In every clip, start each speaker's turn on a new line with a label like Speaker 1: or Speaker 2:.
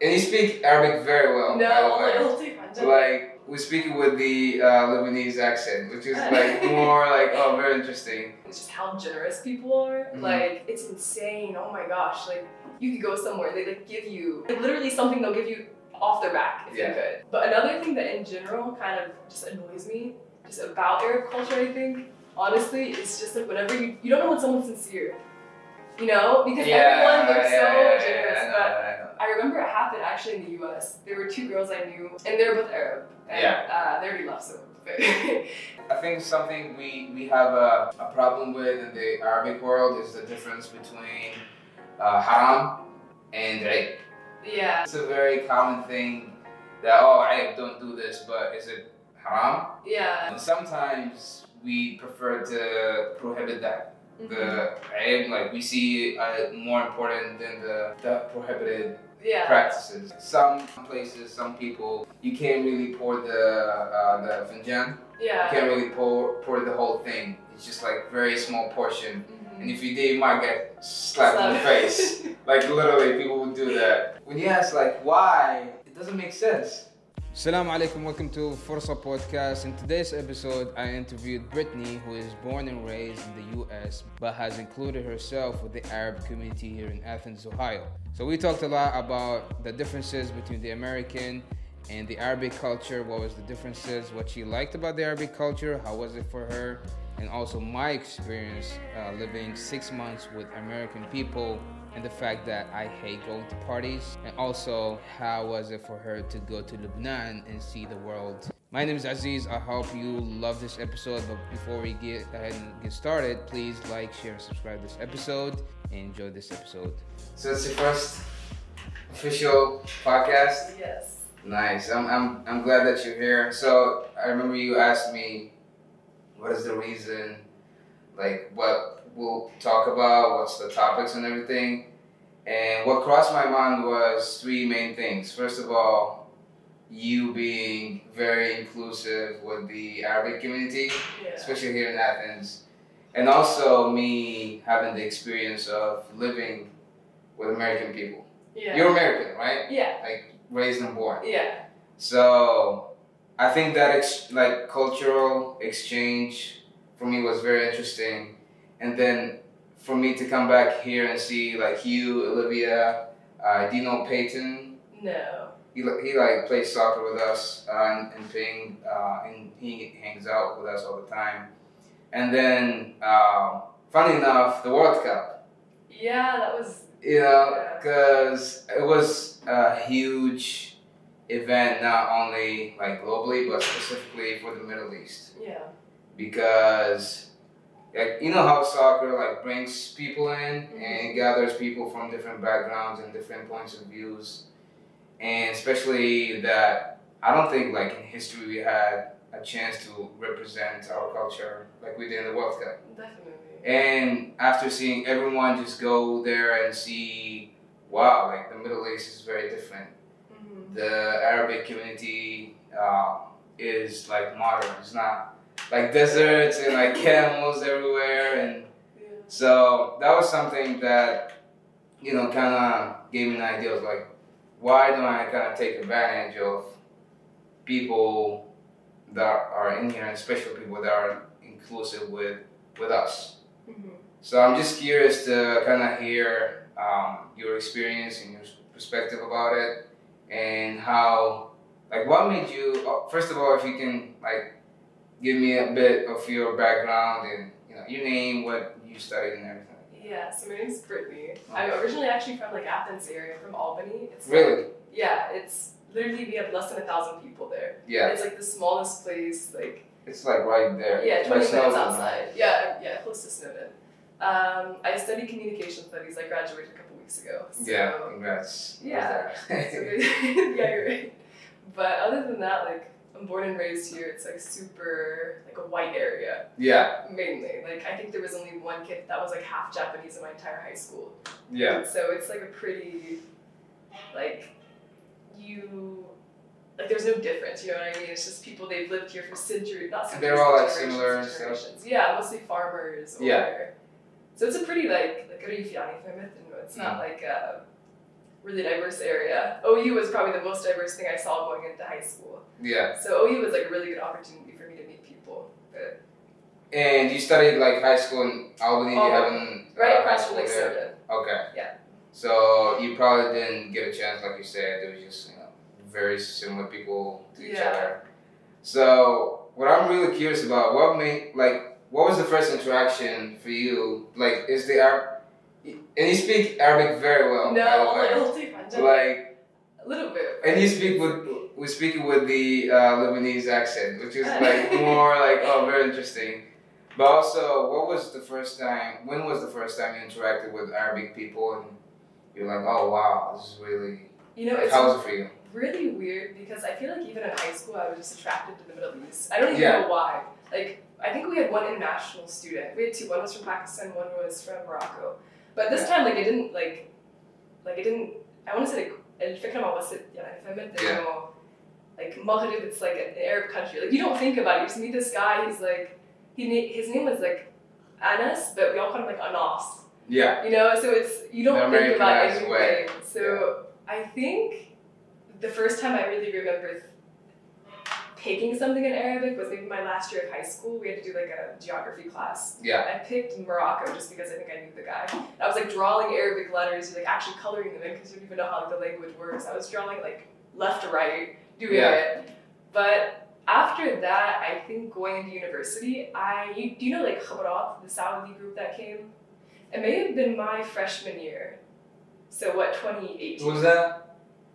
Speaker 1: And you speak Arabic very well. by the
Speaker 2: no,
Speaker 1: way.
Speaker 2: little too much.
Speaker 1: like we speak it with the uh, Lebanese accent, which is like more like oh very interesting.
Speaker 2: It's just how generous people are.
Speaker 1: Mhm.
Speaker 2: Like it's insane. Oh my gosh! Like you could go somewhere, they like give you like, literally something they'll give you off their back if
Speaker 1: Yeah.
Speaker 2: you could. But another thing that in general kind of just annoys me, just about Arab culture, I think honestly, it's just like whenever you you don't know when someone's sincere, you know, because everyone looks so generous,
Speaker 1: I know,
Speaker 2: but
Speaker 1: I know.
Speaker 2: I remember it happened actually in the U.S. There were two girls I knew, and they're both Arab. And, Uh, they already left, so. but-
Speaker 1: I think something we, we have a, a problem with in the Arabic world is the difference between uh, haram and rape.
Speaker 2: yeah.
Speaker 1: It's a very common thing that, oh, rape, don't do this, but is it haram?
Speaker 2: Yeah.
Speaker 1: And sometimes we prefer to prohibit that.
Speaker 2: Mm-hmm.
Speaker 1: The rape, like we see uh, more important than the, the prohibited
Speaker 2: yeah.
Speaker 1: practices. Some places, some people, you can't really pour the, uh, the finjan. You
Speaker 2: Yeah.
Speaker 1: can't really pour pour the whole thing. It's just like very small portion.
Speaker 2: Mhm.
Speaker 1: And if you did, you might get slapped in the face. Like literally, people would do that. When you ask like why, it doesn't make sense. Assalamu alaikum, welcome to Forza Podcast. In today's episode, I interviewed Brittany, who is born and raised in the US, but has included herself with the Arab community here in Athens, Ohio. So we talked a lot about the differences between the American and the Arabic culture, what was the differences, what she liked about the Arabic culture, how was it for her, and also my experience uh, living six months with American people and the fact that I hate going to parties, and also how was it for her to go to Lebanon and see the world. My name is Aziz. I hope you love this episode. But before we get ahead and get started, please like, share, and subscribe this episode and enjoy this episode. So it's the first official podcast.
Speaker 2: yes.
Speaker 1: Nice. I'm, I'm, I'm glad that you're here. So I remember you asked me, what is the reason, like what we'll talk about, what's the topics and everything. And what crossed my mind was three main things. First of all, you being very inclusive with the Arabic community,
Speaker 2: Yeah.
Speaker 1: especially here in Athens, and also me having the experience of living with American people.
Speaker 2: Yeah.
Speaker 1: You're American, right?
Speaker 2: yeah.
Speaker 1: Raised and born.
Speaker 2: Yeah.
Speaker 1: So I think that ex- like cultural exchange for me was very interesting, and then for me to come back here and see like you, Olivia, uh, Dino Payton.
Speaker 2: No.
Speaker 1: He, li- he like plays soccer with us uh, and, and ping uh, and he hangs out with us all the time. And then, uh, funny enough, the World Cup,
Speaker 2: Yeah, that was.
Speaker 1: you know, because it was a huge event not only like globally but specifically for the middle east
Speaker 2: Yeah.
Speaker 1: because like you know how soccer like brings people in and gathers people from different backgrounds and different points of views and especially that i don't think like in history we had a chance to represent our culture like we did in the world cup
Speaker 2: Definitely.
Speaker 1: and after seeing everyone just go there and see, wow, like the Middle East is very different.
Speaker 2: Mhm.
Speaker 1: The Arabic community uh, is like modern. It's not like deserts and like camels everywhere. And
Speaker 2: Yeah.
Speaker 1: so that was something that, you know, kind of gave me an idea of like, why don't I kind of take advantage of people that are in here, and especially people that are inclusive with with us. Mm-hmm.
Speaker 2: Mhm.
Speaker 1: So I'm just curious to kind of hear um, your experience and your perspective about it, and how, like, what made you. oh, First of all, if you can, like, give me a bit of your background and you know your name, what you studied, and everything.
Speaker 2: Yeah. So my name's Brittany. I'm originally actually from like Athens area, from Albany. It's
Speaker 1: Really?
Speaker 2: yeah. It's literally we have less than a thousand people there.
Speaker 1: Yeah,
Speaker 2: It's like the smallest place. Like.
Speaker 1: it's like right there.
Speaker 2: Yeah,
Speaker 1: By
Speaker 2: 20 minutes
Speaker 1: Snowden.
Speaker 2: outside. Yeah, yeah, close to Snowden. Um, I studied communication studies. I graduated a couple weeks ago. So,
Speaker 1: Yeah, congrats.
Speaker 2: Yeah. so
Speaker 1: yeah,
Speaker 2: good. yeah, you're right. But other than that, like I'm born and raised here. It's like super like a white area
Speaker 1: yeah,
Speaker 2: mainly. Like I think there was only one kid that was like half Japanese in my entire high school.
Speaker 1: yeah,
Speaker 2: So it's like a pretty like you. Like there's no difference, you know what I mean? It's just people they've lived here for centuries, not
Speaker 1: And
Speaker 2: centuries.
Speaker 1: they're all,
Speaker 2: but
Speaker 1: like,
Speaker 2: generations
Speaker 1: similar
Speaker 2: and
Speaker 1: and stuff.
Speaker 2: generations. Yeah, mostly farmers. Or,
Speaker 1: Yeah. Mm.
Speaker 2: So it's a pretty like like a ryufiani family, you know, It's not like uh, really diverse area. OU was probably the most diverse thing I saw going into high school.
Speaker 1: Yeah.
Speaker 2: So OU was like a really good opportunity for me to meet people. But
Speaker 1: And you studied like high school in Albany. you
Speaker 2: Oh,
Speaker 1: haven't uh,
Speaker 2: right
Speaker 1: high
Speaker 2: across from
Speaker 1: school
Speaker 2: Lake
Speaker 1: there?
Speaker 2: Soda.
Speaker 1: Okay.
Speaker 2: Yeah.
Speaker 1: So you probably didn't get a chance, like you said. There was just you know very similar people to each
Speaker 2: Yeah.
Speaker 1: other. So what I'm really curious about, what made like what was the first interaction for you? Like, is the Arab? And you speak Arabic very well. by the
Speaker 2: No,
Speaker 1: way.
Speaker 2: like, it'll take my time.
Speaker 1: like
Speaker 2: a little bit.
Speaker 1: and you speak with we speak with the uh, Lebanese accent, which is like more like oh very interesting. But also, what was the first time? When was the first time you interacted with Arabic people and you're like, oh wow, this is really
Speaker 2: You know, it's
Speaker 1: how was it for you?
Speaker 2: really weird because I feel like even in high school I was just attracted to the Middle East. I don't even
Speaker 1: Yeah.
Speaker 2: know why. Like I think we had one international student. We had two. One was from Pakistan. One was from Morocco. But this time, like I didn't like, like I didn't. I want to say like الفكرة ما وصلت يعني فهمت
Speaker 1: Yeah.
Speaker 2: إنه like Maghreb it's like an Arab country. Like you don't think about it. You just meet this guy. He's like he na- his name was like Anas, but we all call him like Anas.
Speaker 1: Yeah,
Speaker 2: You know, so it's you
Speaker 1: The
Speaker 2: don't think about
Speaker 1: Americanized
Speaker 2: anything.
Speaker 1: way.
Speaker 2: So I think the first time I really remember picking something in Arabic was maybe my last year of high school. We had to do like a geography class.
Speaker 1: yeah,
Speaker 2: I picked Morocco just because I think I knew the guy. And I was like drawing Arabic letters, like actually coloring them in because you don't even know how the language works. I was drawing like left to right, doing
Speaker 1: Yeah.
Speaker 2: it. But after that, I think going into university, I you, do you know like Khabarat, the Saudi group that came? It may have been my freshman year. So what, 2018?
Speaker 1: What was that?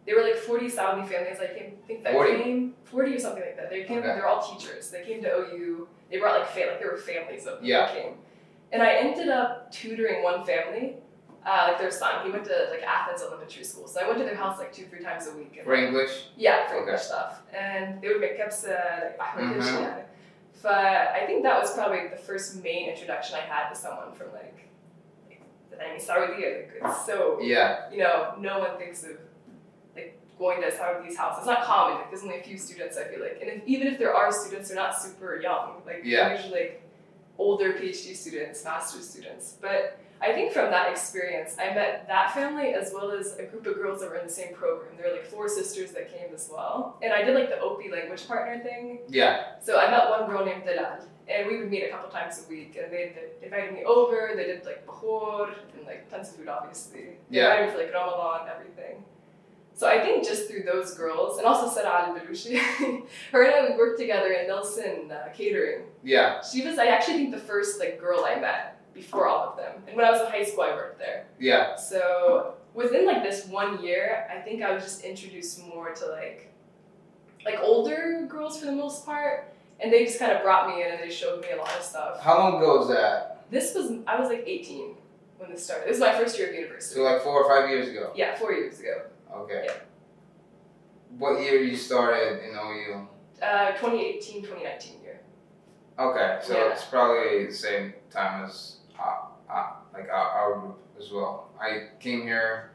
Speaker 2: There were like 40 Saudi families I came, I think that
Speaker 1: 40?
Speaker 2: came, 40 or something like that. They came,
Speaker 1: Okay.
Speaker 2: they're all teachers. They came to OU. They brought like, fam- like there were families of them
Speaker 1: Yeah.
Speaker 2: that came. And I ended up tutoring one family, uh, like their son. He went to like Athens Elementary School. So I went to their house like two, three times a week. and-
Speaker 1: For English?
Speaker 2: yeah, for
Speaker 1: Okay.
Speaker 2: English stuff. And they would make up uh, like
Speaker 1: Mhm.
Speaker 2: Bahrain yeah. But I think that was probably the first main introduction I had to someone from like, like I mean Saudi. Like, it's so
Speaker 1: Yeah,
Speaker 2: you know, no one thinks of like going to Saudi's house. It's not common. Like, there's only a few students I feel like, and if, even if there are students, they're not super young. Like they're
Speaker 1: Yeah.
Speaker 2: usually like older PhD students, master's students. But I think from that experience, I met that family as well as a group of girls that were in the same program. There were like four sisters that came as well, and I did like the OP language partner thing.
Speaker 1: yeah,
Speaker 2: So I met one girl named Dalal, and we would meet a couple times a week, and they they invited me over. They did like bahor and like tons of food, obviously. They
Speaker 1: Yeah.
Speaker 2: invited me for like Ramadan and everything. So I think just through those girls, and also Sarah Al Belushi, her and I we worked together in Nelson uh, Catering.
Speaker 1: yeah,
Speaker 2: She was I actually think the first like girl I met before all of them, and when I was in high school I worked there.
Speaker 1: yeah,
Speaker 2: So within like this one year, I think I was just introduced more to like like older girls for the most part. And they just kind of brought me in and they showed me a lot of stuff.
Speaker 1: How long ago was that?
Speaker 2: This was I was like 18 when this started. It was my first year of university.
Speaker 1: So like four or five years ago.
Speaker 2: Yeah, four years ago.
Speaker 1: Okay. What year you started in OU?
Speaker 2: Uh, 2018, 2019 year.
Speaker 1: Okay, so
Speaker 2: Yeah.
Speaker 1: it's probably the same time as uh, uh, like our, our group as well. I came here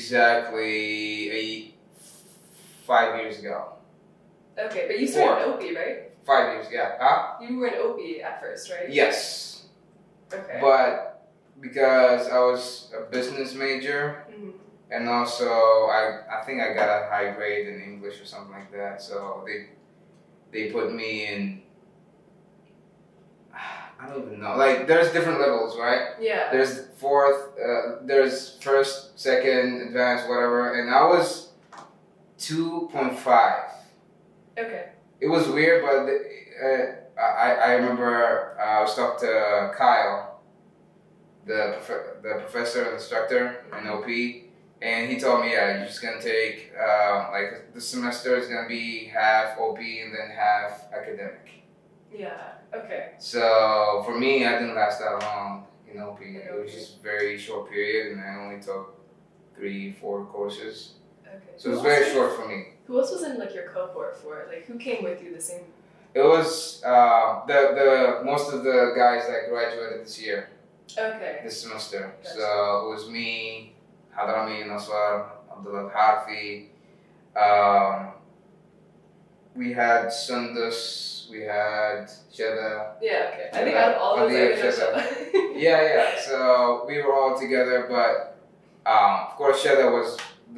Speaker 1: exactly a, five years ago.
Speaker 2: Okay, but you started an OP, E, right?
Speaker 1: Five years, yeah. Huh?
Speaker 2: You were an OP E at first, right?
Speaker 1: Yes,
Speaker 2: Okay.
Speaker 1: but because I was a business major
Speaker 2: Mhm.
Speaker 1: and also I, I think I got a high grade in English or something like that. So they they put me in. I don't even know. Like there's different levels, right?
Speaker 2: Yeah.
Speaker 1: There's fourth, uh, there's first, second, advanced, whatever, and I was 2.5.
Speaker 2: Okay.
Speaker 1: It was weird, but uh, I, I remember uh, I was talking to Kyle, the, prof- the professor and instructor in OP, and he told me, yeah, you're just gonna take, uh, like, the semester is gonna be half OP and then half academic.
Speaker 2: Yeah. Okay.
Speaker 1: So for me, I didn't last that long in OP. It was just very short period, and I only took three, four courses.
Speaker 2: Okay.
Speaker 1: So it
Speaker 2: Who
Speaker 1: was
Speaker 2: else
Speaker 1: very
Speaker 2: was-
Speaker 1: short for me.
Speaker 2: Who else was in like your cohort for it? Like who came with you the same
Speaker 1: It was uh, the the most of the guys that graduated this year,
Speaker 2: Okay.
Speaker 1: this semester. So it was me, Hadrami Naswar, Abdullah Harfi. Um, we had Sundus, we had Sheda.
Speaker 2: Yeah, okay. I
Speaker 1: Yeah,
Speaker 2: think out of all
Speaker 1: on
Speaker 2: those,
Speaker 1: the edge
Speaker 2: I would
Speaker 1: of
Speaker 2: have
Speaker 1: Yeah, yeah. So we were all together, but Um, of course, Shada was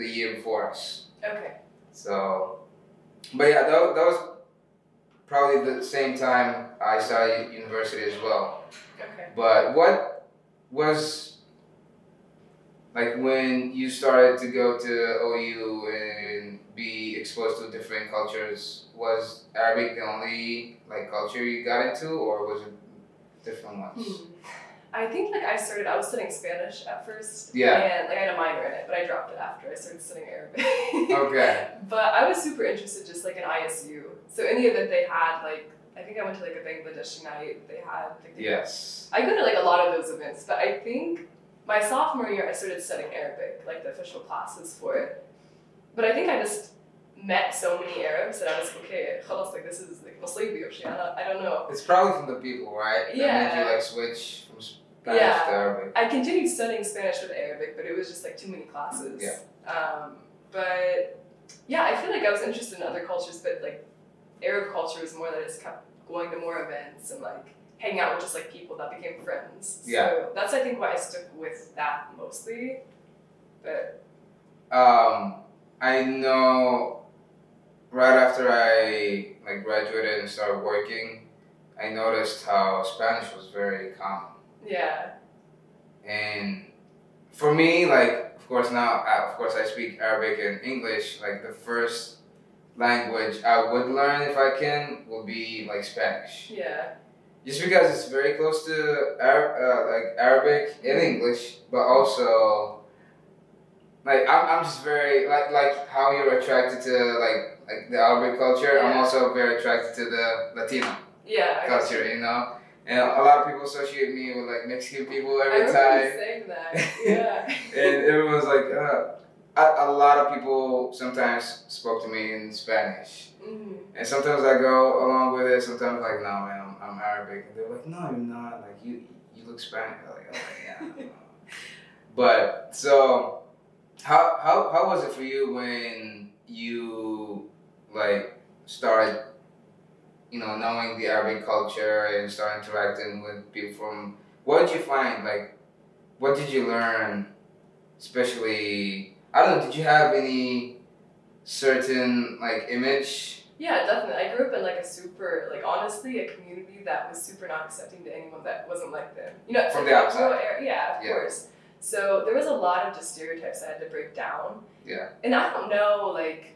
Speaker 1: the year before us.
Speaker 2: Okay.
Speaker 1: So, but yeah, that, wa- that was probably the same time I started university as well.
Speaker 2: Okay.
Speaker 1: But what was like when you started to go to OU and be exposed to different cultures? Was Arabic the only like culture you got into, or was it different ones?
Speaker 2: Hmm. I think like I started. I was studying Spanish at first.
Speaker 1: Yeah.
Speaker 2: And like I had a minor in it, but I dropped it after I started studying Arabic.
Speaker 1: Okay.
Speaker 2: But I was super interested just like in ISU. So in the event they had like I think I went to like a Bangladeshi night. They had like the-
Speaker 1: Yes.
Speaker 2: I go to like a lot of those events, but I think my sophomore year I started studying Arabic, like the official classes for it. But I think I just met so many Arabs that I was like, okay, خلاص, like this is like Muslim I don't- I don't know.
Speaker 1: It's probably from the people, right? That made
Speaker 2: Yeah.
Speaker 1: you like switch from Spanish
Speaker 2: Yeah.
Speaker 1: to Arabic.
Speaker 2: I continued studying Spanish with Arabic, but it was just like too many classes.
Speaker 1: Yeah.
Speaker 2: Um, but yeah, I feel like I was interested in other cultures, but like Arab culture was more that I just kept going to more events and like hanging out with just like people that became friends.
Speaker 1: Yeah.
Speaker 2: So that's I think why I stuck with that mostly. But
Speaker 1: Um, I know. Right after I like graduated and started working, I noticed how Spanish was very common.
Speaker 2: yeah,
Speaker 1: And for me, like, of course, now, I, of course, I speak Arabic and English. Like, the first language I would learn, if I can, would be like Spanish.
Speaker 2: yeah,
Speaker 1: Just because it's very close to Arab, uh, like Arabic and English, but also, like, I'm, I'm just very like like how you're attracted to like like the Arabic culture. I'm
Speaker 2: Yeah.
Speaker 1: also very attracted to the Latino
Speaker 2: yeah. I-
Speaker 1: culture. You know, and a lot of people associate me with like Mexican people
Speaker 2: I
Speaker 1: every
Speaker 2: remember
Speaker 1: time.
Speaker 2: you saying that. Yeah.
Speaker 1: and everyone's like, uh, a, a lot of people sometimes spoke to me in Spanish,
Speaker 2: Mhm.
Speaker 1: and sometimes I go along with it. Sometimes like, no, man, I'm, I'm Arabic, and they're like, no, you're not. Like you, you look Spanish. I'm like, oh, yeah. I don't know." but so, how how how was it for you when you like started? You know, knowing the Arabic culture and start interacting with people from what did you find? Like, what did you learn? Especially, I don't know. Did you have any certain like image
Speaker 2: Yeah, definitely. I grew up in like a super, like honestly, a community that was super not accepting to anyone that wasn't like them. You know,
Speaker 1: From
Speaker 2: like,
Speaker 1: the outside.
Speaker 2: rural area- yeah, of
Speaker 1: Yeah.
Speaker 2: course. So there was a lot of just stereotypes I had to break down.
Speaker 1: Yeah.
Speaker 2: And I don't know, like,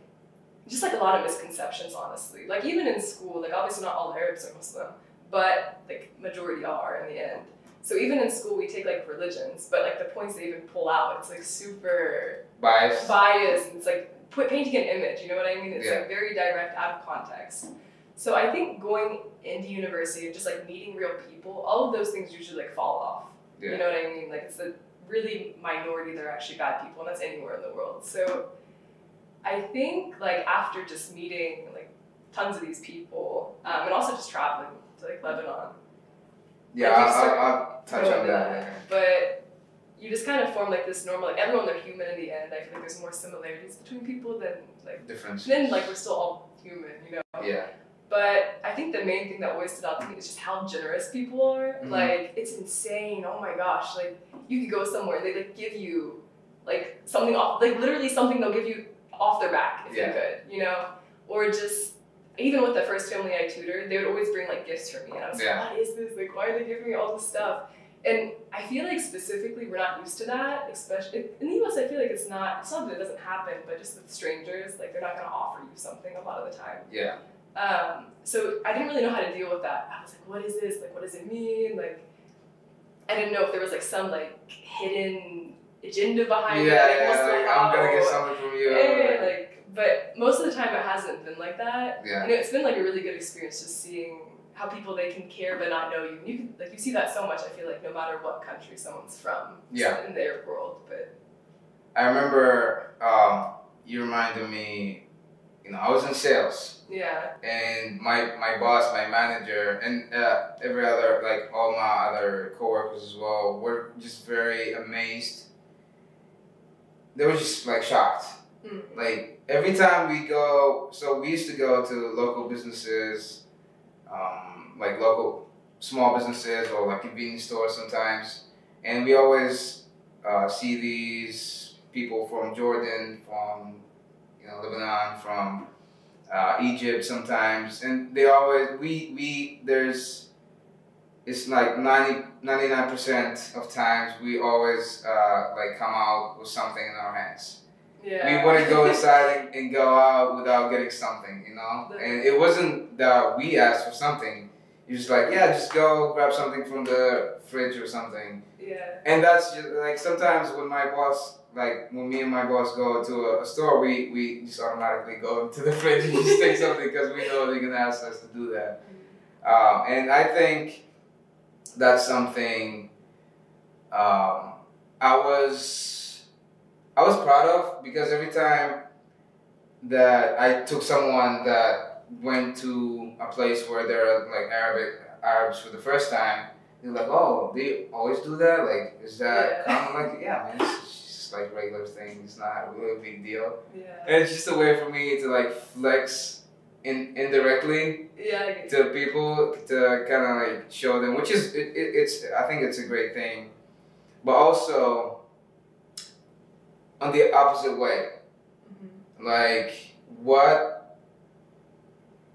Speaker 2: just like a lot of misconceptions, honestly. Like even in school, like obviously not all Arabs are Muslim, but like majority are in the end. So even in school, we take like religions, but like the points they even pull out, it's like super
Speaker 1: bias.
Speaker 2: bias and it's like put, painting an image you know what i mean it's
Speaker 1: Yeah.
Speaker 2: like very direct out of context so i think going into university and just like meeting real people all of those things usually like fall off
Speaker 1: Yeah.
Speaker 2: you know what i mean like it's the really minority that are actually bad people and that's anywhere in the world so i think like after just meeting like tons of these people um, and also just traveling to like lebanon
Speaker 1: Yeah,
Speaker 2: Like, you
Speaker 1: I'll,
Speaker 2: start-
Speaker 1: I'll, I'll touch
Speaker 2: Well,
Speaker 1: on that. later.
Speaker 2: but you just kind of form like this normal like everyone they're human in the end i feel like there's more similarities between people than like
Speaker 1: Differences.
Speaker 2: then like we're still all human, you know.
Speaker 1: yeah,
Speaker 2: But I think the main thing that always stood out to me is just how generous people are.
Speaker 1: Mhm.
Speaker 2: Like it's insane. Oh my gosh! Like you could go somewhere, they like give you like something off, like literally something they'll give you off their back if
Speaker 1: Yeah.
Speaker 2: you could, you know. Or just even with the first family I tutored, they would always bring like gifts for me, and I was
Speaker 1: Yeah.
Speaker 2: like, what is this? Like why are they giving me all this stuff? And I feel like specifically we're not used to that, especially in the U.S. I feel like it's not. It's not that it doesn't happen, but just with strangers, like they're not gonna offer you something a lot of the time.
Speaker 1: yeah,
Speaker 2: Um, so I didn't really know how to deal with that. I was like, what is this? Like, what does it mean? Like, I didn't know if there was like some like hidden agenda
Speaker 1: yeah.
Speaker 2: behind it.
Speaker 1: yeah,
Speaker 2: Like, what's
Speaker 1: like,
Speaker 2: the
Speaker 1: I'm gonna get
Speaker 2: problem?
Speaker 1: something from you.
Speaker 2: Yeah, like, but most of the time it hasn't been like that.
Speaker 1: yeah,
Speaker 2: And it's been like a really good experience just seeing how people they can care but not know you. You can, like you see that so much. I feel like no matter what country someone's from,
Speaker 1: Yeah.
Speaker 2: in their world, but
Speaker 1: I remember um, you reminded me. You know, I was in sales,
Speaker 2: yeah,
Speaker 1: and my my boss, my manager, and uh, every other like all my other coworkers as well were just very amazed. They were just like shocked.
Speaker 2: Mm.
Speaker 1: like every time we go so we used to go to local businesses um, like local small businesses or like convenience stores sometimes and we always uh, see these people from Jordan, from you know Lebanon, from uh, Egypt sometimes, and they always we we there's it's like 99 percent of times we always uh, like come out with something in our hands.
Speaker 2: Yeah.
Speaker 1: We wouldn't go inside and, and go out without getting something, you know.
Speaker 2: The-
Speaker 1: And it wasn't that we asked for something. You're just like, yeah, just go grab something from the fridge or something.
Speaker 2: yeah.
Speaker 1: And that's just like sometimes when my boss, like when me and my boss go to a, a store, we, we just automatically go to the fridge and just take something because we know they're gonna ask us to do that. Um, and I think that's something um, I was I was proud of because every time that I took someone that went to a place where there are like Arabic Arabs for the first time you're like, oh, they always do that? Like, is that
Speaker 2: Yeah.
Speaker 1: common? Like, yeah, man, it's it's just like regular thing. It's not really a big deal.
Speaker 2: Yeah.
Speaker 1: And it's just a way for me to like flex in indirectly
Speaker 2: Yeah. I get
Speaker 1: to people to kind of like show them, which is it, it, it's I think it's a great thing, but also on the opposite way,
Speaker 2: it.
Speaker 1: like what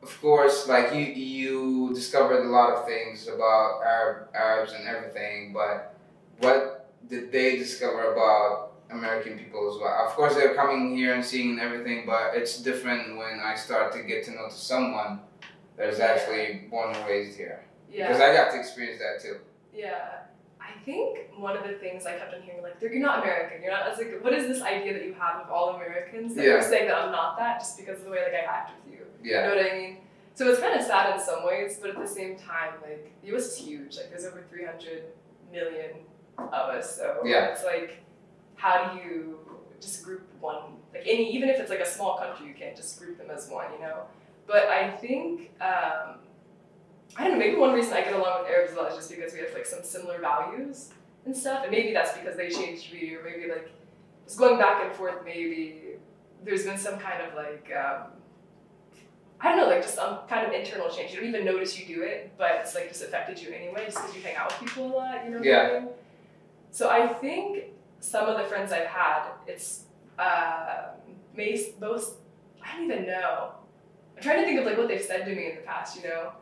Speaker 1: of course like you you discovered a lot of things about Arab, arabs and everything but what did they discover about american people as well of course they're coming here and seeing everything but it's different when i start to get to know to someone that is actually born and raised here
Speaker 2: Yeah.
Speaker 1: because i got to experience that too
Speaker 2: Yeah. I think one of the things I kept on hearing, like, you're not American. You're not. I was like, what is this idea that you have of all Americans? That
Speaker 1: Yeah.
Speaker 2: You're saying that I'm not that just because of the way like I act with you.
Speaker 1: yeah
Speaker 2: You know what I mean? So it's kind of sad in some ways, but at the same time, like the U.S. is huge. Like there's over 300 million of us. So
Speaker 1: Yeah.
Speaker 2: it's like, how do you just group one? Like any, even if it's like a small country, you can't just group them as one. You know? But I think. Um, I don't know, maybe one reason I get along with Arabs a lot is just because we have like some similar values and stuff, and maybe that's because they changed me, or maybe like it's going back and forth. Maybe there's been some kind of like um, I don't know, like just some kind of internal change. You don't even notice you do it, but it's like just affected you anyway, just because you hang out with people a lot, you know. what I
Speaker 1: Yeah.
Speaker 2: mean? So I think some of the friends I've had, it's uh, may most I don't even know. I'm trying to think of like what they've said to me in the past, you know.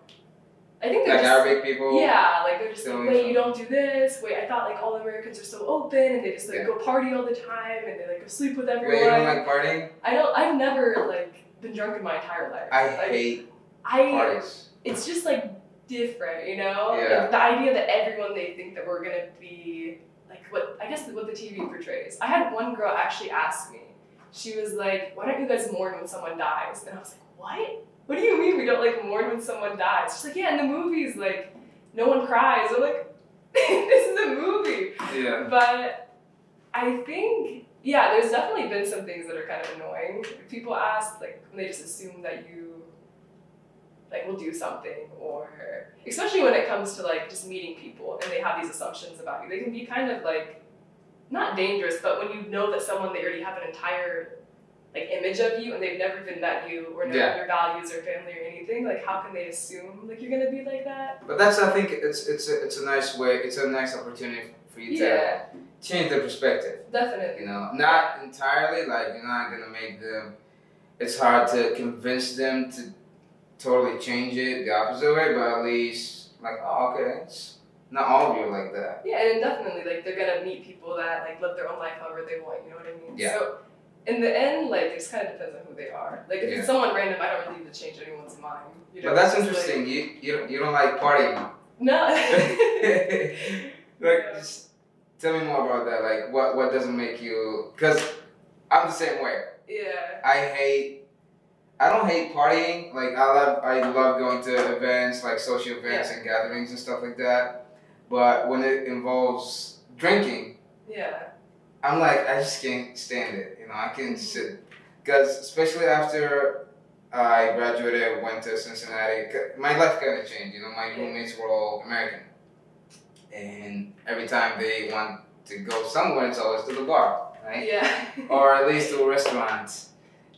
Speaker 2: I think they're
Speaker 1: like
Speaker 2: just,
Speaker 1: arabic people
Speaker 2: yeah, like they're just like,
Speaker 1: Doing
Speaker 2: wait,
Speaker 1: so.
Speaker 2: you don't do this. Wait, I thought like all Americans are so open and they just like
Speaker 1: Yeah.
Speaker 2: go party all the time and they like go sleep with everyone.
Speaker 1: Wait, you don't like partying?
Speaker 2: I don't. I've never like been drunk in my entire life.
Speaker 1: I
Speaker 2: Like,
Speaker 1: hate
Speaker 2: I.
Speaker 1: parties.
Speaker 2: It's just like different, you know.
Speaker 1: Yeah.
Speaker 2: Like, the idea that everyone they think that we're gonna be like what I guess what the TV portrays. I had one girl actually ask me. She was like, "Why don't you guys mourn when someone dies?" And I was like, "What? What do you mean we don't like mourn when someone dies?" She's like, "Yeah, in the movies, like no one cries." I'm like, "This is a movie."
Speaker 1: Yeah.
Speaker 2: But I think, yeah, there's definitely been some things that are kind of annoying. People ask, like, when they just assume that you, like, will do something, or especially when it comes to, like, just meeting people and they have these assumptions about you. They can be kind of, like, not dangerous, but when you know that someone, they already have an entire, like, image of you and they've never even met you or known
Speaker 1: Yeah.
Speaker 2: your values or family or anything, like, how can they assume, like, you're gonna be like that?
Speaker 1: But that's I think it's it's a, it's a nice way. It's a nice opportunity for you to
Speaker 2: Yeah,
Speaker 1: change the perspective.
Speaker 2: definitely.
Speaker 1: You know, not entirely like you're not gonna make them. It's hard to convince them to totally change it the opposite way, but at least like oh okay, it's not all of you are like that.
Speaker 2: Yeah, and definitely, like they're gonna meet people that like live their own life however they want. You know what I mean?
Speaker 1: Yeah.
Speaker 2: So in the end, like it just kind of depends on who they are. Like if
Speaker 1: Yeah.
Speaker 2: it's someone random, I don't really need to change anyone's mind. You know?
Speaker 1: But that's
Speaker 2: It's like-
Speaker 1: interesting. You you don't, you don't like partying.
Speaker 2: no.
Speaker 1: like just tell me more about that. Like what what doesn't make you? Because I'm the same way.
Speaker 2: yeah.
Speaker 1: I hate. I don't hate partying. Like I love. I love going to events, like social events and gatherings and stuff like that. But when it involves drinking,
Speaker 2: Yeah.
Speaker 1: I'm like, I just can't stand it. You know, I can sit because especially after I graduated, went to Cincinnati. 'cause My life kind of changed. You know, my
Speaker 2: Yeah.
Speaker 1: roommates were all American, and every time they want to go somewhere, it's always to the bar, right?
Speaker 2: Yeah.
Speaker 1: or at least to a restaurant.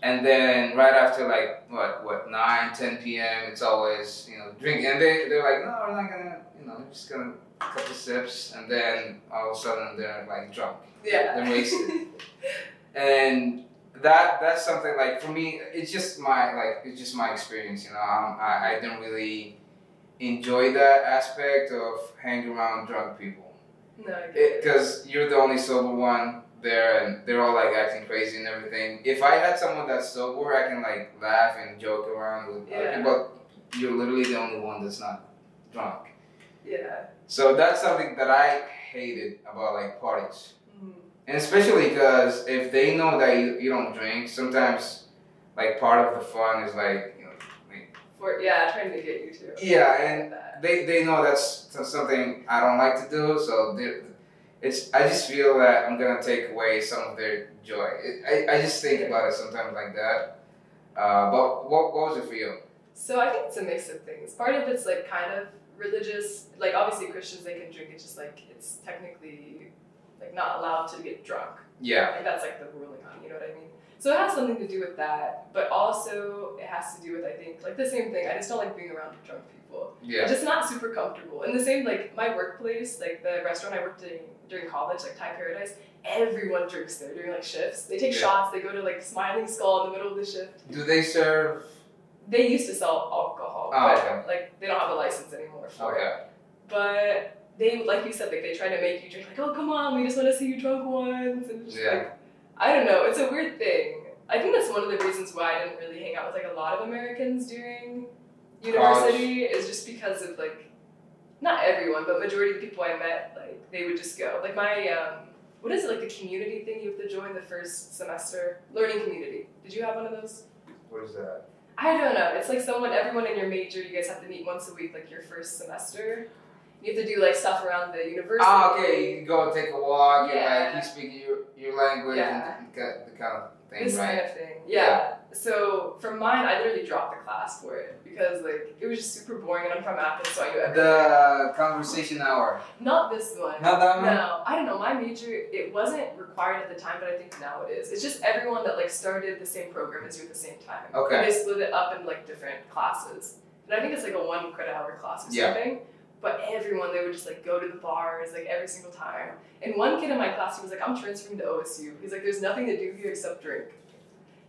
Speaker 1: And then right after like what what 9, 10 p.m. it's always you know drink and they they're like no we're not gonna you know we're just gonna a couple sips, and then all of a sudden they're like drunk.
Speaker 2: Yeah.
Speaker 1: They're wasted. and that that's something like for me, it's just my like it's just my experience. You know, I'm, I I didn't really enjoy that aspect of hanging around drunk people
Speaker 2: no, I get it.
Speaker 1: because you're the only sober one there and they're all like acting crazy and everything if i had someone that's sober i can like laugh and joke around with other
Speaker 2: Yeah.
Speaker 1: people but you're literally the only one that's not drunk
Speaker 2: Yeah.
Speaker 1: so that's something that i hated about like parties
Speaker 2: Mm.
Speaker 1: and especially because if they know that you, you don't drink sometimes like part of the fun is like you know
Speaker 2: For yeah, trying to get you to.
Speaker 1: Yeah, and-
Speaker 2: That.
Speaker 1: they, they know that's something I don't like to do, so they- it's I just feel that I'm gonna take away some of their joy. It, I, I just think about it sometimes like that. Uh, but what, what was it for you?
Speaker 2: So I think it's a mix of things. Part of it's like kind of religious, like obviously Christians they can drink. It's just like it's technically like not allowed to get drunk.
Speaker 1: Yeah,
Speaker 2: Like that's like the ruling on. You know what I mean? So it has something to do with that, but also it has to do with I think like the same thing. I just don't like being around drunk people.
Speaker 1: yeah,
Speaker 2: just not super comfortable. And the same, like my workplace, like the restaurant I worked in during college, like Thai Paradise, everyone drinks there during like shifts. They take
Speaker 1: Yeah.
Speaker 2: shots. They go to like Smiling Skull in the middle of the shift.
Speaker 1: Do they serve?
Speaker 2: They used to sell alcohol,
Speaker 1: Oh,
Speaker 2: but
Speaker 1: okay.
Speaker 2: like they don't have a license anymore for it.
Speaker 1: Okay.
Speaker 2: But they, like you said, like they try to make you drink. Like, oh come on, we just want to see you drunk once. And it's just
Speaker 1: Yeah.
Speaker 2: like, I don't know. It's a weird thing. I think that's one of the reasons why I didn't really hang out with like a lot of Americans during university is just because of like not everyone, but majority of the people I met, like they would just go. Like my um, what is it like the community thing you have to join the first semester learning community? Did you have one of those?
Speaker 1: What is that?
Speaker 2: I don't know. It's like someone, everyone in your major, you guys have to meet once a week, like your first semester. You have to do like stuff around the university.
Speaker 1: Ah, okay. You go take a walk and
Speaker 2: Yeah.
Speaker 1: like you speak your, your language
Speaker 2: Yeah.
Speaker 1: and the, the kind of thing,
Speaker 2: This
Speaker 1: right?
Speaker 2: kind of thing. Yeah. So for mine, I literally dropped the class for it because like it was just super boring, and I'm from Athens, so I knew everything.
Speaker 1: The conversation hour.
Speaker 2: Not this one.
Speaker 1: Not that one.
Speaker 2: No, I don't know. My major, it wasn't required at the time, but I think now it is. It's just everyone that like started the same program as you at the same time.
Speaker 1: Okay.
Speaker 2: And they split it up in like different classes, and I think it's like a one credit hour class or
Speaker 1: Yeah.
Speaker 2: something. But everyone, they would just like go to the bars like every single time. And one kid in my class, he was like, "I'm transferring to OSU." He's like, "There's nothing to do here except drink."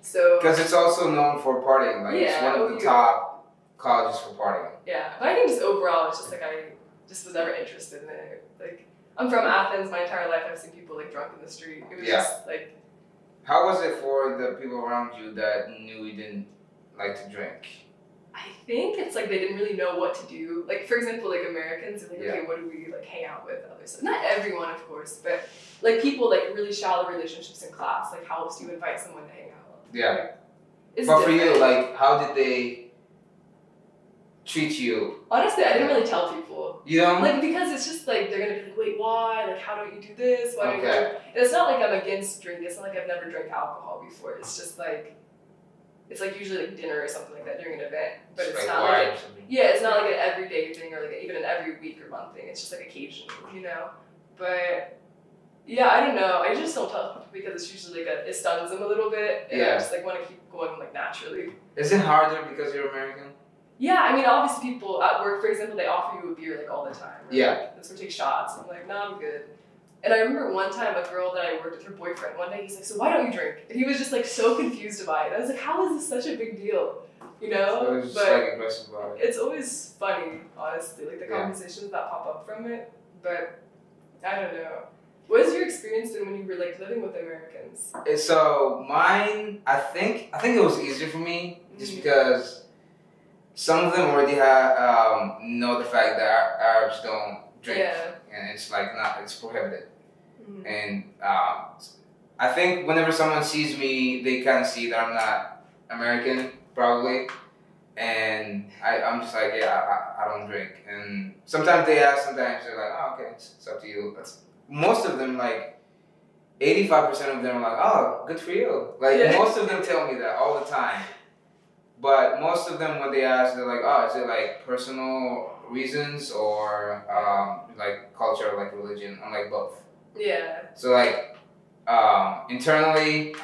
Speaker 2: So
Speaker 1: Because it's also known for partying. Like it's
Speaker 2: Yeah,
Speaker 1: one of the
Speaker 2: OU.
Speaker 1: top colleges for partying.
Speaker 2: Yeah, but I think just overall, it's just like I just was never interested in it. Like I'm from Athens, my entire life I've seen people like drunk in the street. It was
Speaker 1: Yeah.
Speaker 2: just like
Speaker 1: How was it for the people around you that knew you didn't like to drink?
Speaker 2: I think it's like they didn't really know what to do. Like for example, like Americans, they're like okay, what do we like hang out with others? Not everyone, of course, but like people like really shallow relationships in class. Like how else do you invite someone to hang out?
Speaker 1: Yeah.
Speaker 2: Like, it's
Speaker 1: but for you,
Speaker 2: different.
Speaker 1: like, how did they treat you?
Speaker 2: honestly, I didn't really tell people.
Speaker 1: You know?
Speaker 2: Like because it's just like they're gonna be like, wait, why? Like how don't you do this? Why don't you?
Speaker 1: Okay.
Speaker 2: do-" And it's not like I'm against drinking. It's not like I've never drank alcohol before. It's just like, it's like usually like dinner or something like that during an event. But it's
Speaker 1: like,
Speaker 2: not
Speaker 1: why
Speaker 2: like
Speaker 1: or something?
Speaker 2: yeah, it's not like an everyday thing or like even an every week or month thing. It's just like occasional, you know. But yeah, I don't know. I just don't tell people because it's usually like a, it stuns them a little bit, and
Speaker 1: Yeah.
Speaker 2: I just like want to keep going like naturally.
Speaker 1: Is it harder because you're American?
Speaker 2: Yeah, I mean, obviously, people at work, for example, they offer you a beer like all the time. right?
Speaker 1: Yeah.
Speaker 2: Let's go take shots. I'm like, no, I'm good. And I remember one time a girl that I worked with, her boyfriend, one day he's like, so why don't you drink? And he was just like so confused by it. I was like, how is this such a big deal? You
Speaker 1: So
Speaker 2: know?
Speaker 1: it's just
Speaker 2: but
Speaker 1: like aggressive about it.
Speaker 2: it's always funny, honestly, like the
Speaker 1: Yeah.
Speaker 2: conversations that pop up from it. But I don't know. What has your experience been when you were like living with Americans?
Speaker 1: And Eh, So mine, I think, I think it was easier for me
Speaker 2: Mm.
Speaker 1: just because some of them already have um, know the fact that Ar- Arabs don't drink,
Speaker 2: Yeah.
Speaker 1: and it's like not, it's prohibited.
Speaker 2: Mm.
Speaker 1: and um, I think whenever someone sees me, they kind of see that I'm not American, probably, and I, I'm just like, yeah, I, I don't drink. And sometimes they ask, sometimes they're like, oh, okay, it's, it's up to you. But most of them, like, 85% of them are like, oh, good for you. Like,
Speaker 2: Yeah.
Speaker 1: most of them tell me that all the time. But most of them, when they ask, they're like, oh, is it like personal reasons or um, like culture, like religion? I'm like, both.
Speaker 2: Yeah.
Speaker 1: So like um, internally,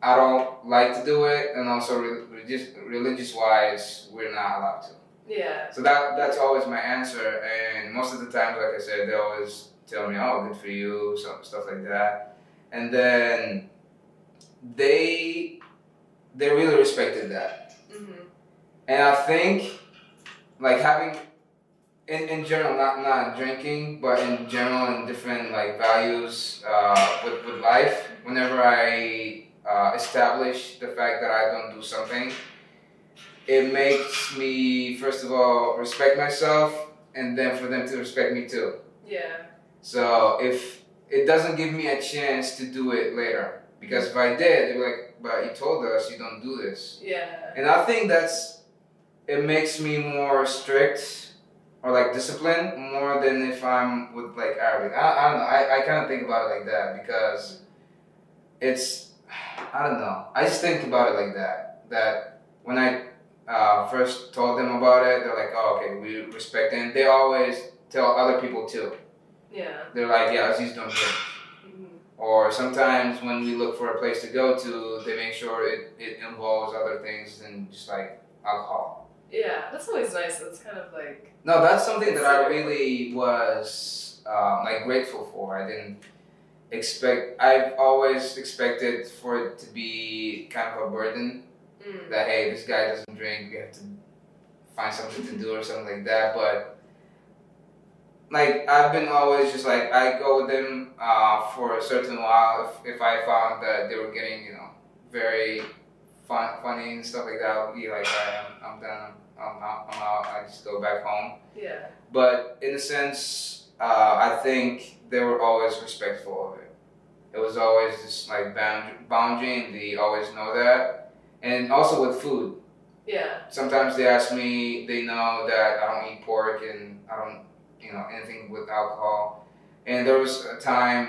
Speaker 1: I don't like to do it, and also re- religious wise, we're not allowed to.
Speaker 2: Yeah.
Speaker 1: So that that's always my answer, and most of the times, like I said, they always tell me, "Oh, good for you," some stuff like that, and then they they really respected that,
Speaker 2: Mm-hmm.
Speaker 1: and I think like having in, in general, not not drinking, but in general, in different like values uh, with with life. Whenever I uh, establish the fact that I don't do something, it makes me first of all respect myself, and then for them to respect me too.
Speaker 2: Yeah.
Speaker 1: So if it doesn't give me a chance to do it later, because if I did, they're like, "But you told us you don't do this."
Speaker 2: Yeah.
Speaker 1: And I think that's it makes me more strict or like disciplined more than if I'm with like Arabic. I, I don't know. I, I kind of think about it like that because it's I don't know. I just think about it like that. That when I uh, first told them about it, they're like, "Oh, okay, we respect." it." And they always tell other people too.
Speaker 2: Yeah.
Speaker 1: They're like, "Yeah, Aziz don't drink."
Speaker 2: Mm-hmm.
Speaker 1: or sometimes when we look for a place to go to, they make sure it, it involves other things than just like alcohol.
Speaker 2: Yeah. That's always nice. That's kind of like.
Speaker 1: No, that's something that I really was um, like grateful for. I didn't expect. I've always expected for it to be kind of a burden
Speaker 2: Mm.
Speaker 1: that hey, this guy doesn't drink. We have to find something to do or something like that. But like I've been always just like I go with them uh, for a certain while. If, if I found that they were getting you know very fun, funny and stuff like that, I'll be like alright, I'm, I'm done. I'm out. I'm out. I just go back home.
Speaker 2: Yeah.
Speaker 1: But in a sense, uh, I think they were always respectful of it. It was always just like bound, boundary, and they always know that. And also with food,
Speaker 2: Yeah.
Speaker 1: sometimes they ask me they know that i don't eat pork and i don't you know anything with alcohol and there was a time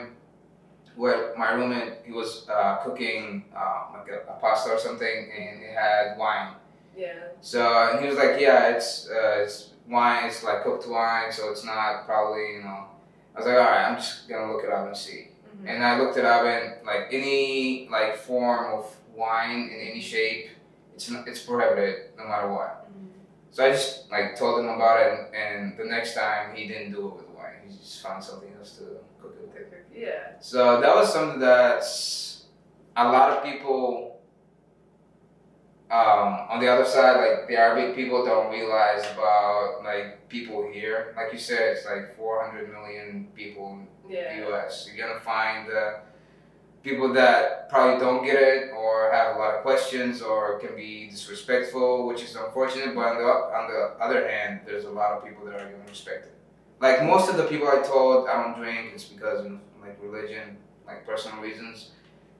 Speaker 1: where my roommate he was uh, cooking uh, like a, a pasta or something and it had wine
Speaker 2: Yeah.
Speaker 1: so and he was like, yeah, it's uh, it's wine, it's like cooked wine, so it's not probably you know. I was like, all right, I'm just gonna look it up and see.
Speaker 2: Mhm.
Speaker 1: And I looked it up and like any like form of wine in any shape, it's not, it's prohibited no matter what.
Speaker 2: mm-hmm.
Speaker 1: So I just like told him about it, and, and the next time he didn't do it with wine, he just found something else to cook it with.
Speaker 2: Yeah.
Speaker 1: So that was something that's a lot of people um, on the other side, like the Arabic people, don't realize about like people here. Like you said, it's like 400 million people in
Speaker 2: Yeah.
Speaker 1: the U.S. You're gonna find uh, people that probably don't get it or have a lot of questions or can be disrespectful, which is unfortunate. But on the on the other hand, there's a lot of people that are gonna respect it. Like most of the people I told I don't drink, it's because of like religion, like personal reasons.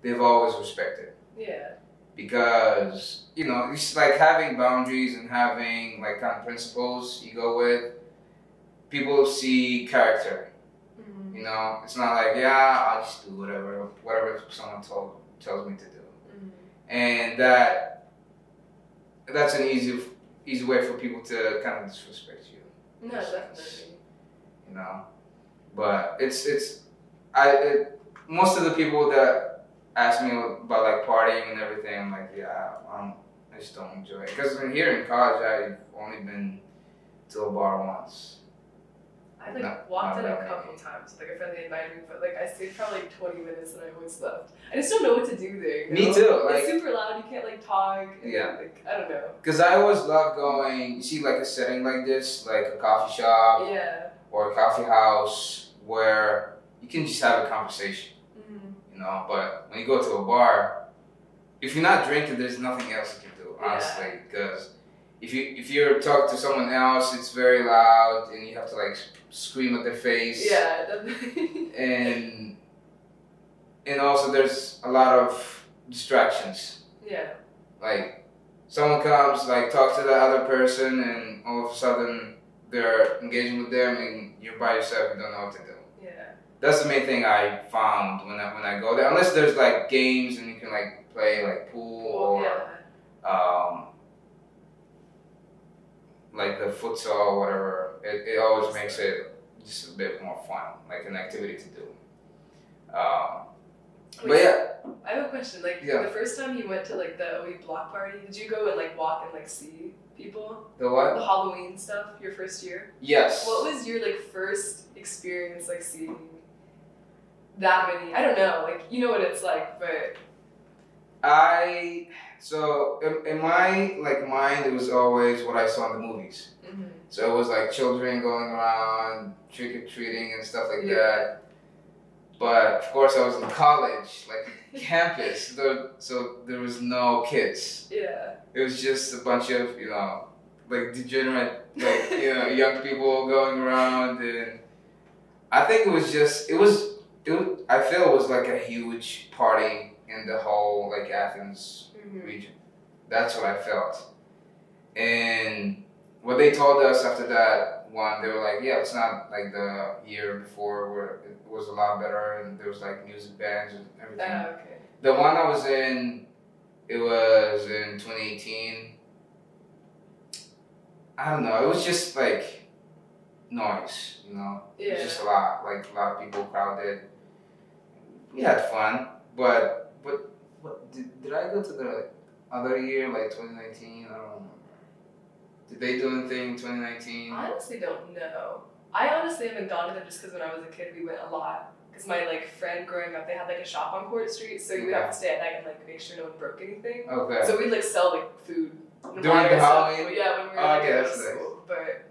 Speaker 1: They've always respected
Speaker 2: Yeah.
Speaker 1: because you know it's like having boundaries and having like kind of principles you go with. People see character.
Speaker 2: Mhm.
Speaker 1: You know, it's not like yeah, I'll just do whatever whatever someone told tells me to do,
Speaker 2: Mhm.
Speaker 1: and that that's an easy easy way for people to kind of disrespect you,
Speaker 2: No, definitely.
Speaker 1: you know. But it's it's I it, most of the people that ask me about like partying and everything, I'm like yeah, I don't, I just don't enjoy it because here in college I've only been to a bar once.
Speaker 2: I like
Speaker 1: No,
Speaker 2: walked in
Speaker 1: not
Speaker 2: a
Speaker 1: really.
Speaker 2: couple times. Like a friend they invited me, but like I stayed probably like twenty minutes and I always left. I just don't know what to do there. you
Speaker 1: Me
Speaker 2: know?
Speaker 1: too. Like
Speaker 2: it's super loud. You can't like talk. and,
Speaker 1: Yeah.
Speaker 2: Like I don't know.
Speaker 1: Because I always love going, you see, like a setting like this, like a coffee shop
Speaker 2: Yeah.
Speaker 1: or a coffee house where you can just have a conversation,
Speaker 2: Mm-hmm.
Speaker 1: you know. But when you go to a bar, if you're not drinking, there's nothing else you can do,
Speaker 2: Yeah.
Speaker 1: honestly. Because if you if you're talking to someone else, it's very loud and you have to like s- scream at their face.
Speaker 2: Yeah. Definitely.
Speaker 1: And and also there's a lot of distractions
Speaker 2: yeah.
Speaker 1: like someone comes like talks to the other person and all of a sudden they're engaging with them and you're by yourself and don't know what to do
Speaker 2: Yeah.
Speaker 1: that's the main thing i found when i when i go there unless there's like games and you can like play like pool
Speaker 2: Cool.
Speaker 1: or
Speaker 2: Yeah.
Speaker 1: um like the futsal or whatever it, it always makes it just a bit more fun like an activity to do um, But yeah,
Speaker 2: I have a question. Like
Speaker 1: Yeah.
Speaker 2: the first time you went to like the OE block party, did you go and like walk and like see people?
Speaker 1: the what?
Speaker 2: The Halloween stuff, your first year.
Speaker 1: Yes.
Speaker 2: What was your like first experience like seeing that many? I don't know. Like you know what it's like, but
Speaker 1: I so in, in my like mind, it was always what I saw in the movies. So it was like children going around trick or treating and stuff like
Speaker 2: Yeah.
Speaker 1: that. But of course, I was in college, like campus, there, so there was no kids.
Speaker 2: yeah,
Speaker 1: It was just a bunch of you know, like degenerate, like you know, young people going around, and I think it was just it was it. Was, I feel it was like a huge party in the whole like Athens
Speaker 2: Mm-hmm.
Speaker 1: region. That's what I felt. And what they told us after that one, they were like, yeah, it's not like the year before where it was a lot better and there was like music bands and everything.
Speaker 2: Ah, okay.
Speaker 1: The one I was in, it was in 2018. I don't know. It was just like noise, you know. It was
Speaker 2: Yeah.
Speaker 1: just a lot, like a lot of people crowded. We had fun, but but what did, did I go to the other year, like 2019? I don't remember. Did they do anything in 2019?
Speaker 2: I honestly don't know. I honestly haven't gone to them just because when I was a kid we went a lot. Because my like friend growing up, they had like a shop on Court Street, so you would
Speaker 1: Mm-hmm.
Speaker 2: have to stay at night and like make sure no one broke anything.
Speaker 1: Okay.
Speaker 2: So we like sell like food. and
Speaker 1: During
Speaker 2: water
Speaker 1: the
Speaker 2: and stuff.
Speaker 1: Halloween?
Speaker 2: Yeah, when we were
Speaker 1: Oh,
Speaker 2: like,
Speaker 1: okay,
Speaker 2: in
Speaker 1: that's
Speaker 2: middle
Speaker 1: nice.
Speaker 2: school. But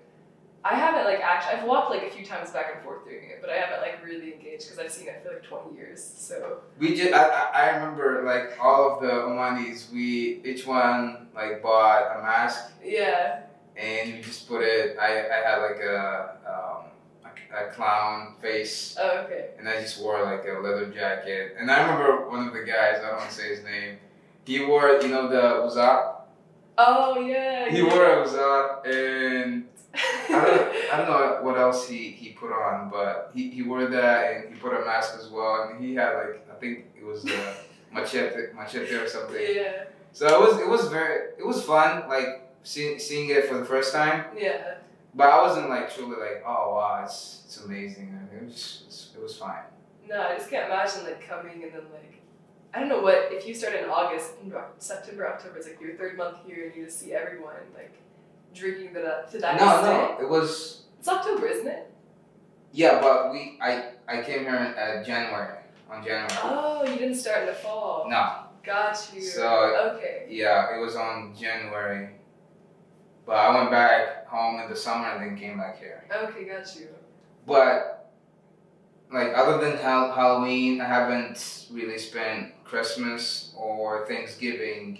Speaker 2: I haven't like actually. I've walked like a few times back and forth doing it, but I haven't like really engaged because I've seen it for like twenty years. So
Speaker 1: We just, I, I- I remember like all of the Omanis, we, each one like bought a mask
Speaker 2: yeah,
Speaker 1: and we just put it, I, I had like a, um, a, a clown face
Speaker 2: oh, okay.
Speaker 1: and I just wore like a leather jacket. And I remember one of the guys, I don't want to say his name, he wore, you know, the uzat?
Speaker 2: Oh yeah.
Speaker 1: He
Speaker 2: yeah.
Speaker 1: wore a uzat and I don't, I don't know what else he, he put on, but he, he wore that and he put a mask as well. And he had like, I think it was a machete, machete or something.
Speaker 2: yeah,
Speaker 1: So it was it was very it was fun like seeing seeing it for the first time.
Speaker 2: yeah.
Speaker 1: But I wasn't like truly like oh wow it's it's amazing. And It was it's, it was fine.
Speaker 2: No, I just can't imagine like coming and then like. I don't know what if you start in August, in Oc- September, October. It's like your third month here, and you just see everyone like drinking to that to that
Speaker 1: no
Speaker 2: extent.
Speaker 1: no it was
Speaker 2: It's October, isn't it?
Speaker 1: yeah but we I I came here in uh, January on January.
Speaker 2: Oh, you didn't start in the fall.
Speaker 1: No
Speaker 2: Got you.
Speaker 1: So-
Speaker 2: okay.
Speaker 1: yeah it was on January. But I went back home in the summer and then came back here.
Speaker 2: Okay, got you.
Speaker 1: But like other than Hal- Halloween, I haven't really spent Christmas or Thanksgiving.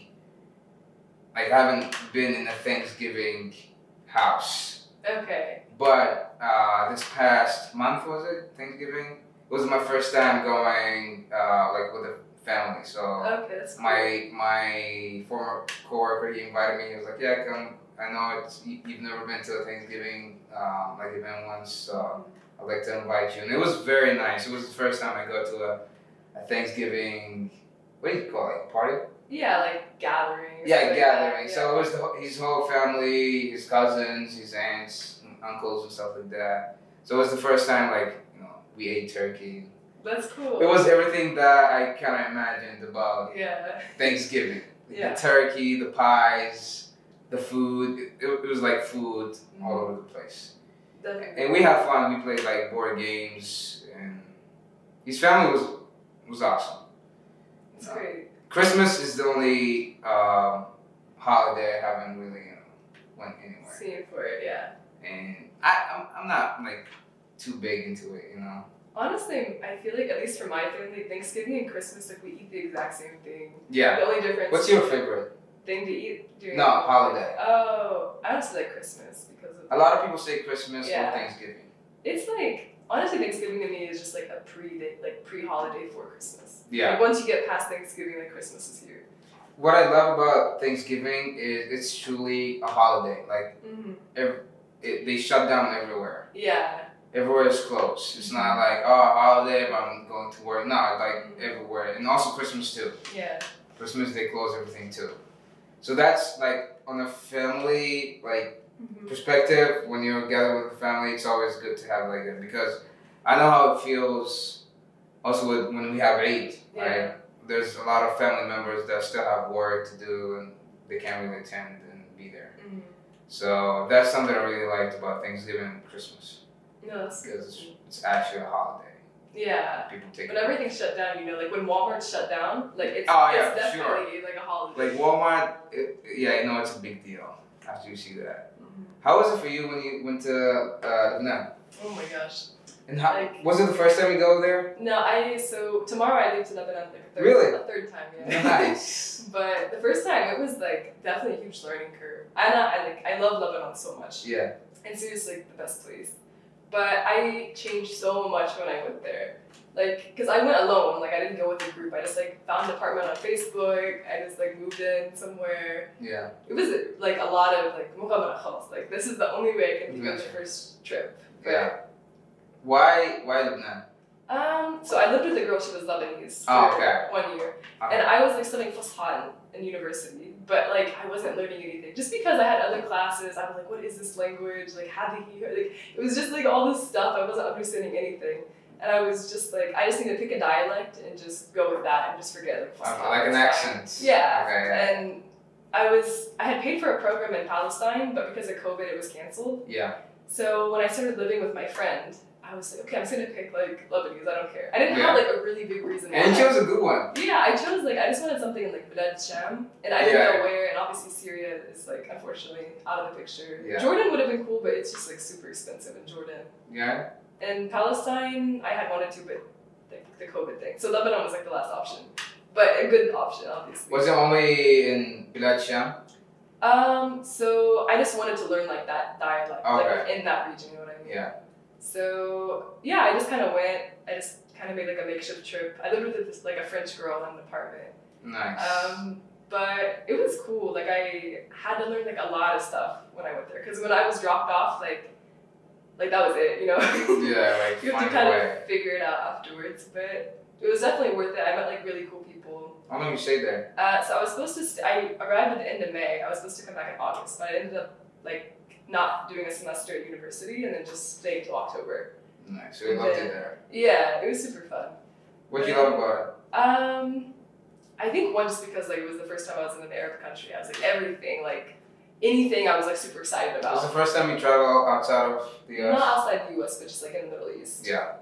Speaker 1: Like I haven't been in a Thanksgiving house.
Speaker 2: Okay.
Speaker 1: But uh, this past month was it Thanksgiving? It was my first time going uh, like with a family. So
Speaker 2: Okay, that's cool.
Speaker 1: my my former coworker he invited me. He was like, "Yeah, come." I know it's you- you've never been to a Thanksgiving um, like event once, so I'd like to invite you. And it was very nice. It was the first time I go to a, a Thanksgiving, what do you call it, party?
Speaker 2: Yeah, like gathering. or
Speaker 1: Yeah,
Speaker 2: something
Speaker 1: gathering.
Speaker 2: Like that.
Speaker 1: So it was the, whole- his whole family, his cousins, his aunts, and uncles, and stuff like that. So it was the first time, like, you know, we ate turkey.
Speaker 2: yeah. That's cool.
Speaker 1: It was everything that I kind of imagined about
Speaker 2: Yeah.
Speaker 1: Thanksgiving.
Speaker 2: Yeah.
Speaker 1: The turkey, the pies, the food. It, it was like food all over the place.
Speaker 2: Definitely.
Speaker 1: And we had fun. We played like board games, and his family was was awesome.
Speaker 2: It's great.
Speaker 1: Christmas is the only um, holiday I haven't really you know, went anywhere,
Speaker 2: Seeing for it, yeah.
Speaker 1: and I I'm, I'm not like too big into it, you know.
Speaker 2: Honestly, I feel like at least for my family, Thanksgiving and Christmas, like we eat the exact same thing.
Speaker 1: Yeah.
Speaker 2: The only difference.
Speaker 1: What's your favorite?
Speaker 2: thing to eat during?
Speaker 1: No holiday.
Speaker 2: Oh, I honestly like Christmas because of
Speaker 1: A lot of people say Christmas
Speaker 2: Yeah.
Speaker 1: or Thanksgiving.
Speaker 2: It's like honestly, Thanksgiving to me is just like a pre like pre holiday for Christmas.
Speaker 1: Yeah.
Speaker 2: Like once you get past Thanksgiving, like Christmas is here.
Speaker 1: What I love about Thanksgiving is it's truly a holiday. Like
Speaker 2: Mm-hmm.
Speaker 1: it, they shut down everywhere.
Speaker 2: Yeah.
Speaker 1: everywhere is closed. It's not like oh holiday, but I'm going to work. No, like everywhere, and also Christmas too.
Speaker 2: Yeah.
Speaker 1: Christmas they close everything too. So that's like on a family like
Speaker 2: Mm-hmm.
Speaker 1: perspective. When you're together with the family, it's always good to have like that because I know how it feels also with, when we have Eid,
Speaker 2: Yeah.
Speaker 1: right? There's a lot of family members that still have work to do and they can't really attend and be there.
Speaker 2: Mm.
Speaker 1: So that's something I really liked about Thanksgiving and Christmas
Speaker 2: No, that's good.
Speaker 1: because it's, it's actually a holiday.
Speaker 2: Yeah.
Speaker 1: People take
Speaker 2: When everything's shut down, you know, like when Walmart shut down, like it's,
Speaker 1: Oh,
Speaker 2: it's
Speaker 1: yeah, sure.
Speaker 2: definitely like a holiday.
Speaker 1: like Walmart. It, yeah, you know it's a big deal after you see that.
Speaker 2: Mhm.
Speaker 1: How was it for you when you went to uh, Vietnam?
Speaker 2: Oh my gosh.
Speaker 1: And how
Speaker 2: Like-
Speaker 1: was it the first time you go there?
Speaker 2: No, I so tomorrow I leave to Lebanon like a third,
Speaker 1: Really?
Speaker 2: a third time, yeah.
Speaker 1: Nice.
Speaker 2: but the first time it was like definitely a huge learning curve. And I, I like I love Lebanon so much.
Speaker 1: yeah.
Speaker 2: It's seriously like, the best place. But I changed so much when I went there. Like, cause I went alone. Like, I didn't go with a group. I just like found an apartment on Facebook. I just like moved in somewhere.
Speaker 1: Yeah.
Speaker 2: It was like a lot of like مقابلة خلاص. Like, this is the only way I can think of the
Speaker 1: Adventure.
Speaker 2: first trip.
Speaker 1: Yeah. Why? Why Lebanon?
Speaker 2: Um. So I lived with a girl. She was Lebanese for
Speaker 1: Oh, okay. Oh.
Speaker 2: one year.
Speaker 1: Okay.
Speaker 2: And I was like studying Fushan in university, but like I wasn't learning anything. Just because I had other classes, I was like, what is this language? Like, how do you like it was just like all this stuff, I wasn't understanding anything. And I was just like, I just need to pick a dialect and just go with that and just forget like Fushan.
Speaker 1: Okay, like an
Speaker 2: Fushan.
Speaker 1: accent.
Speaker 2: Yeah.
Speaker 1: Okay. yeah.
Speaker 2: And I was I had paid for a program in Palestine, but because of COVID it was cancelled.
Speaker 1: Yeah.
Speaker 2: So when I started living with my friend, I was like, okay, I'm just gonna pick like Lebanese, I don't care. I didn't have
Speaker 1: Yeah.
Speaker 2: like a really big reason why.
Speaker 1: And she was a good one.
Speaker 2: Yeah, I chose like I just wanted something in like Bilad Sham, and I didn't
Speaker 1: Yeah.
Speaker 2: know where. And obviously Syria is like unfortunately out of the picture.
Speaker 1: Yeah.
Speaker 2: Jordan would have been cool, but it's just like super expensive in Jordan.
Speaker 1: Yeah.
Speaker 2: And Palestine, I had wanted to, but like the COVID thing, so Lebanon was like the last option, but a good option obviously.
Speaker 1: Was it only in Bilad Sham?
Speaker 2: Um, so I just wanted to learn like that dialect, like
Speaker 1: Okay.
Speaker 2: in that region. You know what I mean?
Speaker 1: Yeah.
Speaker 2: So yeah, I just kind of went. I just kind of made like a makeshift trip. I lived with this like a French girl in an apartment.
Speaker 1: Nice.
Speaker 2: Um, but it was cool. Like I had to learn like a lot of stuff when I went there because when I was dropped off, like, like that was it. You know.
Speaker 1: yeah. Like
Speaker 2: you have to
Speaker 1: find
Speaker 2: kind
Speaker 1: a way.
Speaker 2: of figure it out afterwards, but it was definitely worth it. I met like really cool people.
Speaker 1: How long you stay there?
Speaker 2: Uh, so I was supposed to. St- I arrived at the end of May. I was supposed to come back in August, but I ended up like not doing a semester at university and then just staying till October.
Speaker 1: Nice. So you loved
Speaker 2: Yeah.
Speaker 1: it there.
Speaker 2: Yeah, it was super fun.
Speaker 1: What do you love about
Speaker 2: Um, I think one just because like it was the first time I was in an Arab country. I was like everything, like anything, I was like super excited
Speaker 1: it? It was the
Speaker 2: about.
Speaker 1: first time you travel outside of the
Speaker 2: Not
Speaker 1: US.
Speaker 2: outside the U.S., but just like in the Middle East.
Speaker 1: Yeah.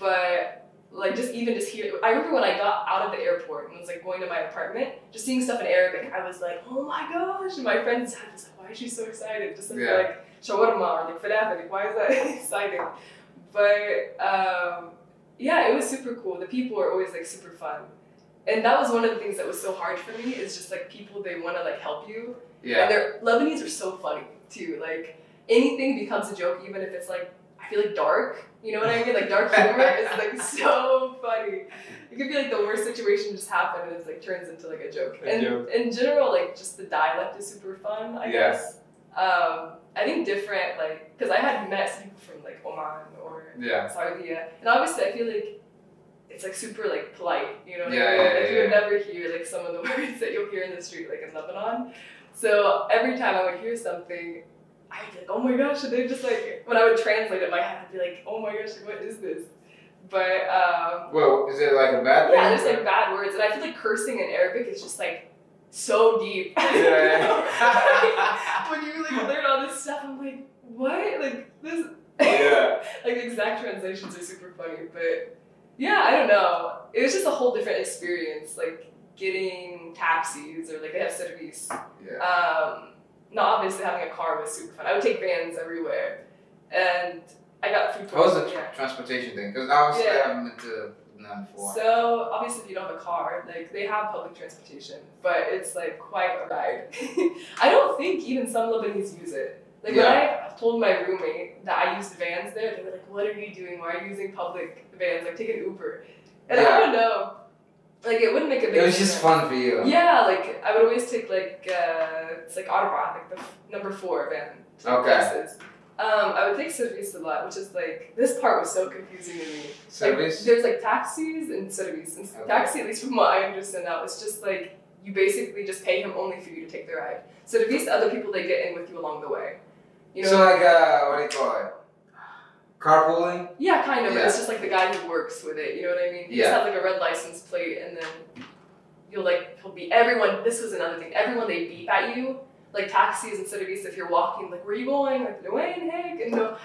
Speaker 2: But like just even just here, I remember when I got out of the airport and was like going to my apartment, just seeing stuff in Arabic. I was like, oh my gosh! And my friend's dad was like, why is she so excited? Just like,
Speaker 1: Yeah.
Speaker 2: like shawarma or like falafel. Like, why is that exciting? But um, yeah, it was super cool. The people are always like super fun. And that was one of the things that was so hard for me is just like people they want to like help you. And
Speaker 1: Yeah.
Speaker 2: they're Lebanese are so funny too. Like anything becomes a joke, even if it's like I feel like dark. You know what I mean? Like dark humor is like so funny. It could be like the worst situation just happened and it's like turns into like a joke.
Speaker 1: A
Speaker 2: and
Speaker 1: joke.
Speaker 2: in general, like just the dialect is super fun. I
Speaker 1: Yeah.
Speaker 2: guess. Um, I think different like because I had met some people from like Oman or
Speaker 1: Yeah.
Speaker 2: Saudi, yeah. And obviously, I feel like it's like super like polite, you know. what I
Speaker 1: Yeah,
Speaker 2: mean?
Speaker 1: yeah,
Speaker 2: like,
Speaker 1: yeah,
Speaker 2: you would never hear like some of the words that you'll hear in the street, like in Lebanon. So every time I would hear something, I'd be like, "Oh my gosh!" And they just like when I would translate it in my head, I'd be like, "Oh my gosh, what is this?" But um,
Speaker 1: Well, is it like a bad
Speaker 2: yeah, there's
Speaker 1: thing?
Speaker 2: like bad words, and I feel like cursing in Arabic is just like so deep.
Speaker 1: yeah.
Speaker 2: when you like learn all this stuff, I'm like, what? Like this?
Speaker 1: Oh, yeah.
Speaker 2: like the exact translations are super funny, but yeah, I don't know. It was just a whole different experience, like getting taxis or like they have service.
Speaker 1: Yeah.
Speaker 2: Um, not obviously having a car was super fun. I would take vans everywhere, and I got food.
Speaker 1: What was
Speaker 2: poisoning,
Speaker 1: the tr- transportation thing? Because obviously
Speaker 2: Yeah.
Speaker 1: I haven't been to Vietnam before.
Speaker 2: So obviously, if you don't have a car, like they have public transportation, but it's like quite a ride. I don't think even some Lebanese use it. Like when I told my roommate that I used vans there, they were like, "What are you doing? Why are you using public vans? Like take an Uber." And
Speaker 1: Yeah.
Speaker 2: I don't know. Like it wouldn't make a big.
Speaker 1: it was just
Speaker 2: difference.
Speaker 1: fun for you.
Speaker 2: Yeah, like I would always take like uh, it's like Autobahn, like the f- number four van. to the
Speaker 1: Okay.
Speaker 2: Places. Um, I would take service a lot, which is like this part was so confusing to me. Like,
Speaker 1: Service.
Speaker 2: there's like taxis and service. And
Speaker 1: Okay.
Speaker 2: Taxi, at least from what I understand now, it's just like you basically just pay him only for you to take the ride. Service, other people they get in with you along the way. You know,
Speaker 1: so like uh, what do you call it? Carpooling?
Speaker 2: Yeah, kind of. But
Speaker 1: Yeah.
Speaker 2: it's just like the guy who works with it. You know what I mean? He
Speaker 1: Yeah.
Speaker 2: just has like a red license plate, and then you'll like he'll be everyone. This was another thing. Everyone they beep at you, like taxis and cities. If you're walking, like where you going? Like Dwayne Hick, and no,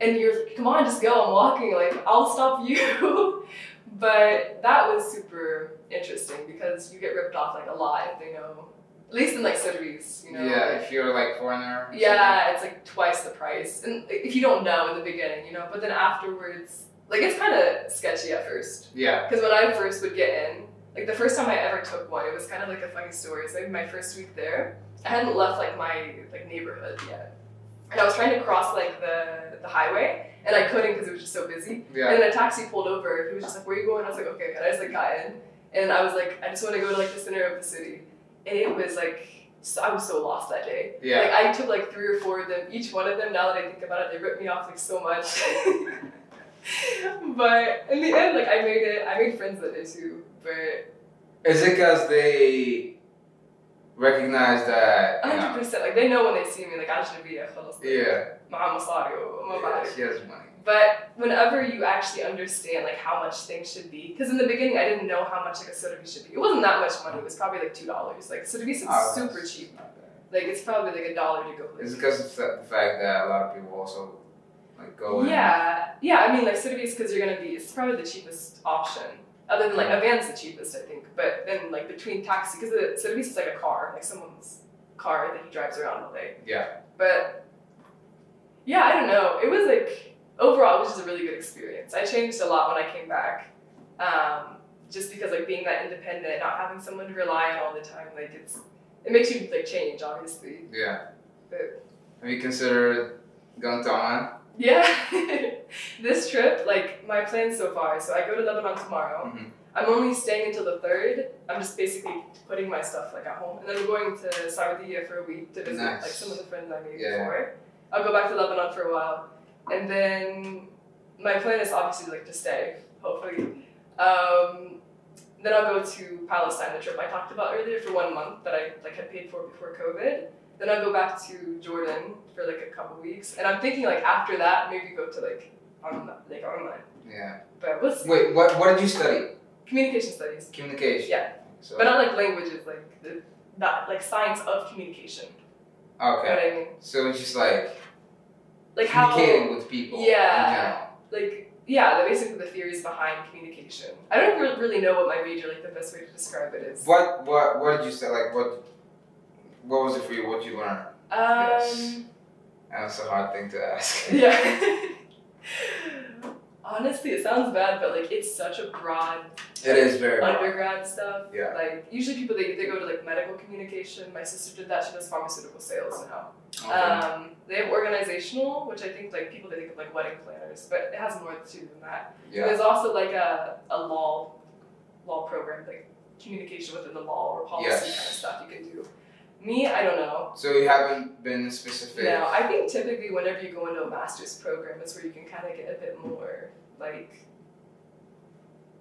Speaker 2: and you're like, come on, just go. I'm walking. Like I'll stop you. but that was super interesting because you get ripped off like a lot if they know. At least in like cities, you know.
Speaker 1: yeah, if you're like foreigner. or
Speaker 2: Yeah, it's like twice the price. And if you don't know in the beginning, you know, but then afterwards, like it's kind of sketchy at first.
Speaker 1: something. Yeah.
Speaker 2: Because when I first would get in, like the first time I ever took one, it was kind of like a funny story. It's like my first week there, I hadn't left like my like neighborhood yet, and I was trying to cross like the the highway, and I couldn't because it was just so busy.
Speaker 1: Yeah.
Speaker 2: And then a taxi pulled over. He was just like, "Where are you going?" I was like, "Okay." And I just like got in, and I was like, "I just want to go to like the center of the city." And it was like, so, I was so lost that day.
Speaker 1: Yeah.
Speaker 2: Like I took like three or four of them. Each one of them, now that I think about it, they ripped me off like so much. but in the end, like I made it. I made friends that day too. But
Speaker 1: Is it because they recognize that? You know,
Speaker 2: 100, percent like they know when they see me, like I should be a خلاص.
Speaker 1: yeah.
Speaker 2: معاه مصاري وما
Speaker 1: yeah. She has money.
Speaker 2: But whenever you actually understand like how much things should be, because in the beginning I didn't know how much like a sodavi should be. It wasn't that much money. It was probably like two dollars. Like sodavi is
Speaker 1: Oh,
Speaker 2: super
Speaker 1: that's
Speaker 2: cheap.
Speaker 1: not bad.
Speaker 2: Like it's probably like a dollar to go. with.
Speaker 1: Is it because of the fact that a lot of people also like go in?
Speaker 2: Yeah, yeah. I mean like sodavi is because you're gonna be. It's probably the cheapest option. Other than like a van's the cheapest, I think. But then like between taxi, because the sodavi is like a car, like someone's car that he drives around all day.
Speaker 1: Yeah.
Speaker 2: But yeah, I don't know. It was like overall, it was just a really good experience. I changed a lot when I came back, um, just because like being that independent, not having someone to rely on all the time, like it's it makes you like change, obviously.
Speaker 1: Yeah.
Speaker 2: But-
Speaker 1: Have you considered going to Oman?
Speaker 2: Yeah, this trip, like my plan so far. So I go to Lebanon tomorrow.
Speaker 1: Mhm.
Speaker 2: I'm only staying until the third. I'm just basically putting my stuff like at home, and then I'm going to Saudi for a week to visit
Speaker 1: Nice.
Speaker 2: like some of the friends I made
Speaker 1: Yeah.
Speaker 2: before. I'll go back to Lebanon for a while, and then my plan is obviously like to stay, hopefully. Um, then I'll go to Palestine, the trip I talked about earlier for one month that I like had paid for before COVID. Then I'll go back to Jordan for like a couple weeks, and I'm thinking like after that maybe go to like on like online,
Speaker 1: Yeah.
Speaker 2: but we'll see.
Speaker 1: Wait. What? What did you study?
Speaker 2: Communication studies.
Speaker 1: Communication.
Speaker 2: Yeah.
Speaker 1: So,
Speaker 2: But not like languages, like the, that, like science of communication. You know
Speaker 1: okay.
Speaker 2: what I mean?
Speaker 1: So it's just like
Speaker 2: Like how,
Speaker 1: communicating with people. in
Speaker 2: Yeah.
Speaker 1: general.
Speaker 2: like yeah, the basically the theories behind communication. I don't re- really know what my major, like the best way to describe it is.
Speaker 1: What? What? What did you say? Like what? What was it for you? What did you learn? Yes.
Speaker 2: Um,
Speaker 1: That's a hard thing to ask.
Speaker 2: yeah. Honestly, it sounds bad, but like it's such a broad
Speaker 1: It is very.
Speaker 2: undergrad stuff.
Speaker 1: Yeah.
Speaker 2: Like usually people they, they go to like medical communication. My sister did that. She does pharmaceutical sales now.
Speaker 1: Okay.
Speaker 2: Um, they have organizational, which I think like people they think of like wedding planners, but it has more to than that.
Speaker 1: yeah.
Speaker 2: There's also like a, a law law program, like communication within the law or policy
Speaker 1: Yes.
Speaker 2: kind of stuff you can do. Me, I don't know.
Speaker 1: So you haven't been specific.
Speaker 2: No, I think typically whenever you go into a master's program, is where you can kind of get a bit more like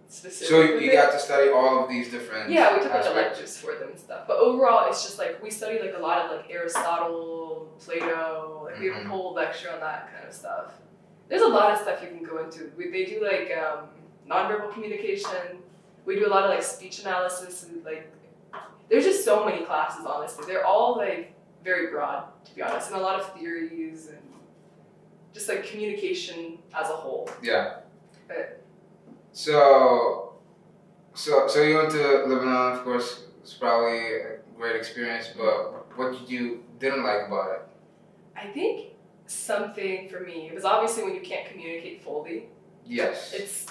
Speaker 2: specific.
Speaker 1: so you,
Speaker 2: with
Speaker 1: you
Speaker 2: it.
Speaker 1: got to study all of these different.
Speaker 2: Yeah, we took like the
Speaker 1: aspects.
Speaker 2: lectures for them and stuff. But overall, it's just like we studied like a lot of like Aristotle, Plato. Like we have
Speaker 1: Mhm.
Speaker 2: a whole lecture on that kind of stuff. There's a lot of stuff you can go into. We, they do like um, nonverbal communication. We do a lot of like speech analysis and like there's just so many classes. Honestly, they're all like very broad to be honest, and a lot of theories and just like communication as a whole.
Speaker 1: Yeah.
Speaker 2: But-
Speaker 1: So, so so you went to Lebanon, of course. It's probably a great experience, but what did you didn't like about it?
Speaker 2: I think something for me it was obviously when you can't communicate fully.
Speaker 1: Yes.
Speaker 2: it's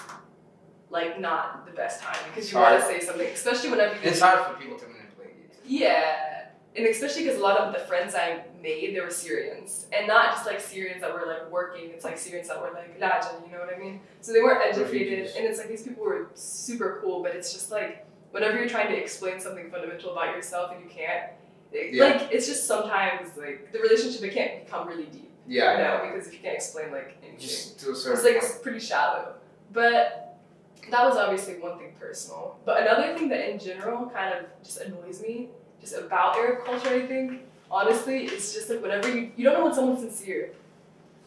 Speaker 2: like not the best time because you
Speaker 1: Hard.
Speaker 2: want to say something, especially whenever you.
Speaker 1: It's hard for people to manipulate you.
Speaker 2: Yeah, and especially because a lot of the friends I made, they were Syrians, and not just like Syrians that were like working. It's like Syrians that were like Lajan, you know what I mean? So they weren't educated,
Speaker 1: Refugees.
Speaker 2: and it's like these people were super cool, but it's just like whenever you're trying to explain something fundamental about yourself and you can't. it-
Speaker 1: Yeah.
Speaker 2: Like it's just sometimes like the relationship it can't become really deep,
Speaker 1: Yeah.
Speaker 2: you
Speaker 1: yeah.
Speaker 2: know, because if you can't explain like anything,
Speaker 1: Just to a
Speaker 2: it's
Speaker 1: certain
Speaker 2: like
Speaker 1: point.
Speaker 2: it's pretty shallow. But that was obviously one thing personal. But another thing that in general kind of just annoys me, just about Arab culture, I think, honestly, is just like whenever you you don't know when someone's sincere.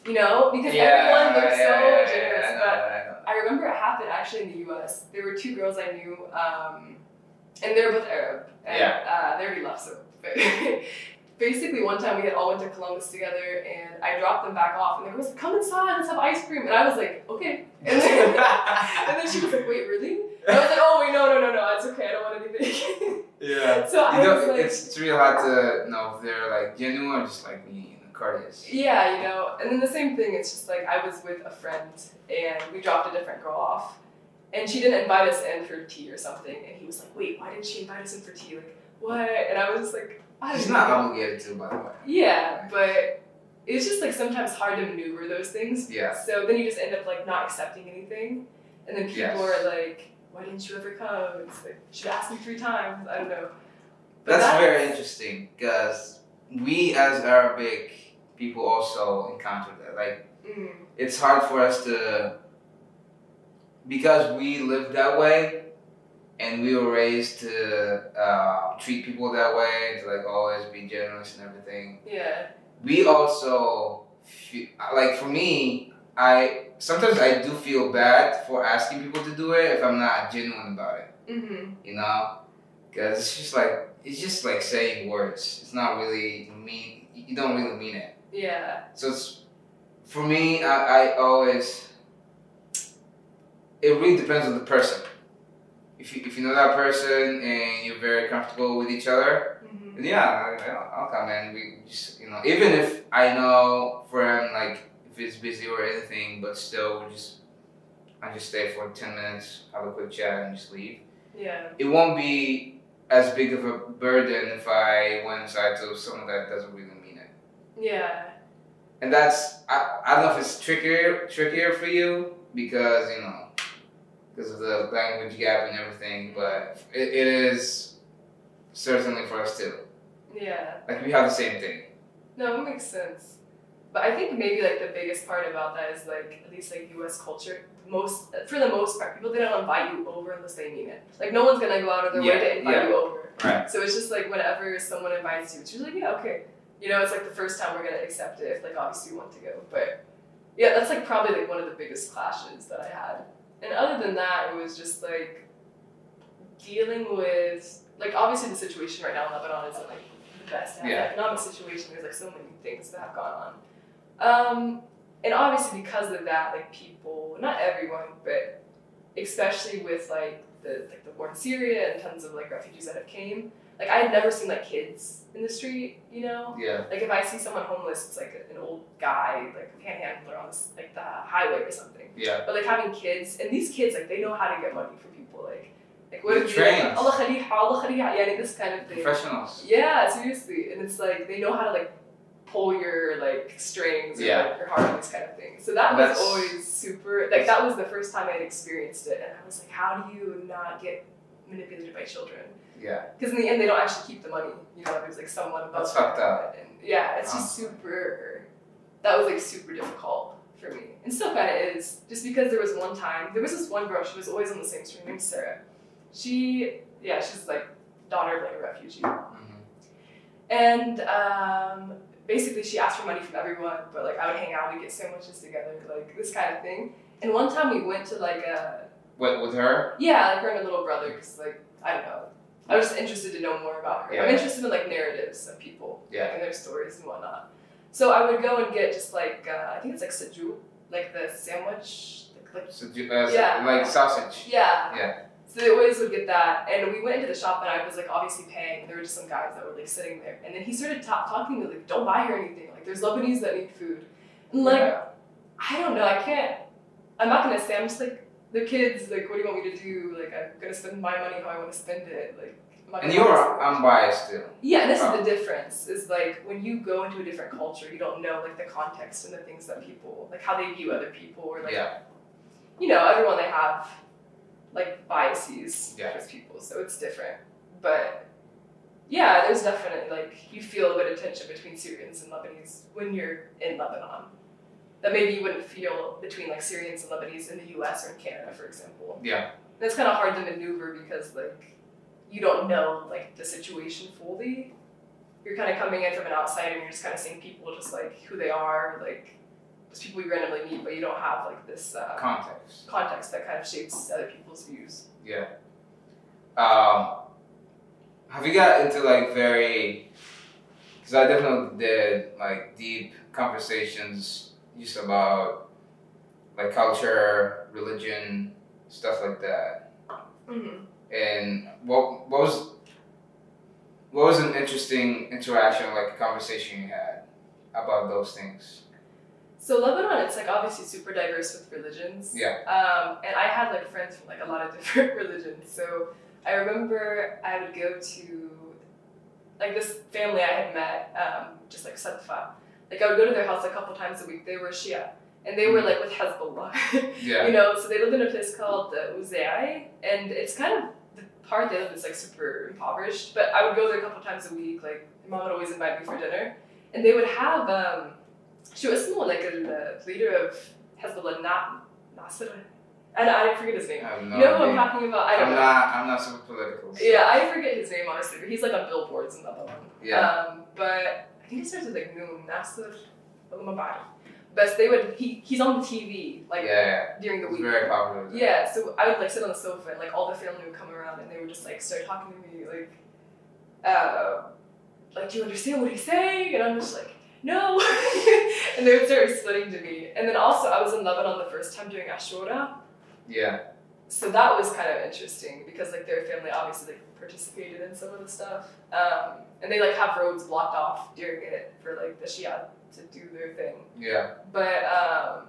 Speaker 2: you know, because
Speaker 1: Yeah,
Speaker 2: everyone looks
Speaker 1: yeah,
Speaker 2: so
Speaker 1: yeah, yeah,
Speaker 2: generous.
Speaker 1: I know,
Speaker 2: but
Speaker 1: I know.
Speaker 2: I remember it happened actually in the U.S. There were two girls I knew, um, and they're both Arab. And, Uh, they already left, so. Basically, one time we had all went to Columbus together, and I dropped them back off, and they were like, "Come inside, let's have ice cream." And I was like, "Okay." And then, and then she was like, "Wait, really?" And I was like, "Oh wait, no, no, no, no, it's okay. I don't want anything."
Speaker 1: yeah.
Speaker 2: so
Speaker 1: You
Speaker 2: I was
Speaker 1: know,
Speaker 2: like,
Speaker 1: it's, it's real hard to know if they're like genuine or just like being courteous.
Speaker 2: Yeah, you know, and then the same thing. It's just like I was with a friend and we dropped a different girl off, and she didn't invite us in for tea or something. And he was like, "Wait, why didn't she invite us in for tea? Like, what?" And I was just like, "I don't
Speaker 1: She's
Speaker 2: know."
Speaker 1: not obligated to, by the way.
Speaker 2: Yeah, but it's just like sometimes hard to maneuver those things.
Speaker 1: Yeah.
Speaker 2: So then you just end up like not accepting anything, and then people
Speaker 1: Yes.
Speaker 2: are like, "Why didn't you ever come?" It's like, "Should asked me three times." I don't know. But
Speaker 1: That's, very interesting because we as Arabic people also encounter that. Like
Speaker 2: Mm,
Speaker 1: it's hard for us to because we live that way and we were raised to uh, treat people that way and to like always be generous and everything.
Speaker 2: yeah.
Speaker 1: We also fe like for me, I sometimes I do feel bad for asking people to do it if I'm not genuine about it
Speaker 2: Mm-hmm.
Speaker 1: you know because it's just like it's just like saying words it's not really mean you don't really mean it
Speaker 2: Yeah.
Speaker 1: so it's for me i, I always it really depends on the person if you, if you know that person and you're very comfortable with each other
Speaker 2: Mm-hmm.
Speaker 1: then yeah I- I'll, I'll come and we just you know even if i know for him like if it's busy or anything but still we just i just stay for 10 minutes have a quick chat and just leave
Speaker 2: Yeah.
Speaker 1: it won't be as big of a burden if I went inside to someone that doesn't really mean it.
Speaker 2: Yeah.
Speaker 1: And that's I, I don't know if it's trickier trickier for you because you know because of the language gap and everything, but it, it is certainly for us too.
Speaker 2: Yeah.
Speaker 1: Like we have the same thing.
Speaker 2: No, it makes sense. But I think maybe like the biggest part about that is like at least like U.S. culture. Most for the most part, people they don't invite you over unless they mean it. Like no one's gonna go out of their way
Speaker 1: Yeah,
Speaker 2: to invite
Speaker 1: yeah.
Speaker 2: you over.
Speaker 1: Right.
Speaker 2: So it's just like whenever someone invites you, it's usually like, yeah okay. You know, it's like the first time we're gonna accept it if like obviously you want to go. But yeah, that's like probably like one of the biggest clashes that I had. And other than that, it was just like dealing with like obviously the situation right now in Lebanon isn't like the best. And
Speaker 1: Yeah.
Speaker 2: The economic situation, there's like so many things that have gone on. Um, and obviously because of that, like people, not everyone, but especially with like the like the war in Syria and tons of like refugees that have came. Like I had never seen like kids in the street, you know.
Speaker 1: Yeah.
Speaker 2: Like if I see someone homeless, it's like an old guy, like a panhandler on this, like the highway or something.
Speaker 1: Yeah.
Speaker 2: But like having kids, and these kids, like they know how to get money from people, like like what
Speaker 1: They're
Speaker 2: if you like,
Speaker 1: trained.
Speaker 2: Allah khalih, Allah khalih, yani this kind of thing.
Speaker 1: Professionals.
Speaker 2: Yeah, seriously, and it's like they know how to like pull your like strings or
Speaker 1: Yeah.
Speaker 2: like, your heart, this kind of thing. So that
Speaker 1: That's-
Speaker 2: was always super. Like that was the first time I'd experienced it, and I was like, how do you not get manipulated by children?
Speaker 1: Yeah.
Speaker 2: Because in the end, they don't actually keep the money. You know, there's like someone above
Speaker 1: That's fucked
Speaker 2: them,
Speaker 1: up.
Speaker 2: And yeah, it's just super. That was like super difficult for me, and still kind of is. Just because there was one time, there was this one girl. She was always on the same street. Her name's Sarah. She, yeah, she's like daughter of like a refugee,
Speaker 1: Mhm.
Speaker 2: and um, basically she asked for money from everyone. But like I would hang out, we get sandwiches together, like this kind of thing. And one time we went to like a
Speaker 1: What with her?
Speaker 2: yeah, like her and her little brother, because like I don't know. I was just interested to know more about her.
Speaker 1: Yeah.
Speaker 2: I'm interested in like narratives of people
Speaker 1: Yeah.
Speaker 2: and their stories and whatnot. So I would go and get just like uh, I think it's like saju, like the sandwich. Like, like,
Speaker 1: So, do- uh,
Speaker 2: Yeah.
Speaker 1: Like sausage.
Speaker 2: yeah.
Speaker 1: Yeah.
Speaker 2: So they always would get that, and we went into the shop, and I was like obviously paying. and There were just some guys that were like sitting there, and then he started ta- talking to me like, "Don't buy her anything. Like, there's Lebanese that need food." And like,
Speaker 1: Yeah.
Speaker 2: I don't know. I can't. I'm not gonna say. I'm just like the kids. Like, what do you want me to do? Like, I'm gonna spend my money how I want to spend it. Like, I'm not
Speaker 1: And
Speaker 2: gonna-
Speaker 1: you're unbiased still.
Speaker 2: Yeah, and this
Speaker 1: Oh.
Speaker 2: is the difference. Is like when you go into a different culture, you don't know like the context and the things that people like how they view other people or like
Speaker 1: Yeah.
Speaker 2: you know everyone they have like biases
Speaker 1: Yeah.
Speaker 2: towards people, so it's different. But yeah, there's definitely like you feel a bit of tension between Syrians and Lebanese when you're in Lebanon. That maybe you wouldn't feel between like Syrians and Lebanese in the U.S. or in Canada, for example.
Speaker 1: Yeah.
Speaker 2: That's kind of hard to maneuver because like you don't know like the situation fully. You're kind of coming in from an outside and you're just kind of seeing people just like who they are, like it's people you randomly meet, but you don't have like this uh,
Speaker 1: context.
Speaker 2: context that kind of shapes other people's views.
Speaker 1: Yeah. Um, have you got into like very? Because I definitely did like deep conversations just about like culture, religion, stuff like that.
Speaker 2: Mm-hmm.
Speaker 1: And what what was what was an interesting interaction, like a conversation you had about those things?
Speaker 2: So Lebanon, it's like obviously super diverse with religions.
Speaker 1: Yeah.
Speaker 2: Um, and I had like friends from like a lot of different religions. So I remember I would go to like this family I had met, um, just like Sadfa. Like I would go to their house a couple times a week. They were Shia, and they were like with Hezbollah.
Speaker 1: Yeah.
Speaker 2: you know, so they live in a place called uh, Uzay, and it's kind of the part they live is like super impoverished. But I would go there a couple times a week. Like my mom would always invite me for dinner, and they would have um, she was more like a uh, leader of Hezbollah, Na- Nasser. I, I forget his name.
Speaker 1: I have no
Speaker 2: You know who I'm
Speaker 1: idea.
Speaker 2: talking about? I don't
Speaker 1: I'm
Speaker 2: know.
Speaker 1: not. I'm not super political. so-
Speaker 2: Yeah, I forget his name honestly, but he's like on billboards and Lebanon.
Speaker 1: Yeah.
Speaker 2: Um, but I think it starts with like Noon, Nasser, Al-Mabari. But they would he he's on the TV like
Speaker 1: yeah.
Speaker 2: during the
Speaker 1: It was
Speaker 2: week.
Speaker 1: very popular. there.
Speaker 2: Yeah, so I would like sit on the sofa and like all the family would come around and they would just like start talking to me like, uh, like do you understand what he's saying? And I'm just like no, and they would start explaining to me. And then also I was in Lebanon the first time during Ashura,
Speaker 1: Yeah.
Speaker 2: so that was kind of interesting because like their family obviously like participated in some of the stuff, um, and they like have roads blocked off during it for like the Shia to do their thing.
Speaker 1: Yeah.
Speaker 2: But um,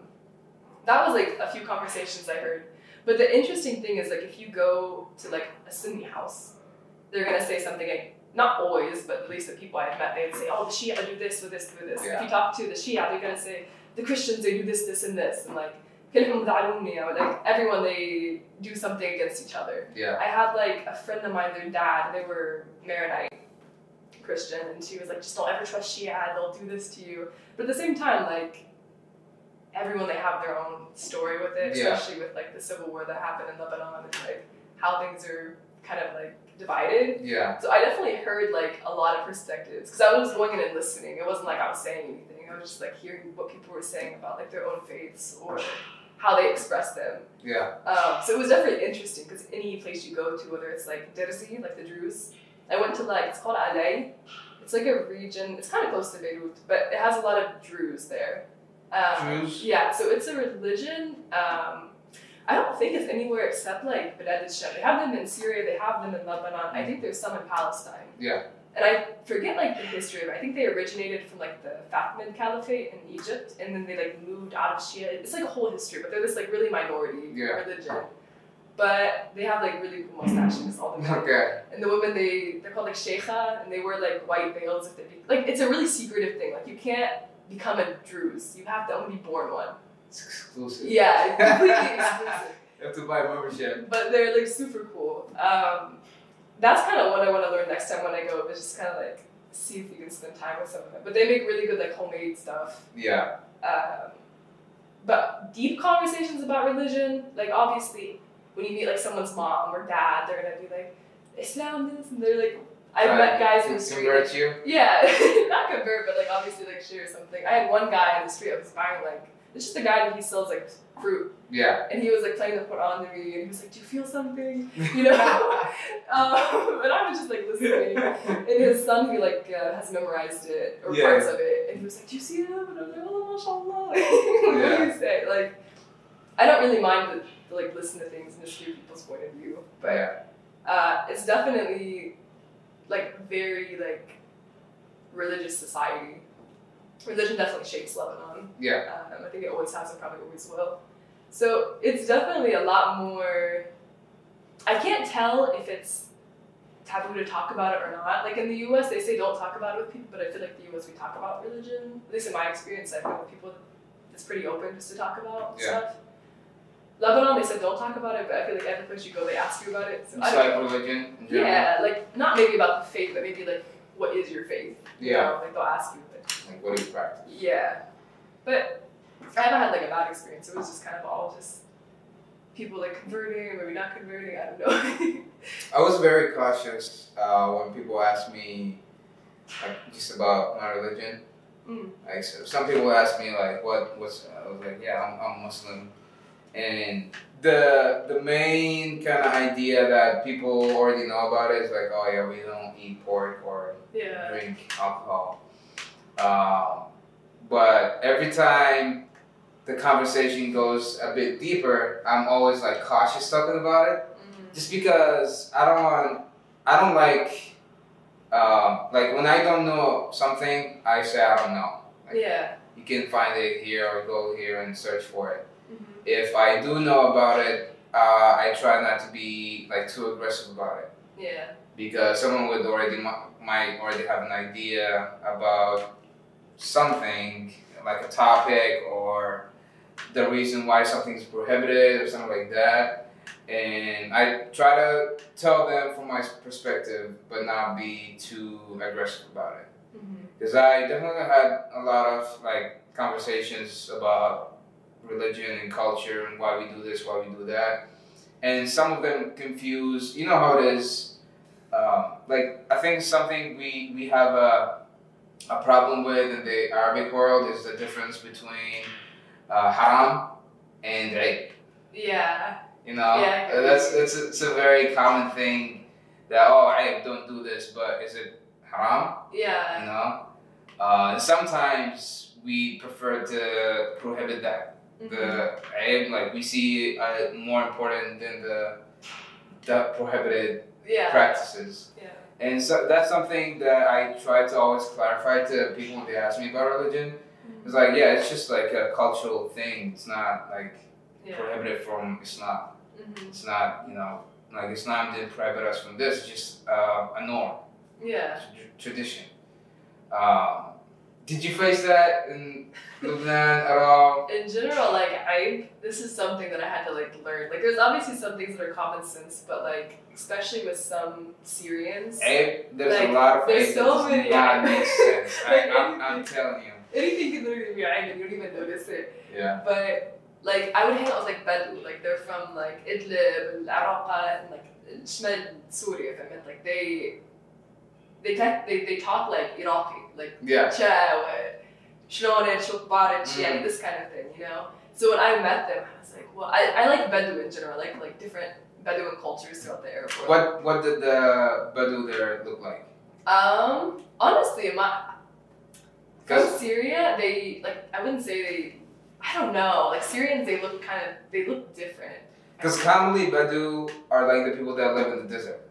Speaker 2: that was like a few conversations I heard. But the interesting thing is like if you go to like a Sunni house, they're gonna say something like not always, but at least the people I had met, they'd say, "Oh, the Shia do this, do this, do this." If
Speaker 1: Yeah.
Speaker 2: you talk to the Shia, they're gonna say the Christians they do this, this, and this, and like كلهم ظالمون, you know, like everyone they do something against each other.
Speaker 1: Yeah.
Speaker 2: I had like a friend of mine, their dad, they were Maronite Christian, and she was like, just don't ever trust Shia, they'll do this to you. But at the same time, like, everyone they have their own story with it,
Speaker 1: Yeah.
Speaker 2: especially with like the civil war that happened in Lebanon and like how things are kind of like divided.
Speaker 1: Yeah.
Speaker 2: So I definitely heard like a lot of perspectives because I was just going in and listening. It wasn't like I was saying anything. I was just like hearing what people were saying about like their own faiths or how they express them.
Speaker 1: Yeah.
Speaker 2: Um, so it was definitely interesting because any place you go to, whether it's like Derzi, like the Druze, I went to like it's called Alay. It's like a region. It's kind of close to Beirut, but it has a lot of Druze there. Um,
Speaker 1: Druze?
Speaker 2: Yeah. So it's a religion. Um, I don't think it's anywhere except like Balad al They have them in Syria. They have them in Lebanon. I think there's some in Palestine.
Speaker 1: Yeah.
Speaker 2: And I forget like the history of it. I think they originated from like the Fatimid Caliphate in Egypt, and then they like moved out of Shia. It's like a whole history, but they're this like really minority
Speaker 1: Yeah.
Speaker 2: religion. But they have like really cool mustaches, all the men.
Speaker 1: Okay.
Speaker 2: And the women they they're called like sheikha, and they wear like white veils. If they be, like, it's a really secretive thing. Like you can't become a Druze. You have to only be born one.
Speaker 1: It's exclusive.
Speaker 2: Yeah, it's completely exclusive
Speaker 1: You have to buy membership.
Speaker 2: but they're like super cool. Um, that's kind of what I want to learn next time when I go, is just kind of like see if you can spend time with some of them. But they make really good like homemade stuff.
Speaker 1: Yeah.
Speaker 2: Um, but deep conversations about religion, like obviously when you meet like someone's mom or dad, they're gonna be like Islam this, and they're like I've
Speaker 1: Try
Speaker 2: met guys
Speaker 1: to
Speaker 2: in the street.
Speaker 1: Convert you.
Speaker 2: Yeah, not convert, but like obviously like share something. I had one guy in the street I was buying like it's just a guy that he sells like fruit,
Speaker 1: Yeah.
Speaker 2: and he was like playing the Quran to me, and he was like, "Do you feel something?" You know? Um, and I was just like listening. And his son, he like uh, has memorized it or
Speaker 1: Yeah.
Speaker 2: parts of it, and he was like, "Do you see them?" And I was like, "Oh, mashallah." what do you say? Like, I don't really mind to, to like listen to things and just hear people's point of view, but
Speaker 1: yeah.
Speaker 2: uh, it's definitely like very like religious society. Religion definitely shapes Lebanon
Speaker 1: Yeah.
Speaker 2: um, I think it always has and probably always will. So it's definitely a lot more. I can't tell if it's taboo to talk about it or not. Like in the U.S., they say don't talk about it with people, but I feel like the U.S. we talk about religion. At least in my experience, I've been with people that's pretty open just to talk about
Speaker 1: Yeah.
Speaker 2: stuff. Lebanon, they said don't talk about it, but I feel like every place you go, they ask you about it. So I don't-
Speaker 1: Inside religion. In general.
Speaker 2: yeah, like not maybe about the faith, but maybe like what is your faith? You
Speaker 1: Yeah.
Speaker 2: know, like they'll ask you. But
Speaker 1: Like what do you practice?
Speaker 2: yeah, but I haven't had like a bad experience. It was just kind of all just people like converting or maybe not converting. I don't know.
Speaker 1: I was very cautious uh, when people asked me like, just about my religion Mm. Like some people ask me like, what what's I was like, yeah, I'm, I'm Muslim, and the the main kind of idea that people already know about it is like, oh yeah, we don't eat pork or
Speaker 2: Yeah.
Speaker 1: drink alcohol. Um, but every time the conversation goes a bit deeper, I'm always like cautious talking about it,
Speaker 2: Mhm.
Speaker 1: just because I don't want, I don't like, um, like when I don't know something, I say I don't know. Like,
Speaker 2: Yeah.
Speaker 1: You can find it here or go here and search for it.
Speaker 2: Mhm.
Speaker 1: If I do know about it, uh, I try not to be like too aggressive about it
Speaker 2: Yeah.
Speaker 1: because someone would already mi- might already have an idea about something like a topic or the reason why something's prohibited or something like that and i try to tell them from my perspective but not be too aggressive about it
Speaker 2: Mhm.
Speaker 1: because i definitely had a lot of like conversations about religion and culture and why we do this why we do that and some of them confuse you know how it is um, like I think something we we have a a problem with in the Arabic world is the difference between uh, haram and rape.
Speaker 2: Yeah.
Speaker 1: You know, Uh,
Speaker 2: Yeah, I agree.
Speaker 1: that's it's a, it's a very common thing that oh I don't do this, but is it haram?
Speaker 2: Yeah.
Speaker 1: You know, uh, and sometimes we prefer to prohibit that
Speaker 2: Mhm.
Speaker 1: the aim, like we see uh, more important than the the prohibited
Speaker 2: Yeah.
Speaker 1: practices.
Speaker 2: Yeah.
Speaker 1: And so that's something that I try to always clarify to people when they ask me about religion.
Speaker 2: Mm-hmm.
Speaker 1: It's like, yeah, it's just like a cultural thing. It's not like
Speaker 2: Yeah.
Speaker 1: prohibited from Islam.
Speaker 2: Mhm.
Speaker 1: It's not, you know, like Islam didn't prohibit us from this. It's just uh, a norm,
Speaker 2: Yeah.
Speaker 1: tr- tradition. Um, did you face that in Lebanon at all?
Speaker 2: in general, like I, this is something that I had to like learn. Like, there's obviously some things that are common sense, but like especially with some Syrians,
Speaker 1: Abe, Eh, there's a
Speaker 2: Like,
Speaker 1: lot of
Speaker 2: there's
Speaker 1: Abe
Speaker 2: so
Speaker 1: that does
Speaker 2: many
Speaker 1: not
Speaker 2: Abe.
Speaker 1: make sense. I,
Speaker 2: Like,
Speaker 1: I'm, I'm telling you.
Speaker 2: anything can literally be rhymed and you don't even notice it.
Speaker 1: Yeah.
Speaker 2: But like I would hang out with like Bedou, like they're from like Idlib and Araqa and like Shmed Syria. I meant like they, they tech, they they talk like Iraqi, like
Speaker 1: Yeah.
Speaker 2: Cha, what- شلونك, شو اخبارك,
Speaker 1: Mm.
Speaker 2: يعني this kind of thing, you know? So when I met them, I was like, well, I, I like Bedouin in general, I like like different Bedouin cultures throughout the Arab world.
Speaker 1: What what did the Badu there look like?
Speaker 2: Um, honestly, my from
Speaker 1: 'Cause-
Speaker 2: Syria, they like I wouldn't say they, I don't know, like Syrians, they look kind of they look different.
Speaker 1: Because commonly Badu are like the people that live in the desert.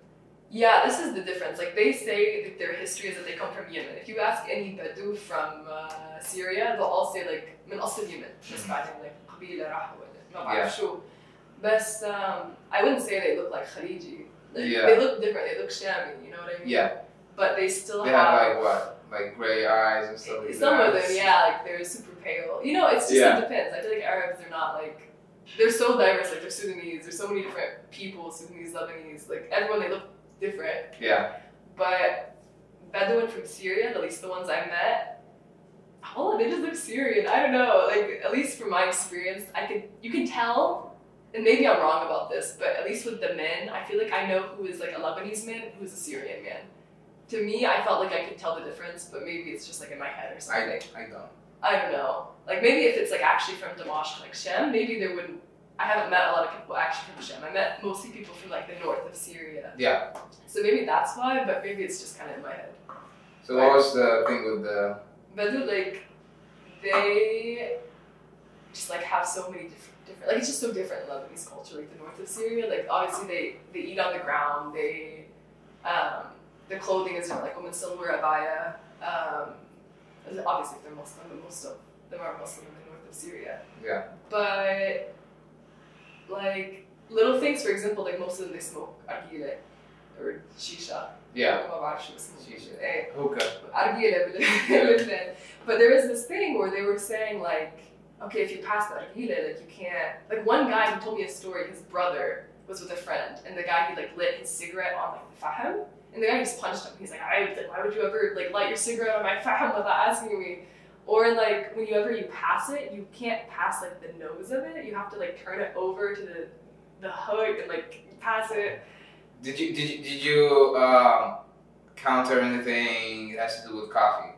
Speaker 2: Yeah, this is the difference. Like they say that their history is that they come from Yemen. If you ask any Bedou from uh, Syria, they'll all say like من أصل يمن
Speaker 1: Mm-hmm.
Speaker 2: بس بعدين like قبيلة راحوا ولا ما بعرف شو. بس um, I wouldn't say they look like خليجي. Like,
Speaker 1: Yeah.
Speaker 2: They look different. They look Shami. You know what I mean?
Speaker 1: Yeah.
Speaker 2: But they still
Speaker 1: They
Speaker 2: have.
Speaker 1: have like what? Like gray eyes and stuff like
Speaker 2: some
Speaker 1: that.
Speaker 2: of them, yeah, like they're super pale. You know, it's just
Speaker 1: Yeah.
Speaker 2: it depends. I feel like Arabs are not like they're so diverse. Like they're Sudanese. There's so many different people. Sudanese, Lebanese, like everyone they look different.
Speaker 1: Yeah.
Speaker 2: But Bedouin from Syria, at least the ones I met, all of they just look Syrian. I don't know. Like at least from my experience, I could you can tell, and maybe I'm wrong about this, but at least with the men, I feel like I know who is like a Lebanese man, and who is a Syrian man. To me, I felt like I could tell the difference, but maybe it's just like in my head or
Speaker 1: I,
Speaker 2: something.
Speaker 1: I don't.
Speaker 2: I don't know. Like maybe if it's like actually from Dimash, like Shem, maybe there wouldn't. I haven't met a lot of people actually from Shem. I met mostly people from like the north of Syria.
Speaker 1: Yeah.
Speaker 2: So maybe that's why, but maybe it's just kind of in my head.
Speaker 1: So what was the thing with the
Speaker 2: But they're, like, they just like have so many different, different like it's just so different in Lebanese culture, like the north of Syria. Like obviously they they eat on the ground. They um, their clothing is different. Like women still wear abaya. Um, obviously, if they're Muslim, but most of them are Muslim in the north of Syria.
Speaker 1: Yeah.
Speaker 2: But like little things, for example, like most of them they smoke argile or shisha.
Speaker 1: yeah
Speaker 2: ما بعرف شو اسمه.
Speaker 1: Shisha.
Speaker 2: إيه.
Speaker 1: hookah?
Speaker 2: Argila Lebanon. But there was this thing where they were saying like, okay, if you pass the Argila, like you can't. Like one guy who told me a story, his brother was with a friend, and the guy he like lit his cigarette on like the fahem, and the guy just punched him. He's like, I like, why would you ever like light your cigarette on my fahem without asking me? Or like whenever you pass it, you can't pass like the nose of it. You have to like turn it over to the the hook and like pass it.
Speaker 1: Did you did you, did you um, counter anything that has to do with coffee?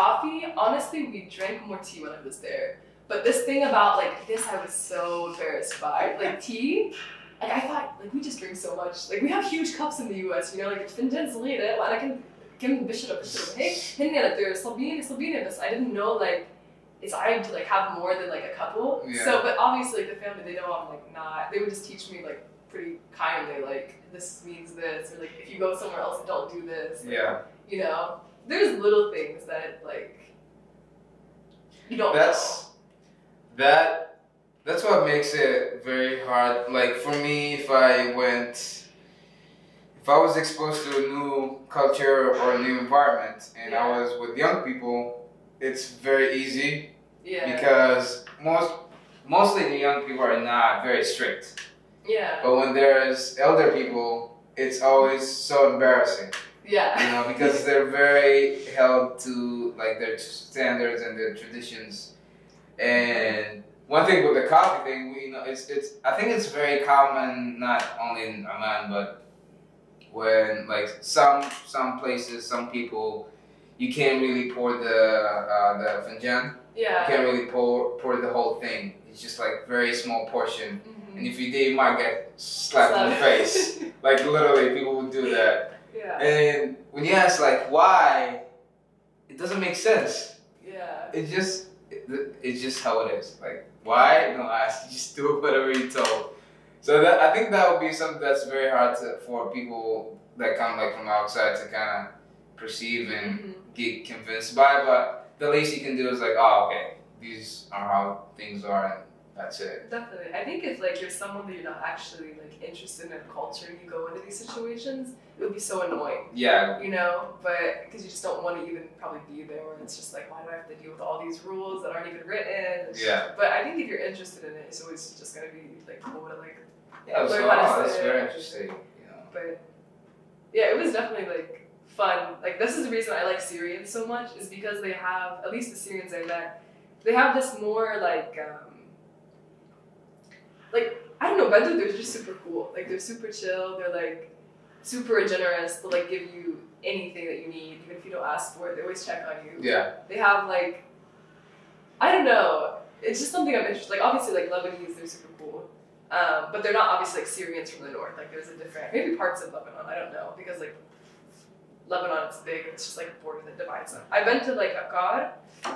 Speaker 2: coffee, honestly, we drank more tea when I was there. But this thing about like this, I was so embarrassed by. Like tea, like I thought, like we just drink so much. Like we have huge cups in the U.S. You know, like fincan صغيرة وأنا كنت كم بشرب بشرب هيك هن like they're صبينة صبينة بس I didn't know like it's I to like have more than like a couple.
Speaker 1: Yeah.
Speaker 2: So, but obviously like the family they know I'm like not. They would just teach me like pretty kindly like this means this or like if you go somewhere else don't do this. Like,
Speaker 1: Yeah.
Speaker 2: You know, there's little things that like you don't.
Speaker 1: That's that. That's what makes it very hard. Like for me, if I went, if I was exposed to a new culture or a new environment, and I
Speaker 2: Yeah.
Speaker 1: was with young people, it's very easy
Speaker 2: know. yeah.
Speaker 1: because most mostly the young people are not very strict.
Speaker 2: yeah.
Speaker 1: But when there's elder people, it's always so embarrassing you
Speaker 2: Yeah.
Speaker 1: know, because they're very held to like their standards and their traditions. And one thing with the coffee thing, we know it's it's. I think it's very common, not only in Amman, but when like some some places, some people, you can't really pour the uh, the finjan. You
Speaker 2: yeah.
Speaker 1: can't really pour pour the whole thing. It's just like very small portion.
Speaker 2: Mhm.
Speaker 1: And if you did, you might get slapped in the
Speaker 2: So-
Speaker 1: face. Like literally, people would do that.
Speaker 2: yeah.
Speaker 1: And when you ask like why, it doesn't make sense.
Speaker 2: Yeah.
Speaker 1: It just it, it's just how it is. Like why? Don't ask. You just do whatever you're told. So that I think that would be something that's very hard to, for people that come like from outside to kind of perceive and
Speaker 2: Mhm.
Speaker 1: get convinced by. But the least you can do is like, oh okay, these are how things are, and that's it.
Speaker 2: Definitely. I think if like you're someone that you're not actually like interested in a culture and you go into these situations, it would be so annoying,
Speaker 1: Yeah.
Speaker 2: you know? But because you just don't want to even probably be there where it's just like, why do I have to deal with all these rules that aren't even written? It's
Speaker 1: Yeah.
Speaker 2: just- But I think if you're interested in it, it's always just gonna be like cool to like
Speaker 1: Yeah. So
Speaker 2: Learn how to
Speaker 1: oh, that's
Speaker 2: sit.
Speaker 1: very interesting. You know.
Speaker 2: but yeah, it was definitely like fun. Like this is the reason I like Syrians so much is because they have at least the Syrians I met, they have this more like um, like I don't know, Bedouin they're just super cool. Like they're super chill. They're like super generous. They'll like give you anything that you need, even if you don't ask for it. They always check on you
Speaker 1: Yeah.
Speaker 2: they have like I don't know. It's just something I'm interested. Like obviously, like Lebanese, they're super cool, um, but they're not obviously like Syrians from the north. Like there's a different maybe parts of Lebanon. I don't know because like Lebanon it's big. It's just like a border that divides them. I've been to like Akkad.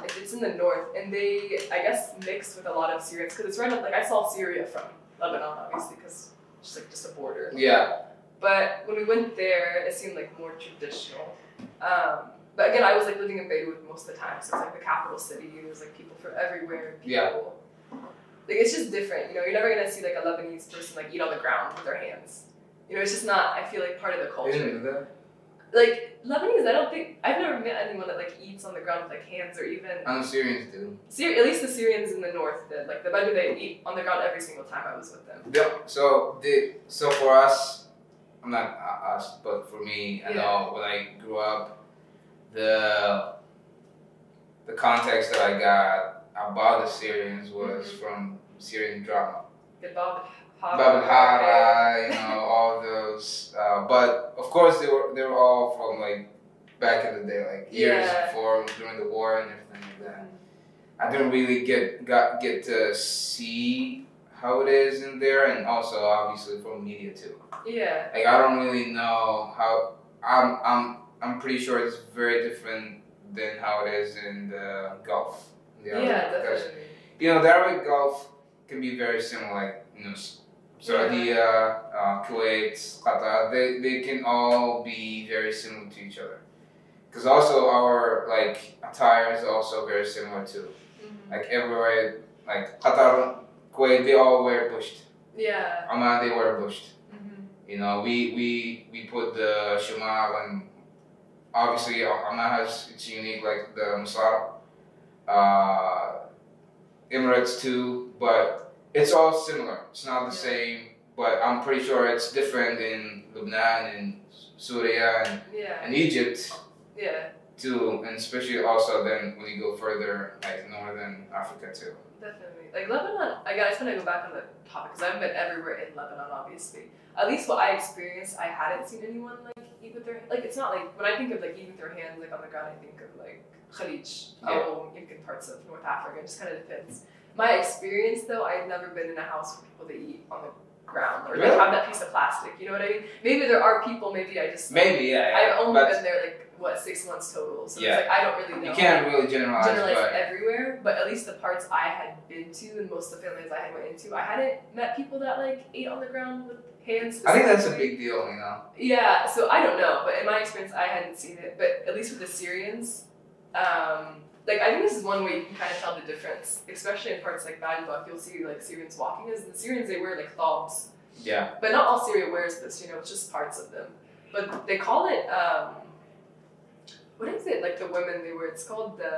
Speaker 2: It- It's in the north, and they I guess mixed with a lot of Syrians because it's right up. Like I saw Syria from Lebanon obviously because it's just like just a border.
Speaker 1: Yeah.
Speaker 2: But when we went there, it seemed like more traditional. Um, but again, I was like living in Beirut most of the time, so it's like the capital city. There was like people from everywhere. People.
Speaker 1: Yeah.
Speaker 2: Like it's just different, you know. You're never gonna see like a Lebanese person like eat on the ground with their hands. You know, it's just not. I feel like part of the
Speaker 1: You
Speaker 2: culture.
Speaker 1: didn't know that?
Speaker 2: Like Lebanese, I don't think I've never met anyone that like eats on the ground with like hands or even.
Speaker 1: I'm serious, dude.
Speaker 2: Syri- at least the Syrians in the north did. Like the Bedouin, they eat on the ground every single time I was with them.
Speaker 1: Yeah. So the so for us, I'm not uh, us, but for me, I
Speaker 2: Yeah.
Speaker 1: know when I grew up, the the context that I got about the Syrians was
Speaker 2: Mhm.
Speaker 1: from Syrian drama,
Speaker 2: Good Bab
Speaker 1: Bab al Hara, you know, all those. Uh, but of course, they were they were all from like back in the day, like years
Speaker 2: Yeah.
Speaker 1: before during the war and everything like that. I didn't really get got get to see how it is in there, and also obviously from media too.
Speaker 2: Yeah.
Speaker 1: Like I don't really know how I'm I'm I'm pretty sure it's very different than how it is in the Gulf. The
Speaker 2: Yeah,
Speaker 1: Arabic, because,
Speaker 2: definitely.
Speaker 1: You know, the Arabic Gulf can be very similar. Like you know, S- Saudi, uh, Kuwait, Qatar. They they can all be very similar to each other. Because also our like attire is also very similar too.
Speaker 2: Mhm.
Speaker 1: Like everywhere, like Qatar, Kuwait, they all wear bushed.
Speaker 2: Yeah.
Speaker 1: Oman, they wear bushed.
Speaker 2: Mhm.
Speaker 1: You know, we we we put the shamal and obviously Oman has it's unique like the Musab, uh, Emirates too, but it's all similar. It's not the
Speaker 2: Yeah.
Speaker 1: same, but I'm pretty sure it's different in Lebanon and Syria and,
Speaker 2: Yeah.
Speaker 1: and Egypt
Speaker 2: Yeah.
Speaker 1: too, and especially also then when you go further like northern Africa too.
Speaker 2: Definitely. Like Lebanon, I guess when I go back on the topic, because I haven't been everywhere in Lebanon, obviously. At least what I experienced, I hadn't seen anyone like eat with their like. It's not like when oh I think of like eating with their hands like on the ground, I think of like Khalij,
Speaker 1: Yeah.
Speaker 2: um, يمكن parts of North Africa. It just kind of depends. My experience though, I've never been in a house where people they eat on the ground or
Speaker 1: Really?
Speaker 2: like have that piece of plastic. You know what I mean? Maybe there are people. Maybe I just
Speaker 1: Maybe, yeah. yeah.
Speaker 2: I've only
Speaker 1: but
Speaker 2: been there like what six months total, so
Speaker 1: Yeah.
Speaker 2: it's like I don't really know.
Speaker 1: you can't really generalize.
Speaker 2: generalize
Speaker 1: but
Speaker 2: everywhere, but at least the parts I had been to and most of the families I had went into, I hadn't met people that like ate on the ground with hands.
Speaker 1: I think that's a
Speaker 2: specifically.
Speaker 1: big deal, you know.
Speaker 2: Yeah, so I don't know, but in my experience, I hadn't seen it. But at least with the Syrians, um, like I think this is one way you can kind of tell the difference, especially in parts like Baalbek. You'll see like Syrians walking as the Syrians they wear like thobs,
Speaker 1: Yeah.
Speaker 2: but not all Syria wears this. You know, it's just parts of them. But they call it um, what is it like the women they wear? It's called the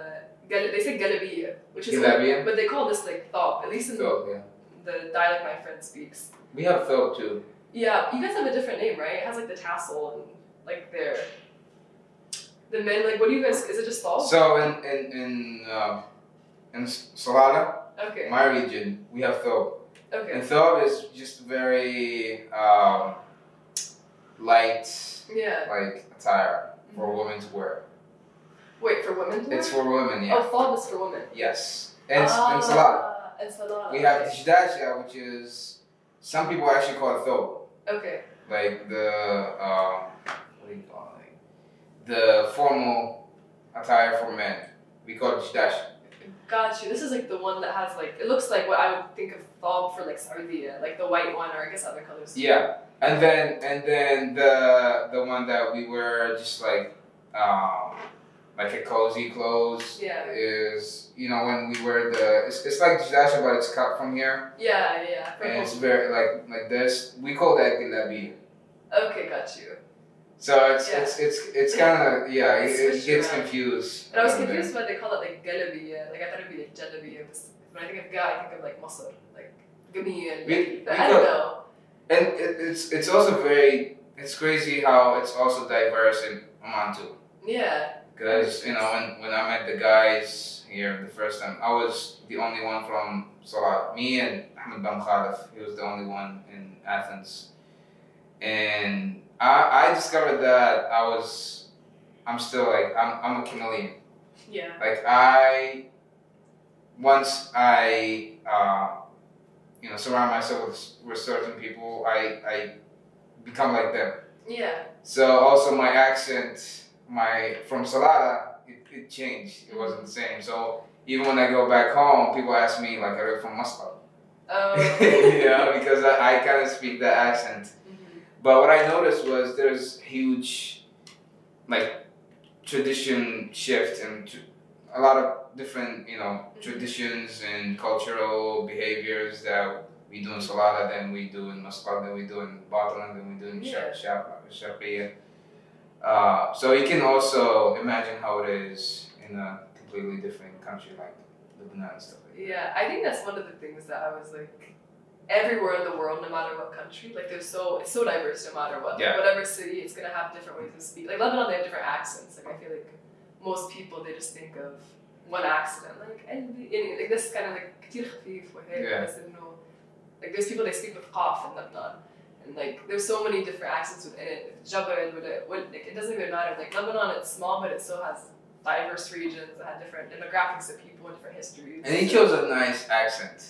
Speaker 2: gel- they say galabiya, which is
Speaker 1: Galabiya?
Speaker 2: but they call this like thob. At least in
Speaker 1: So, yeah.
Speaker 2: the dialect my friend speaks.
Speaker 1: We have Phil too.
Speaker 2: Yeah, you guys have a different name, right? It has like the tassel and like their the men. Like, what do you guys? Is it just false?
Speaker 1: So in in in um, in S- Salada,
Speaker 2: okay.
Speaker 1: my region, we have Phil,
Speaker 2: Okay.
Speaker 1: and Phil is just very um, light,
Speaker 2: Yeah.
Speaker 1: like attire for women to wear.
Speaker 2: Wait for women. To wear?
Speaker 1: It's for women, yeah.
Speaker 2: Oh, fob is for women.
Speaker 1: Yes, and in
Speaker 2: ah,
Speaker 1: Salada,
Speaker 2: And salada.
Speaker 1: we have
Speaker 2: Okay.
Speaker 1: Tishdasha, which is some people actually call it Phil,
Speaker 2: okay.
Speaker 1: like the um, what do you call it? Like, the formal attire for men. We call it Tishdasha.
Speaker 2: Got you. This is like the one that has like it looks like what I would think of fob for like sardia, like the white one, or I guess other colors. too.
Speaker 1: Yeah, and then and then the the one that we were just like um like a cozy clothes
Speaker 2: Yeah.
Speaker 1: is you know when we wear the it's, it's like Jidasha but it's cut from here
Speaker 2: Yeah. Yeah. for
Speaker 1: and it's
Speaker 2: both.
Speaker 1: very like like this we call that gilabi.
Speaker 2: Okay. Got you.
Speaker 1: So it's
Speaker 2: Yeah.
Speaker 1: it's it's it's kind of yeah it, it
Speaker 2: Switched
Speaker 1: gets
Speaker 2: around.
Speaker 1: confused.
Speaker 2: And I was
Speaker 1: a little bit.
Speaker 2: confused why they call it like galabiya. Like I thought it'd be like jalabiya. because When I think of ga, I think of like masr, like gamiya.
Speaker 1: We-
Speaker 2: But
Speaker 1: we
Speaker 2: I don't
Speaker 1: got-
Speaker 2: know.
Speaker 1: And it, it's it's also very it's crazy how it's also diverse in Oman too.
Speaker 2: Yeah.
Speaker 1: Because, you know, when, when I met the guys here the first time, I was the only one from Salah. Me and Ahmed Ban Khalif, he was the only one in Athens. And I, I discovered that I was, I'm still like, I'm, I'm a chameleon.
Speaker 2: Yeah.
Speaker 1: Like, I, once I, uh, you know, surround myself with, with certain people, I, I become like them.
Speaker 2: Yeah.
Speaker 1: So also my accent, my from Salada, it, it changed. It wasn't the same. So even when I go back home, people ask me like, "Are you from Muscat?"
Speaker 2: Um,
Speaker 1: you know, because I, I kind of speak that accent.
Speaker 2: mhm.
Speaker 1: But what I noticed was there's huge, like, tradition shift and tr- a lot of different you know
Speaker 2: Mhm.
Speaker 1: traditions and cultural behaviors that we do in Salada than we do in Muscat, than we do in Batna, than we do in
Speaker 2: Yeah.
Speaker 1: yeah. Sharqiyya. Uh, so you can also imagine how it is in a completely different country like Lebanon and stuff like that.
Speaker 2: Yeah. I think that's one of the things that I was like. Everywhere in the world, no matter what country, like there's so it's so diverse. No matter what,
Speaker 1: Yeah.
Speaker 2: like, whatever city, it's gonna have different ways to speak. Like Lebanon, they have different accents. Like I feel like most people, they just think of one accent. Like and and, like this kind of like كتير خفيف وهيك.
Speaker 1: Yeah.
Speaker 2: بس إنه Like there's people they speak with cough in Lebanon, and like there's so many different accents within it. Jabal, with it, what, like it doesn't even matter. Like Lebanon, it's small, but it still has diverse regions that have different demographics of people and different histories.
Speaker 1: And he chose a nice accent.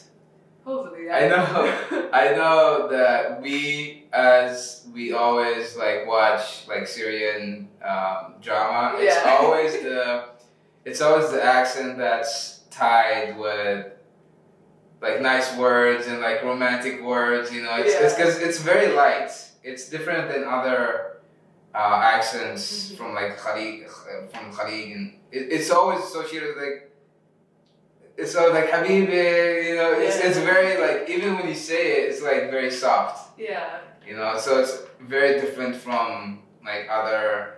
Speaker 2: Hopefully,
Speaker 1: I
Speaker 2: yeah.
Speaker 1: know. I know that we, as we always like watch like Syrian um, drama. It's
Speaker 2: Yeah.
Speaker 1: always the, it's always the accent that's tied with, like nice words and like romantic words. You know, it's it's
Speaker 2: Yeah.
Speaker 1: because it's very light. It's different than other uh, accents
Speaker 2: Mhm.
Speaker 1: from like Khalid, from Khalid, and it, it's always associated with like it's so like Habibi, you know, it's, it's very like even when you say it, it's like very soft,
Speaker 2: yeah,
Speaker 1: you know. So it's very different from like other,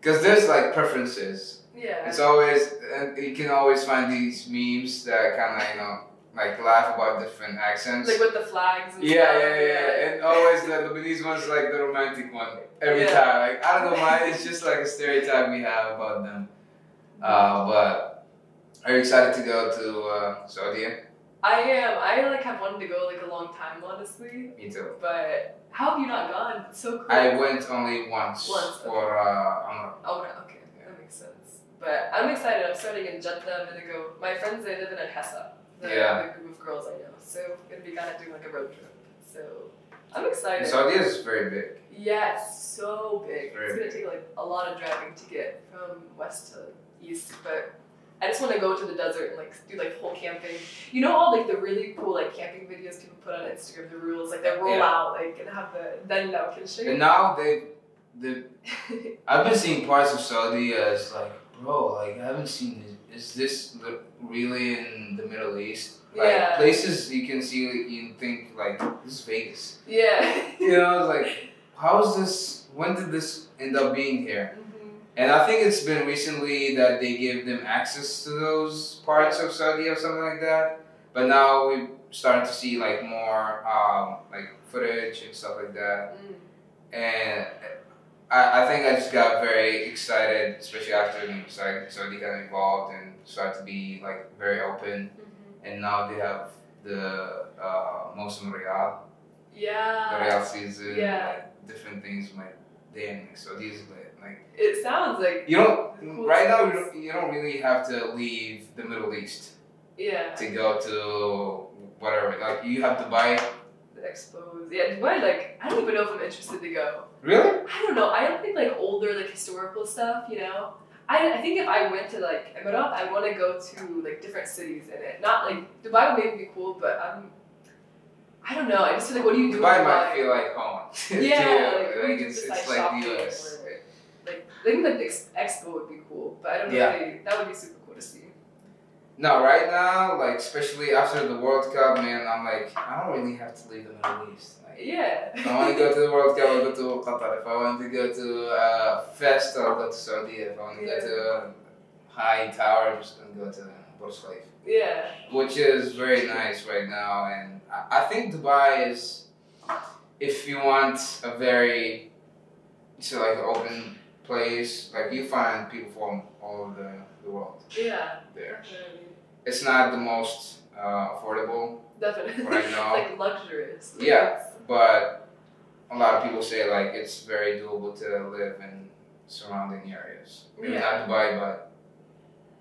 Speaker 1: because there's like preferences.
Speaker 2: yeah.
Speaker 1: It's always and you can always find these memes that kind of you know like laugh about different accents.
Speaker 2: like with the flags. And
Speaker 1: yeah,
Speaker 2: stuff,
Speaker 1: yeah, yeah, yeah, and always the Lebanese one's like the romantic one every
Speaker 2: Yeah.
Speaker 1: time. Like I don't know why it's just like a stereotype we have about them. Uh, but are you excited to go to uh, Saudi?
Speaker 2: I am. I like have wanted to go like a long time, honestly.
Speaker 1: Me too.
Speaker 2: But how have you not gone? It's so cool.
Speaker 1: I went only once,
Speaker 2: Once,
Speaker 1: for uh, Umrah.
Speaker 2: Oh, no, okay, that makes sense. But I'm excited. I'm starting in Jeddah a minute ago. My friends, they live in Hessa. The,
Speaker 1: Yeah.
Speaker 2: the group of girls I know. So we're going to be kind of doing like a road trip. So I'm excited.
Speaker 1: And Saudi is very big.
Speaker 2: yeah, it's so big.
Speaker 1: Very
Speaker 2: It's going to take like a lot of driving to get from west to east. But I just want to go to the desert and like do like whole camping. You know all like the really cool like camping videos people put on Instagram, the rules, like they roll
Speaker 1: Yeah.
Speaker 2: out like and have the then now can
Speaker 1: And
Speaker 2: shake.
Speaker 1: now they, the I've been seeing parts of Saudi as like, bro, like I haven't seen this. Is this li- really in the Middle East? Like
Speaker 2: Yeah.
Speaker 1: places you can see, you think like this is Vegas.
Speaker 2: yeah. Mm-hmm.
Speaker 1: You know, I was like, how is this? When did this end up being here?
Speaker 2: Mhm.
Speaker 1: And I think it's been recently that they gave them access to those parts of Saudi or something like that. But now we're starting to see like more um, like footage and stuff like that.
Speaker 2: Mm.
Speaker 1: And I, I think I just got very excited, especially after the Saudi Saudi got involved and started to be like very open.
Speaker 2: Mhm.
Speaker 1: And now they have the uh, Muslim Riyadh, the
Speaker 2: Yeah.
Speaker 1: Riyadh season,
Speaker 2: yeah.
Speaker 1: like different things. I'm Like damn, like Saudi is lit. Like
Speaker 2: It sounds like
Speaker 1: you don't
Speaker 2: Cool
Speaker 1: right now. You
Speaker 2: place.
Speaker 1: don't, you don't really have to leave the Middle East
Speaker 2: yeah.
Speaker 1: to go to whatever. Like you have to buy.
Speaker 2: The expos. Yeah, Dubai. Like I don't even know if I'm interested to go.
Speaker 1: Really?
Speaker 2: I don't know. I don't think like older like historical stuff. You know. I, I think if I went to like Emirat, I want to go to like different cities in it. Not like Dubai would maybe be cool, but I'm. I don't know. I just feel like what do you do? in
Speaker 1: Dubai
Speaker 2: Dubai
Speaker 1: might feel like home.
Speaker 2: Yeah,
Speaker 1: to you.
Speaker 2: like, we
Speaker 1: like
Speaker 2: do
Speaker 1: it's,
Speaker 2: just,
Speaker 1: it's like
Speaker 2: like, shopping
Speaker 1: the US.
Speaker 2: or- Like I think like the ex- expo would be cool, but I don't know.
Speaker 1: Yeah.
Speaker 2: if they- that would be super cool to see.
Speaker 1: No, right now, like especially after the World Cup, man, I'm like, I don't really have to leave the Middle East. Like,
Speaker 2: Yeah.
Speaker 1: if I want to go to the World Cup, I'll go to Qatar. If I want to go to uh, Fest, I'll go to Saudi. If I want to go to uh, High Tower, I'm just gonna go to Burj Khalifa,
Speaker 2: yeah.
Speaker 1: which is very nice right now. And I, I think Dubai is, if you want a very, so like open place, like you find people from all over the, the world
Speaker 2: Yeah.
Speaker 1: there.
Speaker 2: Definitely.
Speaker 1: it's not the most uh, affordable,
Speaker 2: Definitely.
Speaker 1: Right now.
Speaker 2: like luxurious. Like,
Speaker 1: Yeah.
Speaker 2: it's-
Speaker 1: but a lot of people say like it's very doable to live in surrounding areas. Maybe
Speaker 2: Yeah.
Speaker 1: not Dubai, but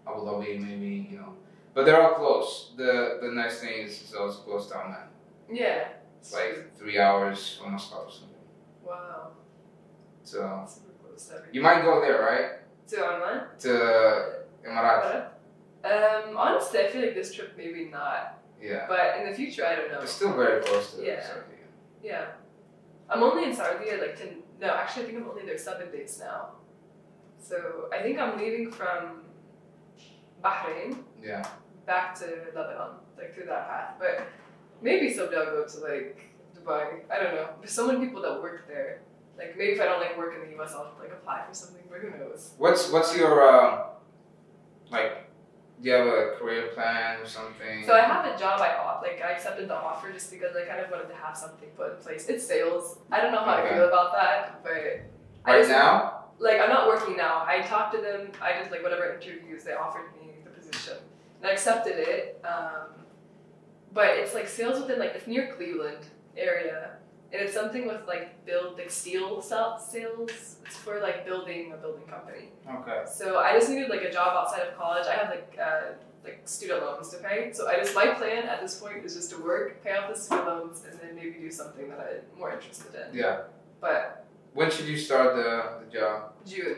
Speaker 1: Abu Dhabi, maybe you know. But they're all close. The the nice thing is it's always close down there.
Speaker 2: Yeah.
Speaker 1: It's like three hours from Moscow or something.
Speaker 2: Wow.
Speaker 1: So
Speaker 2: Super close to everything.
Speaker 1: you might go there, right?
Speaker 2: So online?
Speaker 1: To Emirates.
Speaker 2: Um, honestly, I feel like this trip maybe not,
Speaker 1: Yeah.
Speaker 2: but in the future, I don't know.
Speaker 1: It's still very close to
Speaker 2: Yeah.
Speaker 1: Saudi.
Speaker 2: Yeah. I'm only in Saudi at like 10, no, actually, I think I'm only there seven days now. So I think I'm leaving from Bahrain
Speaker 1: Yeah.
Speaker 2: back to Lebanon, like through that path. But maybe someday I'll go to like Dubai. I don't know. There's so many people that work there. Like maybe if I don't like work in the US, I'll like apply for something, but who knows?
Speaker 1: What's what's your um, like? Do you have a career plan or something?
Speaker 2: So I have a job I op- like I accepted the offer just because I kind of wanted to have something put in place. It's sales. I don't know how
Speaker 1: Okay.
Speaker 2: I feel about that, but I
Speaker 1: right
Speaker 2: just,
Speaker 1: now.
Speaker 2: like I'm not working now. I talked to them. I did like whatever interviews they offered me the position, and I accepted it. Um, but it's like sales within like it's near Cleveland area, and it's something with like build like steel sal- sales. It's for like building a building company.
Speaker 1: Okay.
Speaker 2: So I just needed like a job outside of college. I have like uh, like student loans to pay. So I just my plan at this point is just to work, pay off the student loans, and then maybe do something that I'm more interested in.
Speaker 1: Yeah.
Speaker 2: But
Speaker 1: When should you start the, the job?
Speaker 2: June,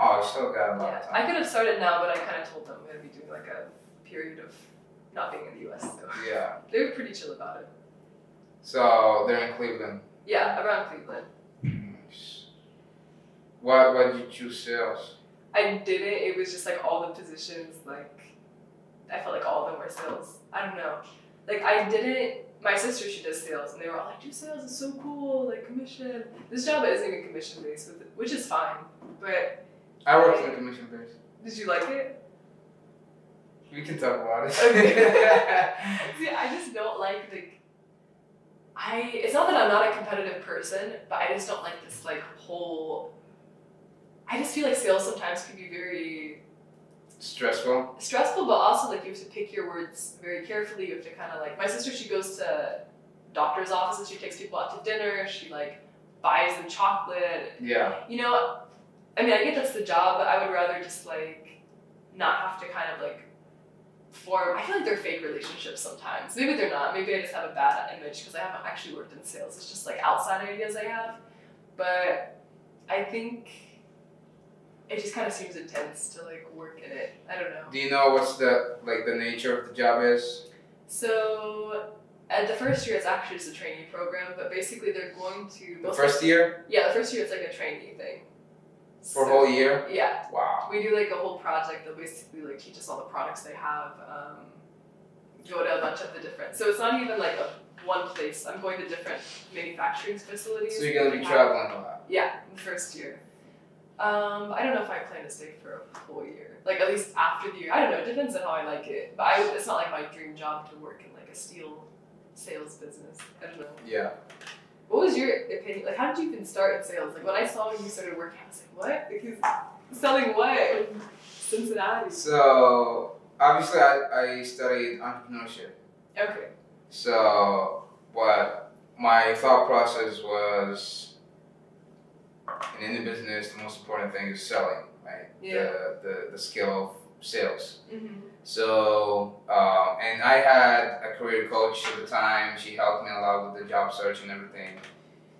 Speaker 1: Oh, I still got a lot
Speaker 2: yeah,
Speaker 1: of
Speaker 2: I
Speaker 1: time.
Speaker 2: could have started now, but I kind of told them I'm gonna be doing like a period of not being in the U.S. So
Speaker 1: Yeah.
Speaker 2: they were pretty chill about it.
Speaker 1: So they're in Cleveland.
Speaker 2: Yeah, around Cleveland.
Speaker 1: Nice. Why why did you choose sales?
Speaker 2: I didn't. It was just like all the positions. Like I felt like all of them were sales. I don't know. Like I didn't. My sister she does sales, and they were all like, "Do sales is so cool. Like commission. This job isn't even commission based, which is fine. But
Speaker 1: I worked in a commission base.
Speaker 2: did you like it?
Speaker 1: We can talk about it.
Speaker 2: Okay. See, I just don't like like. I, it's not that I'm not a competitive person, but I just don't like this like whole. I just feel like sales sometimes can be very
Speaker 1: Stressful.
Speaker 2: stressful, but also like you have to pick your words very carefully. You have to kind of like my sister. She goes to doctor's offices. She takes people out to dinner. She like buys them chocolate.
Speaker 1: Yeah.
Speaker 2: You know, I mean, I get that's the job, but I would rather just like not have to kind of like form. I feel like they're fake relationships sometimes. Maybe they're not. Maybe I just have a bad image because I haven't actually worked in sales. It's just like outside ideas I have. But I think it just kind of seems intense to like work in it. I don't know.
Speaker 1: Do you know what's the like the nature of the job is?
Speaker 2: So at the first year, it's actually just a training program, but basically they're going to.
Speaker 1: The first year
Speaker 2: Yeah, the first year it's like a trainee thing.
Speaker 1: for
Speaker 2: So-
Speaker 1: whole year.
Speaker 2: Yeah,
Speaker 1: Wow.
Speaker 2: we do like a whole project that basically like teaches all the products they have. Um, go to a bunch of the different. So it's not even like a one place. I'm going to different manufacturing facilities.
Speaker 1: So you're gonna be
Speaker 2: Yeah.
Speaker 1: traveling a lot.
Speaker 2: Yeah, the first year. Um, I don't know if I plan to stay for a full year. Like at least after the year. I don't know. It depends on how I like it. But I, it's not like my dream job to work in like a steel sales business. I don't know.
Speaker 1: Yeah.
Speaker 2: What was your opinion? Like, how did you even start in sales? Like, when I saw when you started working, I was like, what? Because selling what? in Cincinnati.
Speaker 1: So obviously, I, I studied entrepreneurship.
Speaker 2: Okay.
Speaker 1: So what my thought process was in any business, the most important thing is selling, right?
Speaker 2: Yeah.
Speaker 1: The, the, the skill of sales.
Speaker 2: Mm-hmm.
Speaker 1: So, um, and I had a career coach at the time. She helped me a lot with the job search and everything.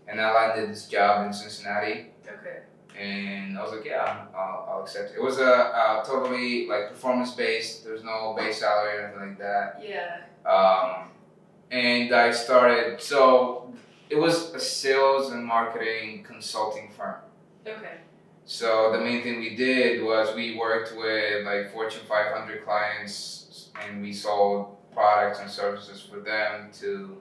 Speaker 1: And I landed this job in Cincinnati.
Speaker 2: Okay.
Speaker 1: And I was like, yeah, I'll, I'll accept it. It was a, a totally like performance based. There's no base salary or anything like that.
Speaker 2: Yeah.
Speaker 1: Um, and I started. So it was a sales and marketing consulting firm.
Speaker 2: Okay.
Speaker 1: So the main thing we did was we worked with like Fortune 500 clients and we sold products and services for them to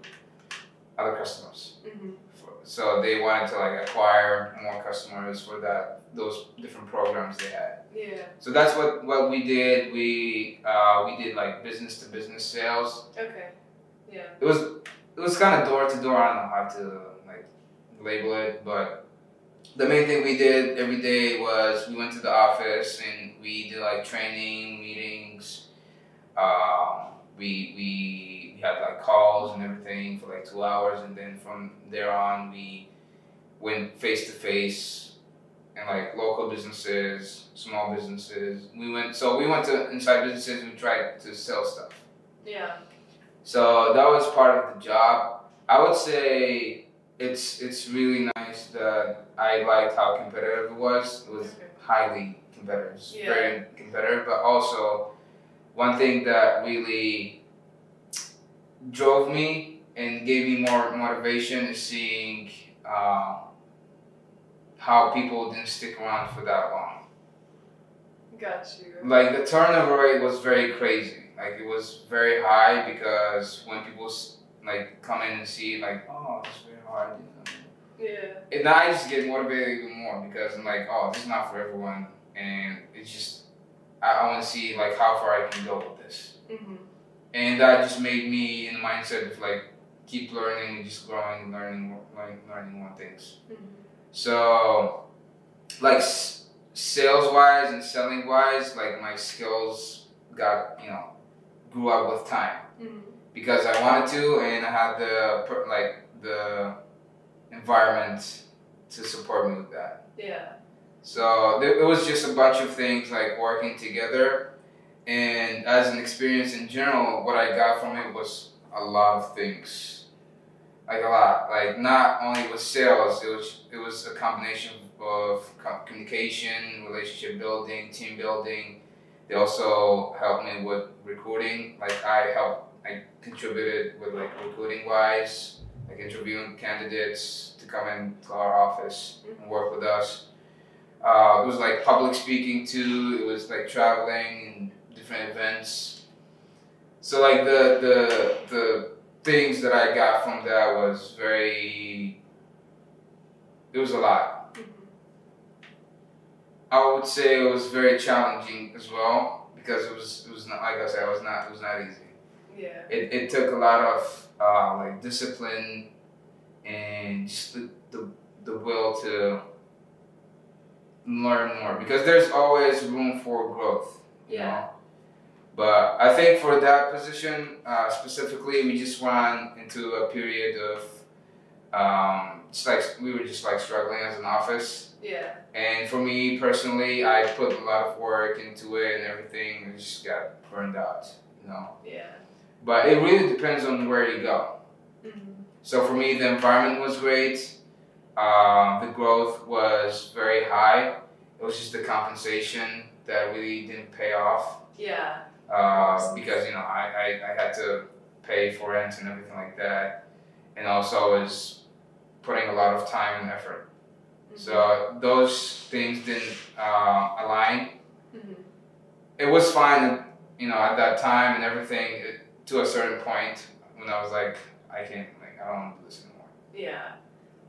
Speaker 1: other customers.
Speaker 2: Mm-hmm.
Speaker 1: For- So they wanted to like acquire more customers for that those different programs they had.
Speaker 2: Yeah.
Speaker 1: So that's what what we did. We uh, we did like business to business sales.
Speaker 2: Okay. Yeah.
Speaker 1: It was it was kind of door to door. I don't know how to like label it, but the main thing we did every day was we went to the office and we did like training meetings. Um, we we we had like calls and everything for like two hours, and then from there on we went face to face and like local businesses, small businesses. We went so we went to inside businesses and we tried to sell stuff.
Speaker 2: Yeah.
Speaker 1: So that was part of the job. I would say it's it's really nice that I liked how competitive it was. It was
Speaker 2: Okay.
Speaker 1: highly competitive, It's very competitive. But also, one thing that really drove me and gave me more motivation is seeing um, how people didn't stick around for that long
Speaker 2: Got you.
Speaker 1: like the turnover rate was very crazy. Like it was very high because when people s- like come in and see like, oh, it's very hard. you
Speaker 2: Yeah.
Speaker 1: know. And now I just get motivated even more because I'm like, oh, this is not for everyone, and it's just I, I want to see like how far I can go with this,
Speaker 2: Mm-hmm.
Speaker 1: and that just made me in the mindset of like keep learning and just growing and learning, learning, learning more things.
Speaker 2: Mm-hmm.
Speaker 1: So, like s- sales wise and selling wise, like my skills got you know grew up with time
Speaker 2: Mm-hmm.
Speaker 1: because I wanted to and I had the per- like the environment to support me with that.
Speaker 2: Yeah.
Speaker 1: So there, it was just a bunch of things like working together, and as an experience in general, what I got from it was a lot of things, like a lot. Like not only was sales, it was it was a combination of co- communication, relationship building, team building. They also helped me with recruiting. Like I helped, I contributed with like recruiting wise, like interviewing candidates to come into our office and work with us uh, it was like public speaking too. It was like traveling and different events. So like the the the things that I got from that was very. It was a lot.
Speaker 2: Mm-hmm.
Speaker 1: I would say it was very challenging as well because it was it was not like I said it was not it was not easy.
Speaker 2: Yeah.
Speaker 1: It, it took a lot of uh, like discipline and just the, the, the will to learn more because there's always room for growth. You
Speaker 2: Yeah.
Speaker 1: Know? But I think for that position uh, specifically, we just went into a period of um, it's like we were just like struggling as an office.
Speaker 2: Yeah.
Speaker 1: And for me personally, I put a lot of work into it and everything, and just got burned out, you know.
Speaker 2: Yeah.
Speaker 1: But it really depends on where you go.
Speaker 2: Mhm.
Speaker 1: So for me, the environment was great. Um, the growth was very high. It was just the compensation that really didn't pay off
Speaker 2: Yeah.
Speaker 1: uh, because you know I, I, I had to pay for rent and everything like that, and also I was putting a lot of time and effort.
Speaker 2: Mm-hmm.
Speaker 1: So those things didn't uh, align.
Speaker 2: Mhm.
Speaker 1: It was fine, you know, at that time and everything. It, to a certain point, when I was like, I can't, like, I don't want to do this anymore.
Speaker 2: Yeah.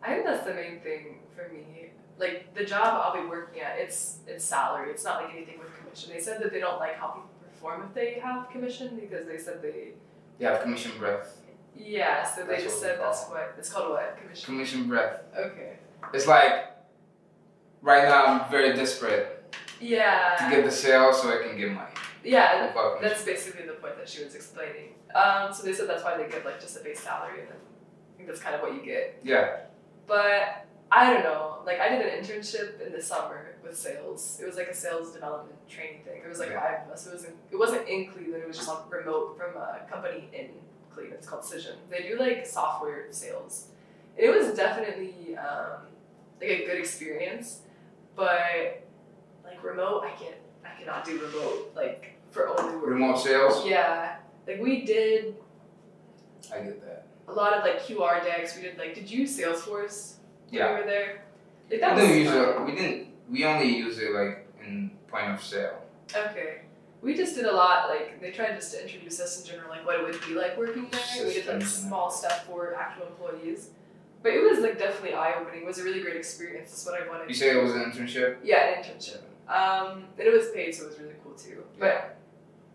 Speaker 2: I think that's the main thing for me. Like the job I'll be working at, it's it's salary. It's not like anything with commission. They said that they don't like how people perform if they have commission because they said they
Speaker 1: You have commission breath.
Speaker 2: yeah. So they
Speaker 1: That's
Speaker 2: just
Speaker 1: what we
Speaker 2: said that's
Speaker 1: call
Speaker 2: what it's called what commission.
Speaker 1: Commission breath.
Speaker 2: Okay.
Speaker 1: It's like, right now I'm very desperate to
Speaker 2: Yeah.
Speaker 1: get the sale so I can get money.
Speaker 2: Yeah.
Speaker 1: Fuck commission.
Speaker 2: That's basically the point that she was explaining. Um, so they said that's why they give like just a base salary, and then I think that's kind of what you get.
Speaker 1: yeah.
Speaker 2: But I don't know. Like I did an internship in the summer with sales. It was like a sales development training thing. It was like
Speaker 1: Yeah.
Speaker 2: five of us. It was in, it wasn't in Cleveland. It was just like remote from a company in Cleveland. It's called Cision. They do like software sales. And it was definitely um, like a good experience, but like remote, I can't. I cannot do remote. Like for only work.
Speaker 1: Remote sales.
Speaker 2: Yeah, like we did
Speaker 1: I get that.
Speaker 2: a lot of like QR decks. We did like, did you use Salesforce when
Speaker 1: Yeah.
Speaker 2: we were there? Like that
Speaker 1: We
Speaker 2: was
Speaker 1: didn't use
Speaker 2: fun.
Speaker 1: it. We didn't. We only use it like in point of sale.
Speaker 2: Okay, we just did a lot. Like they tried just to introduce us in general, like what it would be like working there. we did like
Speaker 1: Systems and
Speaker 2: small stuff for actual employees, but it was like definitely eye opening. It was a really great experience. That's what I wanted.
Speaker 1: You say it was an internship.
Speaker 2: Yeah, an internship. Um, and it was paid, so it was really cool too. But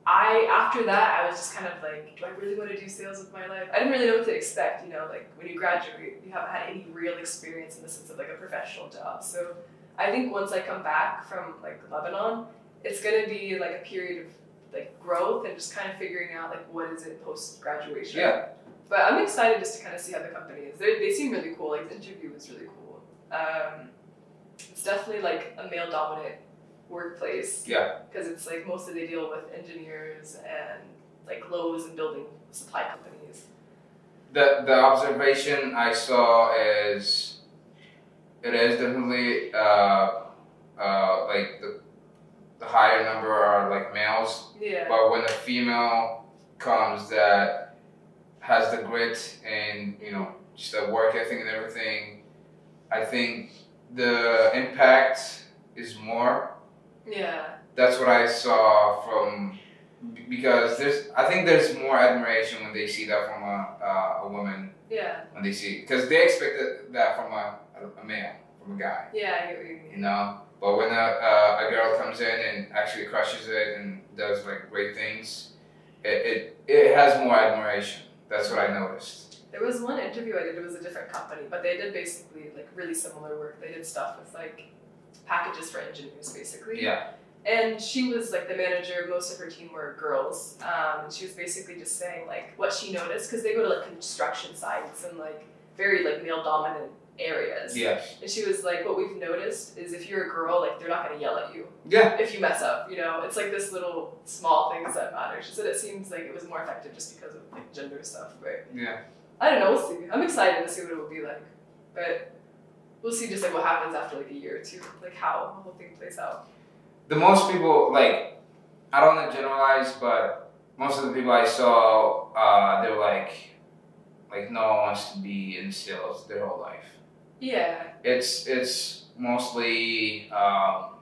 Speaker 2: I, after that, I was just kind of like, do I really want to do sales with my life? I didn't really know what to expect, you know, like when you graduate, you haven't had any real experience in the sense of like a professional job. So I think once I come back from like Lebanon, it's gonna be like a period of like growth and just kind of figuring out like what is it post graduation.
Speaker 1: Yeah.
Speaker 2: But I'm excited just to kind of see how the company is. They they seem really cool. Like the interview was really cool. Um, it's definitely like a male dominant workplace.
Speaker 1: Yeah.
Speaker 2: Because it's like mostly they deal with engineers and like Lowe's and building supply companies.
Speaker 1: The the observation I saw is it is definitely uh, uh, like the, the higher number are like males,
Speaker 2: Yeah.
Speaker 1: but when a female comes that has the grit and you know just the work ethic and everything, I think the impact is more
Speaker 2: Yeah.
Speaker 1: that's what I saw from b- because there's I think there's more admiration when they see that from a, uh, a woman
Speaker 2: Yeah.
Speaker 1: when they see because they expect that- that from a, a male from a guy
Speaker 2: Yeah. I get what you
Speaker 1: you
Speaker 2: mean.
Speaker 1: know but when a, uh, a girl comes in and actually crushes it and does like great things it, it it has more admiration that's what I noticed
Speaker 2: There was one interview I did. It was a different company, but they did basically like really similar work. They did stuff with like packages for engineers, basically.
Speaker 1: yeah
Speaker 2: and she was like the manager most of her team were girls um, and she was basically just saying like what she noticed because they go to like construction sites and like very like male dominant areas
Speaker 1: yes
Speaker 2: and she was like what we've noticed is if you're a girl like they're not going to yell at you
Speaker 1: yeah
Speaker 2: if you mess up you know it's like this little small things that matter she said it seems like it was more effective just because of like gender stuff but
Speaker 1: yeah
Speaker 2: i don't know we'll see i'm excited to see what it will be like but we'll see just like what happens after like a year or two like how the whole thing plays out
Speaker 1: the most people like I don't want to generalize, but most of the people I saw, uh, they were like, like no one wants to be in sales their whole life.
Speaker 2: yeah
Speaker 1: It's it's mostly um,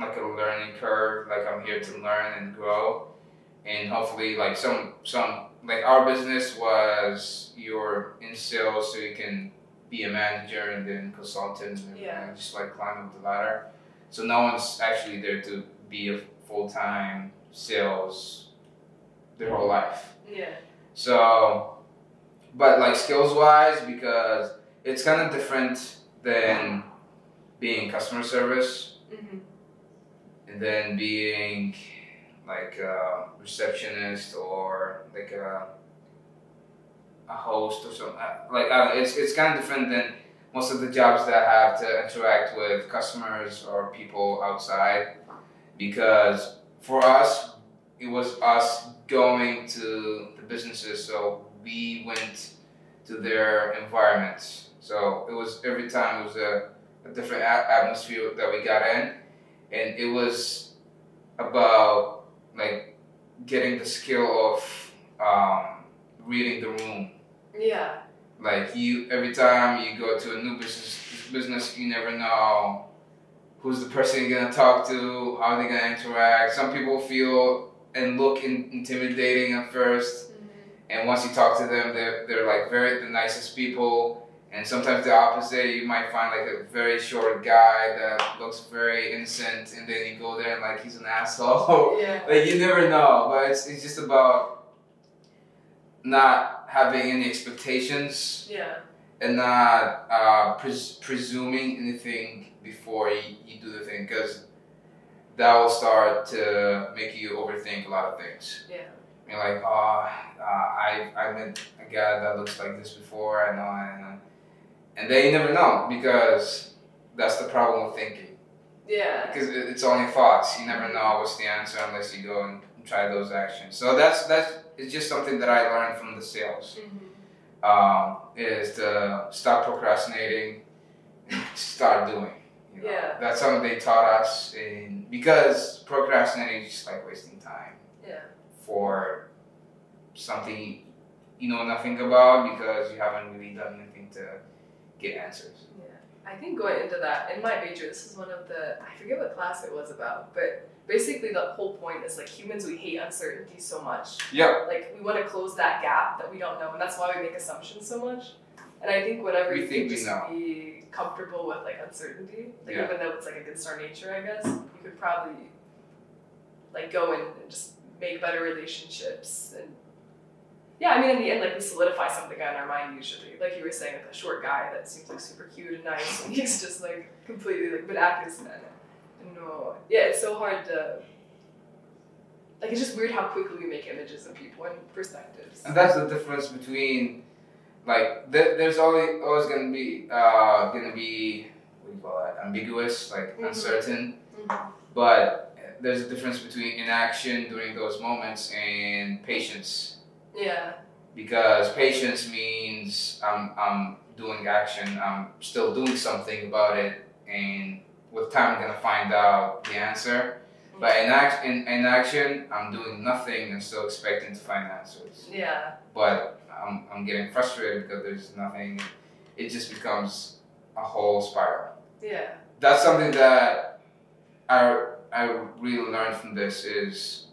Speaker 1: like a learning curve. Like I'm here to learn and grow, and hopefully, like some some like our business was you're in sales, so you can be a manager and then consultant and
Speaker 2: Yeah.
Speaker 1: and just like climb up the ladder. So no one's actually there to be a full time sales their whole life.
Speaker 2: yeah
Speaker 1: So, but like skills wise, because it's kind of different than being customer service
Speaker 2: hmm
Speaker 1: and then being like a receptionist or like a a host or something. Like I don't know, it's it's kind of different than most of the jobs that have to interact with customers or people outside, because for us it was us going to the businesses, so we went to their environments. So it was every time it was a, a different a- atmosphere that we got in, and it was about like getting the skill of um, reading the room.
Speaker 2: Yeah.
Speaker 1: Like you, every time you go to a new business, business you never know who's the person you're gonna talk to, how they're gonna interact. Some people feel and look in, intimidating at first, and once you talk to them, they're they're like very the nicest people. And sometimes the opposite, you might find like a very short guy that looks very innocent, and then you go there and like he's an asshole.
Speaker 2: Yeah.
Speaker 1: like you never know but it's, it's just about not having any expectations
Speaker 2: Yeah.
Speaker 1: and not uh, pres- presuming anything before you, you do the thing because that will start to make you overthink a lot of things
Speaker 2: Yeah.
Speaker 1: you're like oh uh, I, I met a guy that looks like this before i know I know and then you never know because that's the problem with thinking
Speaker 2: Yeah.
Speaker 1: because it- it's only thoughts. You never know what's the answer unless you go and try those actions. So that's that's it's just something that I learned from the sales. Um, is to stop procrastinating, start doing. You know?
Speaker 2: Yeah.
Speaker 1: That's something they taught us in because procrastinating is just like wasting time
Speaker 2: Yeah.
Speaker 1: for something you know nothing about because you haven't really done anything to get answers.
Speaker 2: Yeah, I think going into that in my major, this is one of the I forget what class it was about, but basically the whole point is like humans we hate uncertainty so much.
Speaker 1: Yeah.
Speaker 2: Like we want to close that gap that we don't know, and that's why we make assumptions so much. And I think whenever
Speaker 1: We
Speaker 2: you
Speaker 1: think we
Speaker 2: can just
Speaker 1: know.
Speaker 2: be comfortable with like uncertainty, like
Speaker 1: Yeah.
Speaker 2: even though it's like against our nature, I guess you could probably like go in and just make better relationships and. Yeah, I mean, in the end, like we solidify something in our mind usually. Like you were saying, like a short guy that seems like super cute and nice, and he's just like completely like, but actors and no, yeah, it's so hard to. Like it's just weird how quickly we make images of people and perspectives.
Speaker 1: And that's the difference between, like, there, there's always always gonna be uh, gonna be what do you call that ambiguous, like
Speaker 2: Mhm.
Speaker 1: uncertain.
Speaker 2: Mm-hmm.
Speaker 1: But there's a difference between inaction during those moments and patience,
Speaker 2: Yeah,
Speaker 1: because patience means I'm I'm doing action, I'm still doing something about it, and with time I'm gonna find out the answer. But in, act, in, in action, I'm doing nothing and still expecting to find answers
Speaker 2: yeah,
Speaker 1: but I'm, I'm getting frustrated because there's nothing. It just becomes a whole spiral.
Speaker 2: yeah,
Speaker 1: That's something that I I really learned from this is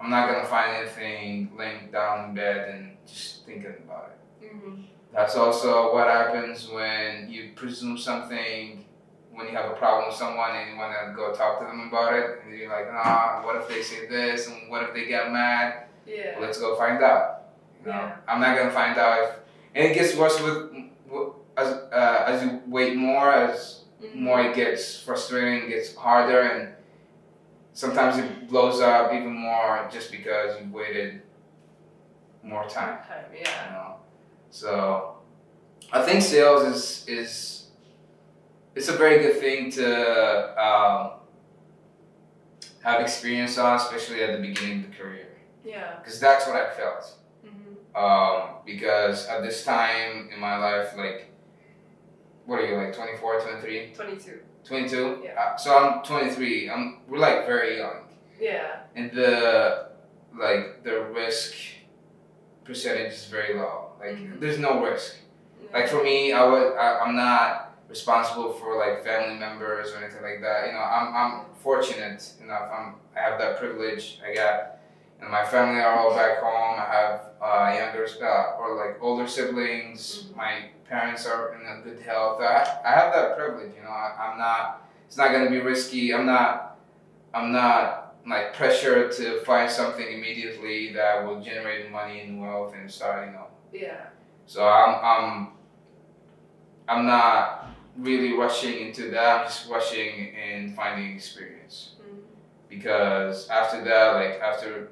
Speaker 1: I'm not gonna find anything laying down in bed and just thinking about it.
Speaker 2: mm-hmm.
Speaker 1: That's also what happens when you presume something when you have a problem with someone and you want to go talk to them about it and you're like, nah, what if they say this and what if they get mad?
Speaker 2: yeah,
Speaker 1: let's go find out. You know,
Speaker 2: Yeah.
Speaker 1: I'm not gonna find out if, and it gets worse with w- as uh, as you wait more, as
Speaker 2: Mhm.
Speaker 1: more it gets frustrating, it gets harder, and sometimes it blows up even more just because you waited more time.
Speaker 2: Time,
Speaker 1: You
Speaker 2: yeah,
Speaker 1: know, so I think sales is is it's a very good thing to um, have experience on, especially at the beginning of the career
Speaker 2: yeah,
Speaker 1: because that's what I felt.
Speaker 2: mm-hmm.
Speaker 1: Um, because at this time in my life, like, what are you, like 24, 23,
Speaker 2: twenty-two.
Speaker 1: 22?
Speaker 2: Yeah.
Speaker 1: Uh, so I'm 23. I'm, we're like very young.
Speaker 2: Yeah,
Speaker 1: And the, like, the risk percentage is very low. Like,
Speaker 2: Mhm.
Speaker 1: there's no risk.
Speaker 2: yeah.
Speaker 1: Like, for me, I would, I, I'm not responsible for, like, family members or anything like that. You know, I'm, I'm fortunate enough. I'm, I have that privilege. I got and my family are all back home. I have uh, younger uh, or like older siblings.
Speaker 2: Mhm.
Speaker 1: My parents are in a good health. I, I have that privilege, you know. I, I'm not. It's not gonna be risky. I'm not. I'm not like pressured to find something immediately that will generate money and wealth and start, you know.
Speaker 2: yeah,
Speaker 1: So I'm I'm I'm not really rushing into that. I'm just rushing and finding experience
Speaker 2: mm
Speaker 1: because after that, like after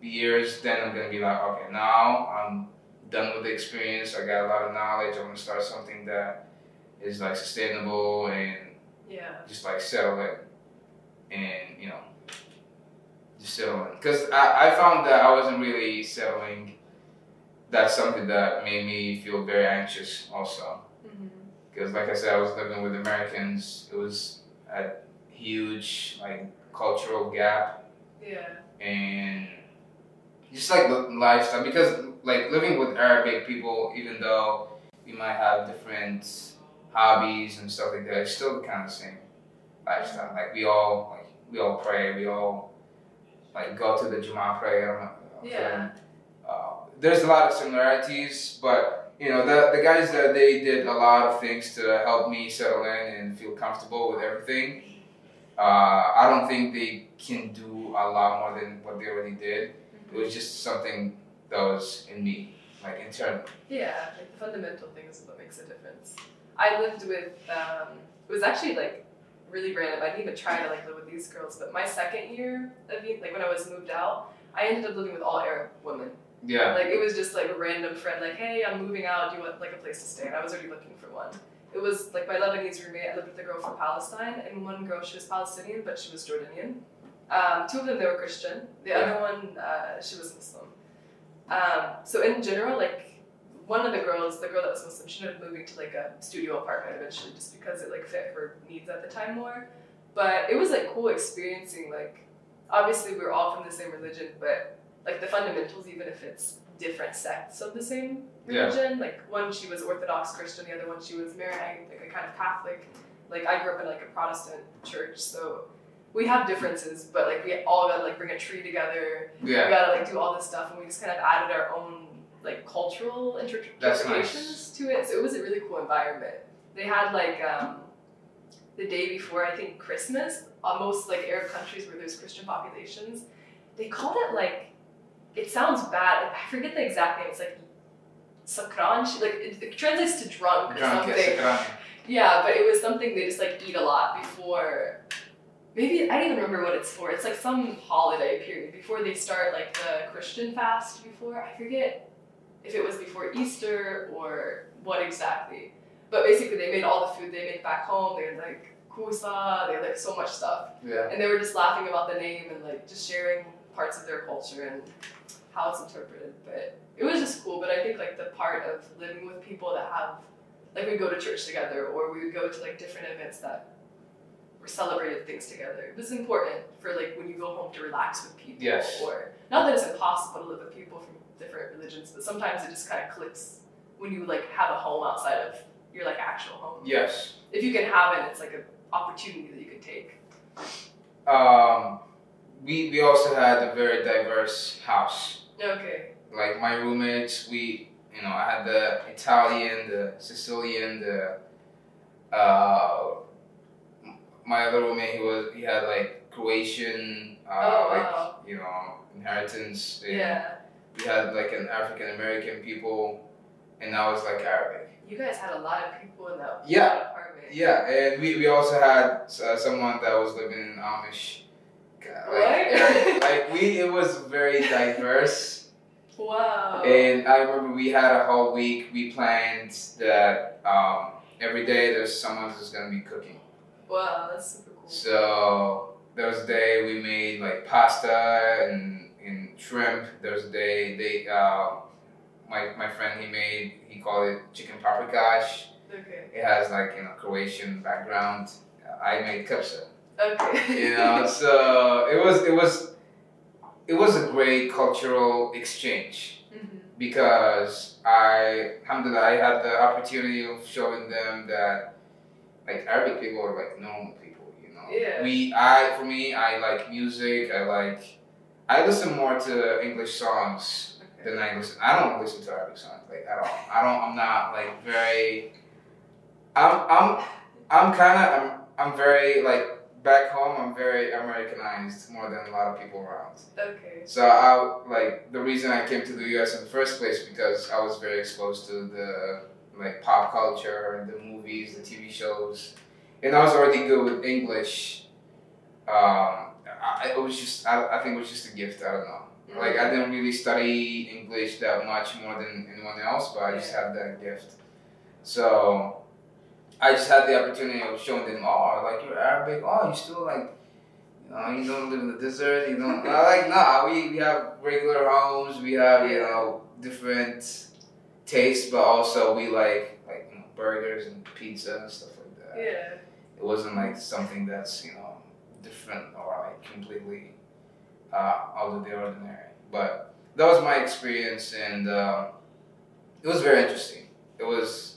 Speaker 1: years, then I'm gonna be like, okay, now I'm done with the experience. I got a lot of knowledge. I want to start something that is like sustainable and
Speaker 2: Yeah.
Speaker 1: just like settle it and you know just settle in because I, I found that i wasn't really settling that's something that made me feel very anxious also
Speaker 2: Mm-hmm.
Speaker 1: because like i said i was living with americans it was a huge like cultural gap
Speaker 2: Yeah.
Speaker 1: and just like the lifestyle because like living with arabic people even though we might have different hobbies and stuff like that it's still kind of the same lifestyle like we all like we all pray we all like go to the juma prayer I'm- I'm
Speaker 2: Yeah.
Speaker 1: uh, there's a lot of similarities, but you know the the guys there they did a lot of things to help me settle in and feel comfortable with everything. Uh, I don't think they can do a lot more than what they already did.
Speaker 2: Mm-hmm.
Speaker 1: It was just something that was in me, like internally.
Speaker 2: Yeah, like the fundamental things is what makes a difference. I lived with um, it was actually like really random. I didn't even try to like live with these girls, but my second year of being- like when I was moved out, I ended up living with all Arab women.
Speaker 1: Yeah,
Speaker 2: Like it was just like a random friend, like, hey, I'm moving out. Do you want like a place to stay? And I was already looking for one. It was like my Lebanese roommate. I lived with a girl from Palestine, and one girl she was Palestinian, but she was Jordanian. Um, two of them they were Christian. The
Speaker 1: Yeah.
Speaker 2: other one uh, she was Muslim. Um, so in general, like one of the girls, the girl that was Muslim, she ended up moving to like a studio apartment eventually, just because it like fit her needs at the time more. But it was like cool experiencing like obviously we we're all from the same religion, but like the fundamentals, even if it's different sects of the same
Speaker 1: Yeah.
Speaker 2: religion, like one she was Orthodox Christian, the other one she was Maronite, like a kind of Catholic. Like I grew up in like a Protestant church, so we have differences, but like we all gotta like bring a tree together. We
Speaker 1: yeah,
Speaker 2: gotta like do all this stuff, and we just kind of added our own like cultural inter-
Speaker 1: That's
Speaker 2: interpretations to it. So it was a really cool environment. They had like um, the day before I think Christmas. uh, Most like Arab countries where there's Christian populations, they called it like it sounds bad. I forget the exact name. It's like sakran. She- Like it, it translates to drunk or
Speaker 1: Drunk, yes,
Speaker 2: something.
Speaker 1: drunk.
Speaker 2: Yeah, but it was something they just like eat a lot before. Maybe I don't even remember what it's for. It's like some holiday period before they start like the Christian fast. Before I forget if it was before Easter or what exactly. But basically, they made all the food they make back home. They had like kusa. They had like so much stuff,
Speaker 1: yeah,
Speaker 2: and they were just laughing about the name and like just sharing parts of their culture and how it's interpreted. But it was just cool. But I think like the part of living with people that have like we would go to church together or we would go to like different events that were celebrated things together. It was important for like when you go home to relax with people
Speaker 1: Yes.
Speaker 2: or not that it's impossible to live with people from different religions, but sometimes it just kind of clicks when you like have a home outside of your like actual home.
Speaker 1: yes.
Speaker 2: If you can have it, it's like an opportunity that you can take.
Speaker 1: Um, we we also had a very diverse house.
Speaker 2: Okay.
Speaker 1: like my roommates, we you know I had the Italian, the Sicilian, the uh, my other roommate he was he had like Croatian, uh,
Speaker 2: Oh,
Speaker 1: like
Speaker 2: wow.
Speaker 1: you know inheritance.
Speaker 2: Yeah.
Speaker 1: and We had like an African American people, and I was like Arabic.
Speaker 2: You guys had a lot of people in that
Speaker 1: Yeah.
Speaker 2: apartment.
Speaker 1: Yeah, and we, we also had uh, someone that was living in Amish. Like,
Speaker 2: What?
Speaker 1: Arab- like we, it was very diverse.
Speaker 2: Wow.
Speaker 1: And I remember we had a whole week. We planned that um, every day there's someone who's gonna be cooking.
Speaker 2: wow, that's super cool.
Speaker 1: So there was a day we made like pasta and, and shrimp. There was a day they um, my my friend he made he called it chicken paprikash.
Speaker 2: Okay.
Speaker 1: It has like you know Croatian background. I made kepsa.
Speaker 2: Okay.
Speaker 1: You know, so it was it was it was a great cultural exchange
Speaker 2: Mhm.
Speaker 1: because I, alhamdulillah, I had the opportunity of showing them that like Arabic people are like normal people, you know.
Speaker 2: Yeah.
Speaker 1: We, I, for me, I like music. I like, I listen more to English songs
Speaker 2: Okay.
Speaker 1: than I listen. I don't listen to Arabic songs like at all. I don't. I'm not like very. I'm I'm I'm kind of I'm I'm very like back home. I'm very Americanized more than a lot of people around.
Speaker 2: Okay.
Speaker 1: So I like the reason I came to the U.S. in the first place because I was very exposed to the like pop culture, the movies, the TV shows, and I was already good with English. Um, I, I- it was just I, I think it was just a gift. I don't know.
Speaker 2: Mm.
Speaker 1: Like I didn't really study English that much more than anyone else, but I just have that gift. So I just had the opportunity of showing them, oh, like you're Arabic, oh, you still like, you know, you don't live in the desert, you don't. I like, nah, we, we have regular homes, we have you know different tastes, but also we like like you know, burgers and pizza and stuff like that.
Speaker 2: Mm-hmm. yeah.
Speaker 1: It wasn't like something that's you know different or like completely uh, out of the ordinary. But that was my experience, and um it was very interesting. It was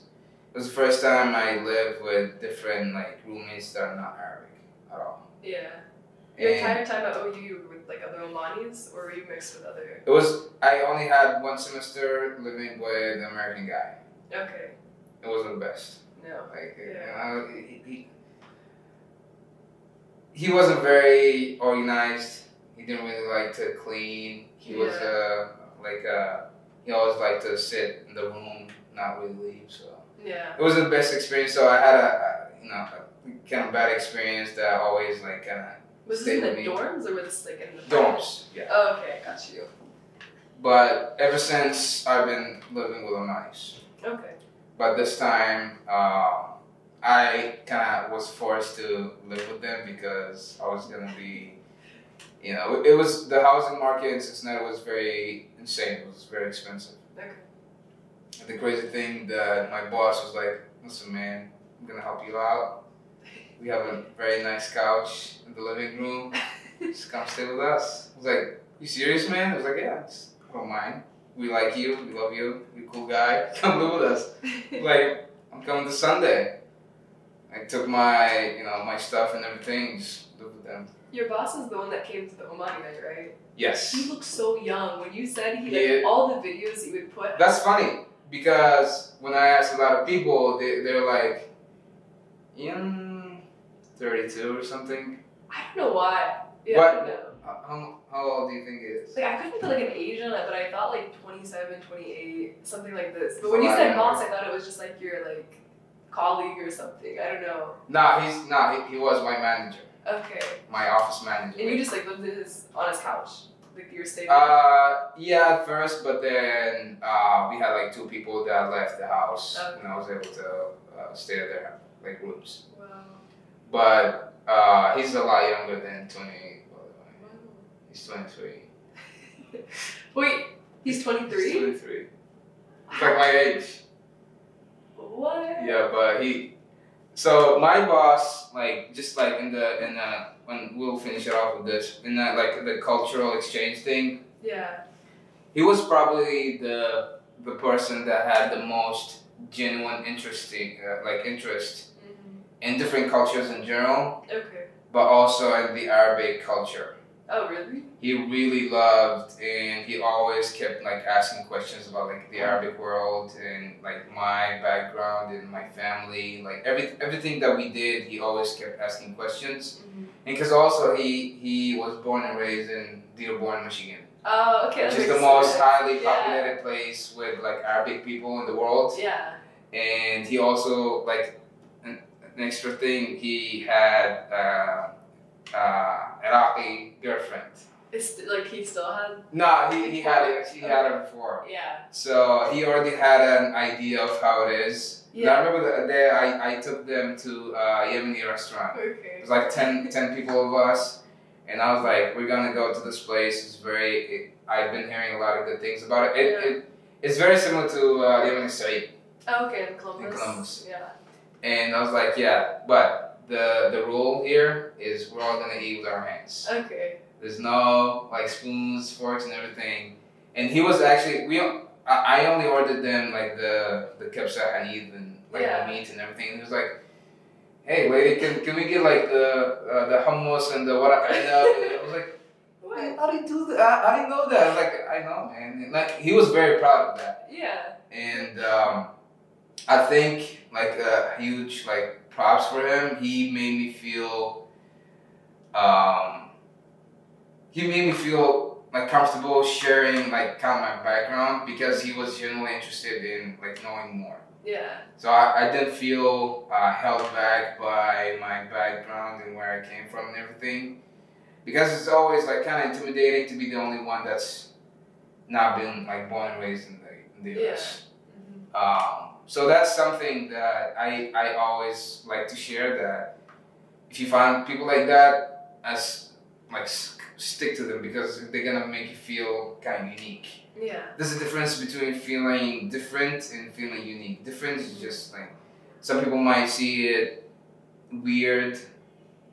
Speaker 1: it was the first time I lived with different like roommates that are not Arabic at all.
Speaker 2: Yeah. Your
Speaker 1: And
Speaker 2: entire time at OU, you were with like other Omanis, or were you mixed with other?
Speaker 1: it was I only had one semester living with an American guy.
Speaker 2: Okay.
Speaker 1: It wasn't the best.
Speaker 2: No.
Speaker 1: Like you
Speaker 2: Yeah.
Speaker 1: know, he, he, he wasn't very organized. He didn't really like to clean. He was uh, like uh, he always liked to sit in the room, not really leave. So
Speaker 2: Yeah.
Speaker 1: it wasn't the best experience. So I had a, a you know a kind of bad experience that I always like kind
Speaker 2: Was
Speaker 1: Stay
Speaker 2: this
Speaker 1: with
Speaker 2: in the
Speaker 1: me.
Speaker 2: dorms, or was this like in the
Speaker 1: of dorms. Yeah.
Speaker 2: Oh, okay, got you.
Speaker 1: But ever since I've been living with Omanis.
Speaker 2: Okay.
Speaker 1: But this time, um, I kind of was forced to live with them because I was gonna be, you know, it was the housing market in Cincinnati was very insane. It was very expensive.
Speaker 2: Okay.
Speaker 1: And the crazy thing that my boss was like, "Listen, man, I'm gonna help you out. We have a very nice couch in the living room. Just come stay with us." I was like, "You serious, man?" I was like, "Yeah, it's, I don't mind. We like you. We love you. You're a cool guy. Come live with us." like I'm coming to Sunday. I took my you know my stuff and everything. Just lived with them.
Speaker 2: Your boss is the one that came to the Omani night, right? He
Speaker 1: Yes,
Speaker 2: looked so young when you said he
Speaker 1: Yeah.
Speaker 2: like all the videos he would put.
Speaker 1: that's funny because when I asked a lot of people, they they're like, in thirty-two or something.
Speaker 2: I don't know why. Yeah, I
Speaker 1: What-
Speaker 2: don't know.
Speaker 1: How- How, how old do you think it is?
Speaker 2: Like I couldn't put like an age on it, but I thought like 27, 28, something like this. But
Speaker 1: It's
Speaker 2: when
Speaker 1: a
Speaker 2: you
Speaker 1: lot
Speaker 2: said
Speaker 1: younger.
Speaker 2: boss, I thought it was just like your like colleague or something. I don't know.
Speaker 1: Nah, he's nah. He, he was my manager,
Speaker 2: Okay.
Speaker 1: my office manager.
Speaker 2: And you just like lived in his on his couch, like you were staying.
Speaker 1: Uh, yeah, at first, but then uh, we had like two people that left the house, and I was able to uh, stay at their like rooms.
Speaker 2: wow.
Speaker 1: But uh, he's a lot younger than twenty.
Speaker 2: wow.
Speaker 1: He's twenty three.
Speaker 2: Wait, he's twenty
Speaker 1: He's
Speaker 2: three.
Speaker 1: twenty three. It's like my age.
Speaker 2: What?
Speaker 1: Yeah, but he. So my boss, like, just like in the in the when we'll finish it off with this in that like the cultural exchange thing.
Speaker 2: Yeah.
Speaker 1: He was probably the the person that had the most genuine interesting uh, like interest
Speaker 2: Mhm.
Speaker 1: in different cultures in general,
Speaker 2: Okay.
Speaker 1: but also in the Arabic culture.
Speaker 2: Oh really?
Speaker 1: He really loved and he always kept like asking questions about like the Arabic world and like my background and my family, like every everything that we did, he always kept asking questions.
Speaker 2: Mhm.
Speaker 1: And cuz also he he was born and raised in Dearborn, Michigan.
Speaker 2: Oh okay. that
Speaker 1: which is the
Speaker 2: makes
Speaker 1: most
Speaker 2: sense.
Speaker 1: highly
Speaker 2: Yeah.
Speaker 1: populated place with like Arabic people in the world.
Speaker 2: Yeah.
Speaker 1: And he also like an, an extra thing. He had uh, uh, Iraqi girlfriend.
Speaker 2: It's like he still has.
Speaker 1: No, he, he had it. He had it before.
Speaker 2: Yeah.
Speaker 1: So he already had an idea of how it is. And I
Speaker 2: Yeah.
Speaker 1: remember the day I, I took them to a Yemeni restaurant. It
Speaker 2: Okay.
Speaker 1: was like 10, 10 people of us. And I was like, we're gonna go to this place. It's very. It, I've been hearing a lot of good things about it. It, it it's very similar to uh, Yemen Said.
Speaker 2: Oh, okay. In Columbus.
Speaker 1: In Columbus.
Speaker 2: Yeah.
Speaker 1: And I was like, yeah, but the the rule here is we're all gonna eat with our hands.
Speaker 2: Okay.
Speaker 1: There's no like spoons, forks, and everything. And he was actually we. I, I only ordered them like the the kebsa hanid and like
Speaker 2: Yeah.
Speaker 1: the meat and everything. And he was like, "Hey, lady, can, can we get like the uh, the hummus and the waraq inab?" I was like,
Speaker 2: What?
Speaker 1: "Wait, "How do you do that? I, I didn't know that." I was like, "I know, man." And, like he was very proud of that.
Speaker 2: Yeah.
Speaker 1: And um, I think like a huge like props for him. He made me feel. Um, he made me feel like comfortable sharing like kind of my background because he was genuinely interested in like knowing more.
Speaker 2: Yeah.
Speaker 1: So I, I didn't feel uh, held back by my background and where I came from and everything. because it's always like kind of intimidating to be the only one that's not been like born and raised in the, in the
Speaker 2: Yeah.
Speaker 1: US.
Speaker 2: Mm-hmm.
Speaker 1: Um, so that's something that I, I always like to share that if you find people like that, as like s- stick to them because they're gonna make you feel kind of unique.
Speaker 2: Yeah.
Speaker 1: There's a difference between feeling different and feeling unique. Different is just like some people might see it weird,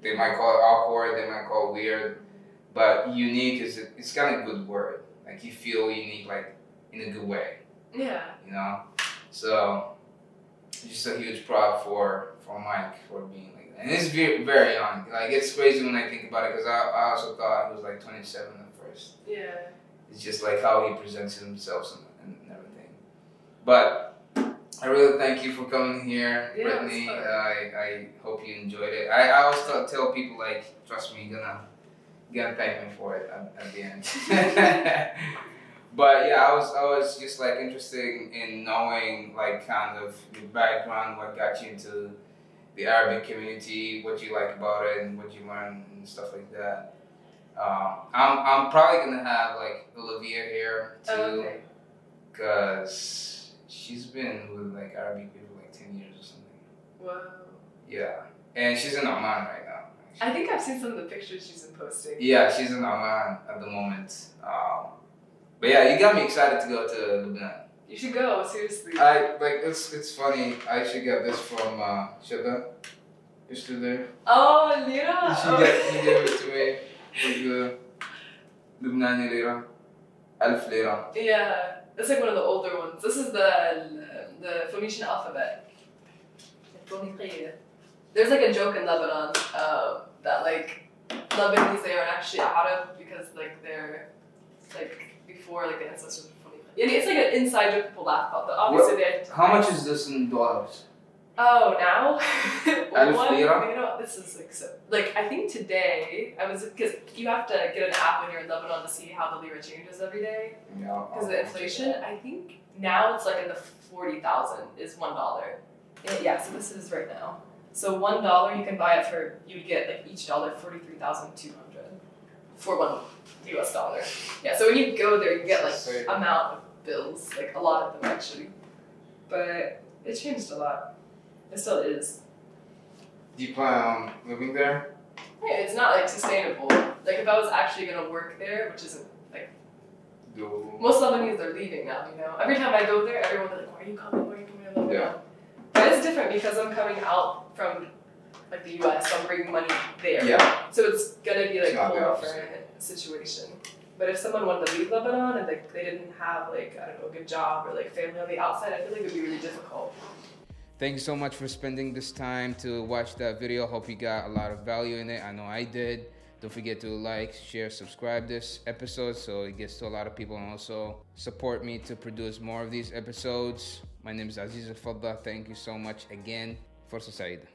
Speaker 1: they might call it awkward, they might call it weird, but unique is a, it's kind of a good word. Like you feel unique, like in a good way
Speaker 2: Yeah.
Speaker 1: you know. So just a huge prop for for Mike for being like that. And it's very very young. Like it's crazy when I think about it because I, I also thought he was like 27 at first.
Speaker 2: Yeah.
Speaker 1: It's just like how he presents himself and, and everything. But I really thank you for coming here,
Speaker 2: Yeah, it was
Speaker 1: Brittany.
Speaker 2: fun.
Speaker 1: I, I hope you enjoyed it. I, I always tell- tell people like, trust me, you're gonna you're gonna thank me for it at, at the end. but yeah, I was I was just like interested in knowing like kind of your background, what got you into the Arabic community, what you like about it, and what you learned and stuff like that. Um, I'm I'm probably gonna have like Olivia here too.
Speaker 2: Oh, Okay.
Speaker 1: Cause she's been with like Arabic people like ten years or something.
Speaker 2: Whoa.
Speaker 1: Yeah, and she's in Oman right now.
Speaker 2: I think I've seen some of the pictures she's been posting.
Speaker 1: Yeah, she's in Oman at the moment. Um, but yeah, you got me excited to go to Lebanon.
Speaker 2: You should go seriously.
Speaker 1: I like it's it's funny. I actually got this from uh, Shada. Is still there?
Speaker 2: oh, Lira.
Speaker 1: She
Speaker 2: Oh.
Speaker 1: gave, she gave it to me with the Lebanese lira, alf lira.
Speaker 2: Yeah, that's like one of the older ones. This is the the Phoenician alphabet. There's like a joke in Lebanon um, that like Lebanese they aren't actually Arab because like they're like before like the ancestors of Phoenicia. Yeah, it's like an inside joke people laugh about. But obviously they.
Speaker 1: How much is this in dollars?
Speaker 2: Oh, now?
Speaker 1: Alf
Speaker 2: One,
Speaker 1: lira?
Speaker 2: You know, this is like so. Like, I think today, I was. Because you have to get an app when you're in Lebanon to see how the lira changes every day.
Speaker 1: Yeah. I'll-
Speaker 2: Because of
Speaker 1: I'll-
Speaker 2: the inflation, I think now it's like in the forty thousand is one dollar. Yeah, so this is right now. So one dollar you can buy it for you'd get like each dollar forty three thousand two hundred for one US dollar. Yeah, so when you go there you get like
Speaker 1: Sorry.
Speaker 2: amount of bills, like a lot of them actually. But it changed a lot. It still is.
Speaker 1: Do you plan on living there?
Speaker 2: Yeah, it's not like sustainable. Like if I was actually gonna work there, which isn't
Speaker 1: doable.
Speaker 2: Most Lebanese are leaving now, you know. Every time I go there, everyone's like, why are you coming? Why are you coming to Lebanon?
Speaker 1: Yeah.
Speaker 2: But it's different because I'm coming out from like the US, so I'm bringing money there.
Speaker 1: Yeah,
Speaker 2: So it's gonna be like
Speaker 1: It's
Speaker 2: a
Speaker 1: not the
Speaker 2: whole
Speaker 1: opposite.
Speaker 2: different situation. But if someone wanted to leave Lebanon and like they didn't have like, I don't know, a good job or like family on the outside, I feel like it would be really difficult.
Speaker 1: thank you so much for spending this time to watch that video. Hope you got a lot of value in it. I know I did. Don't forget to like, share, subscribe this episode so it gets to a lot of people and also support me to produce more of these episodes. My name is Aziz Al Fadda. Thank you so much again. Forza Saida.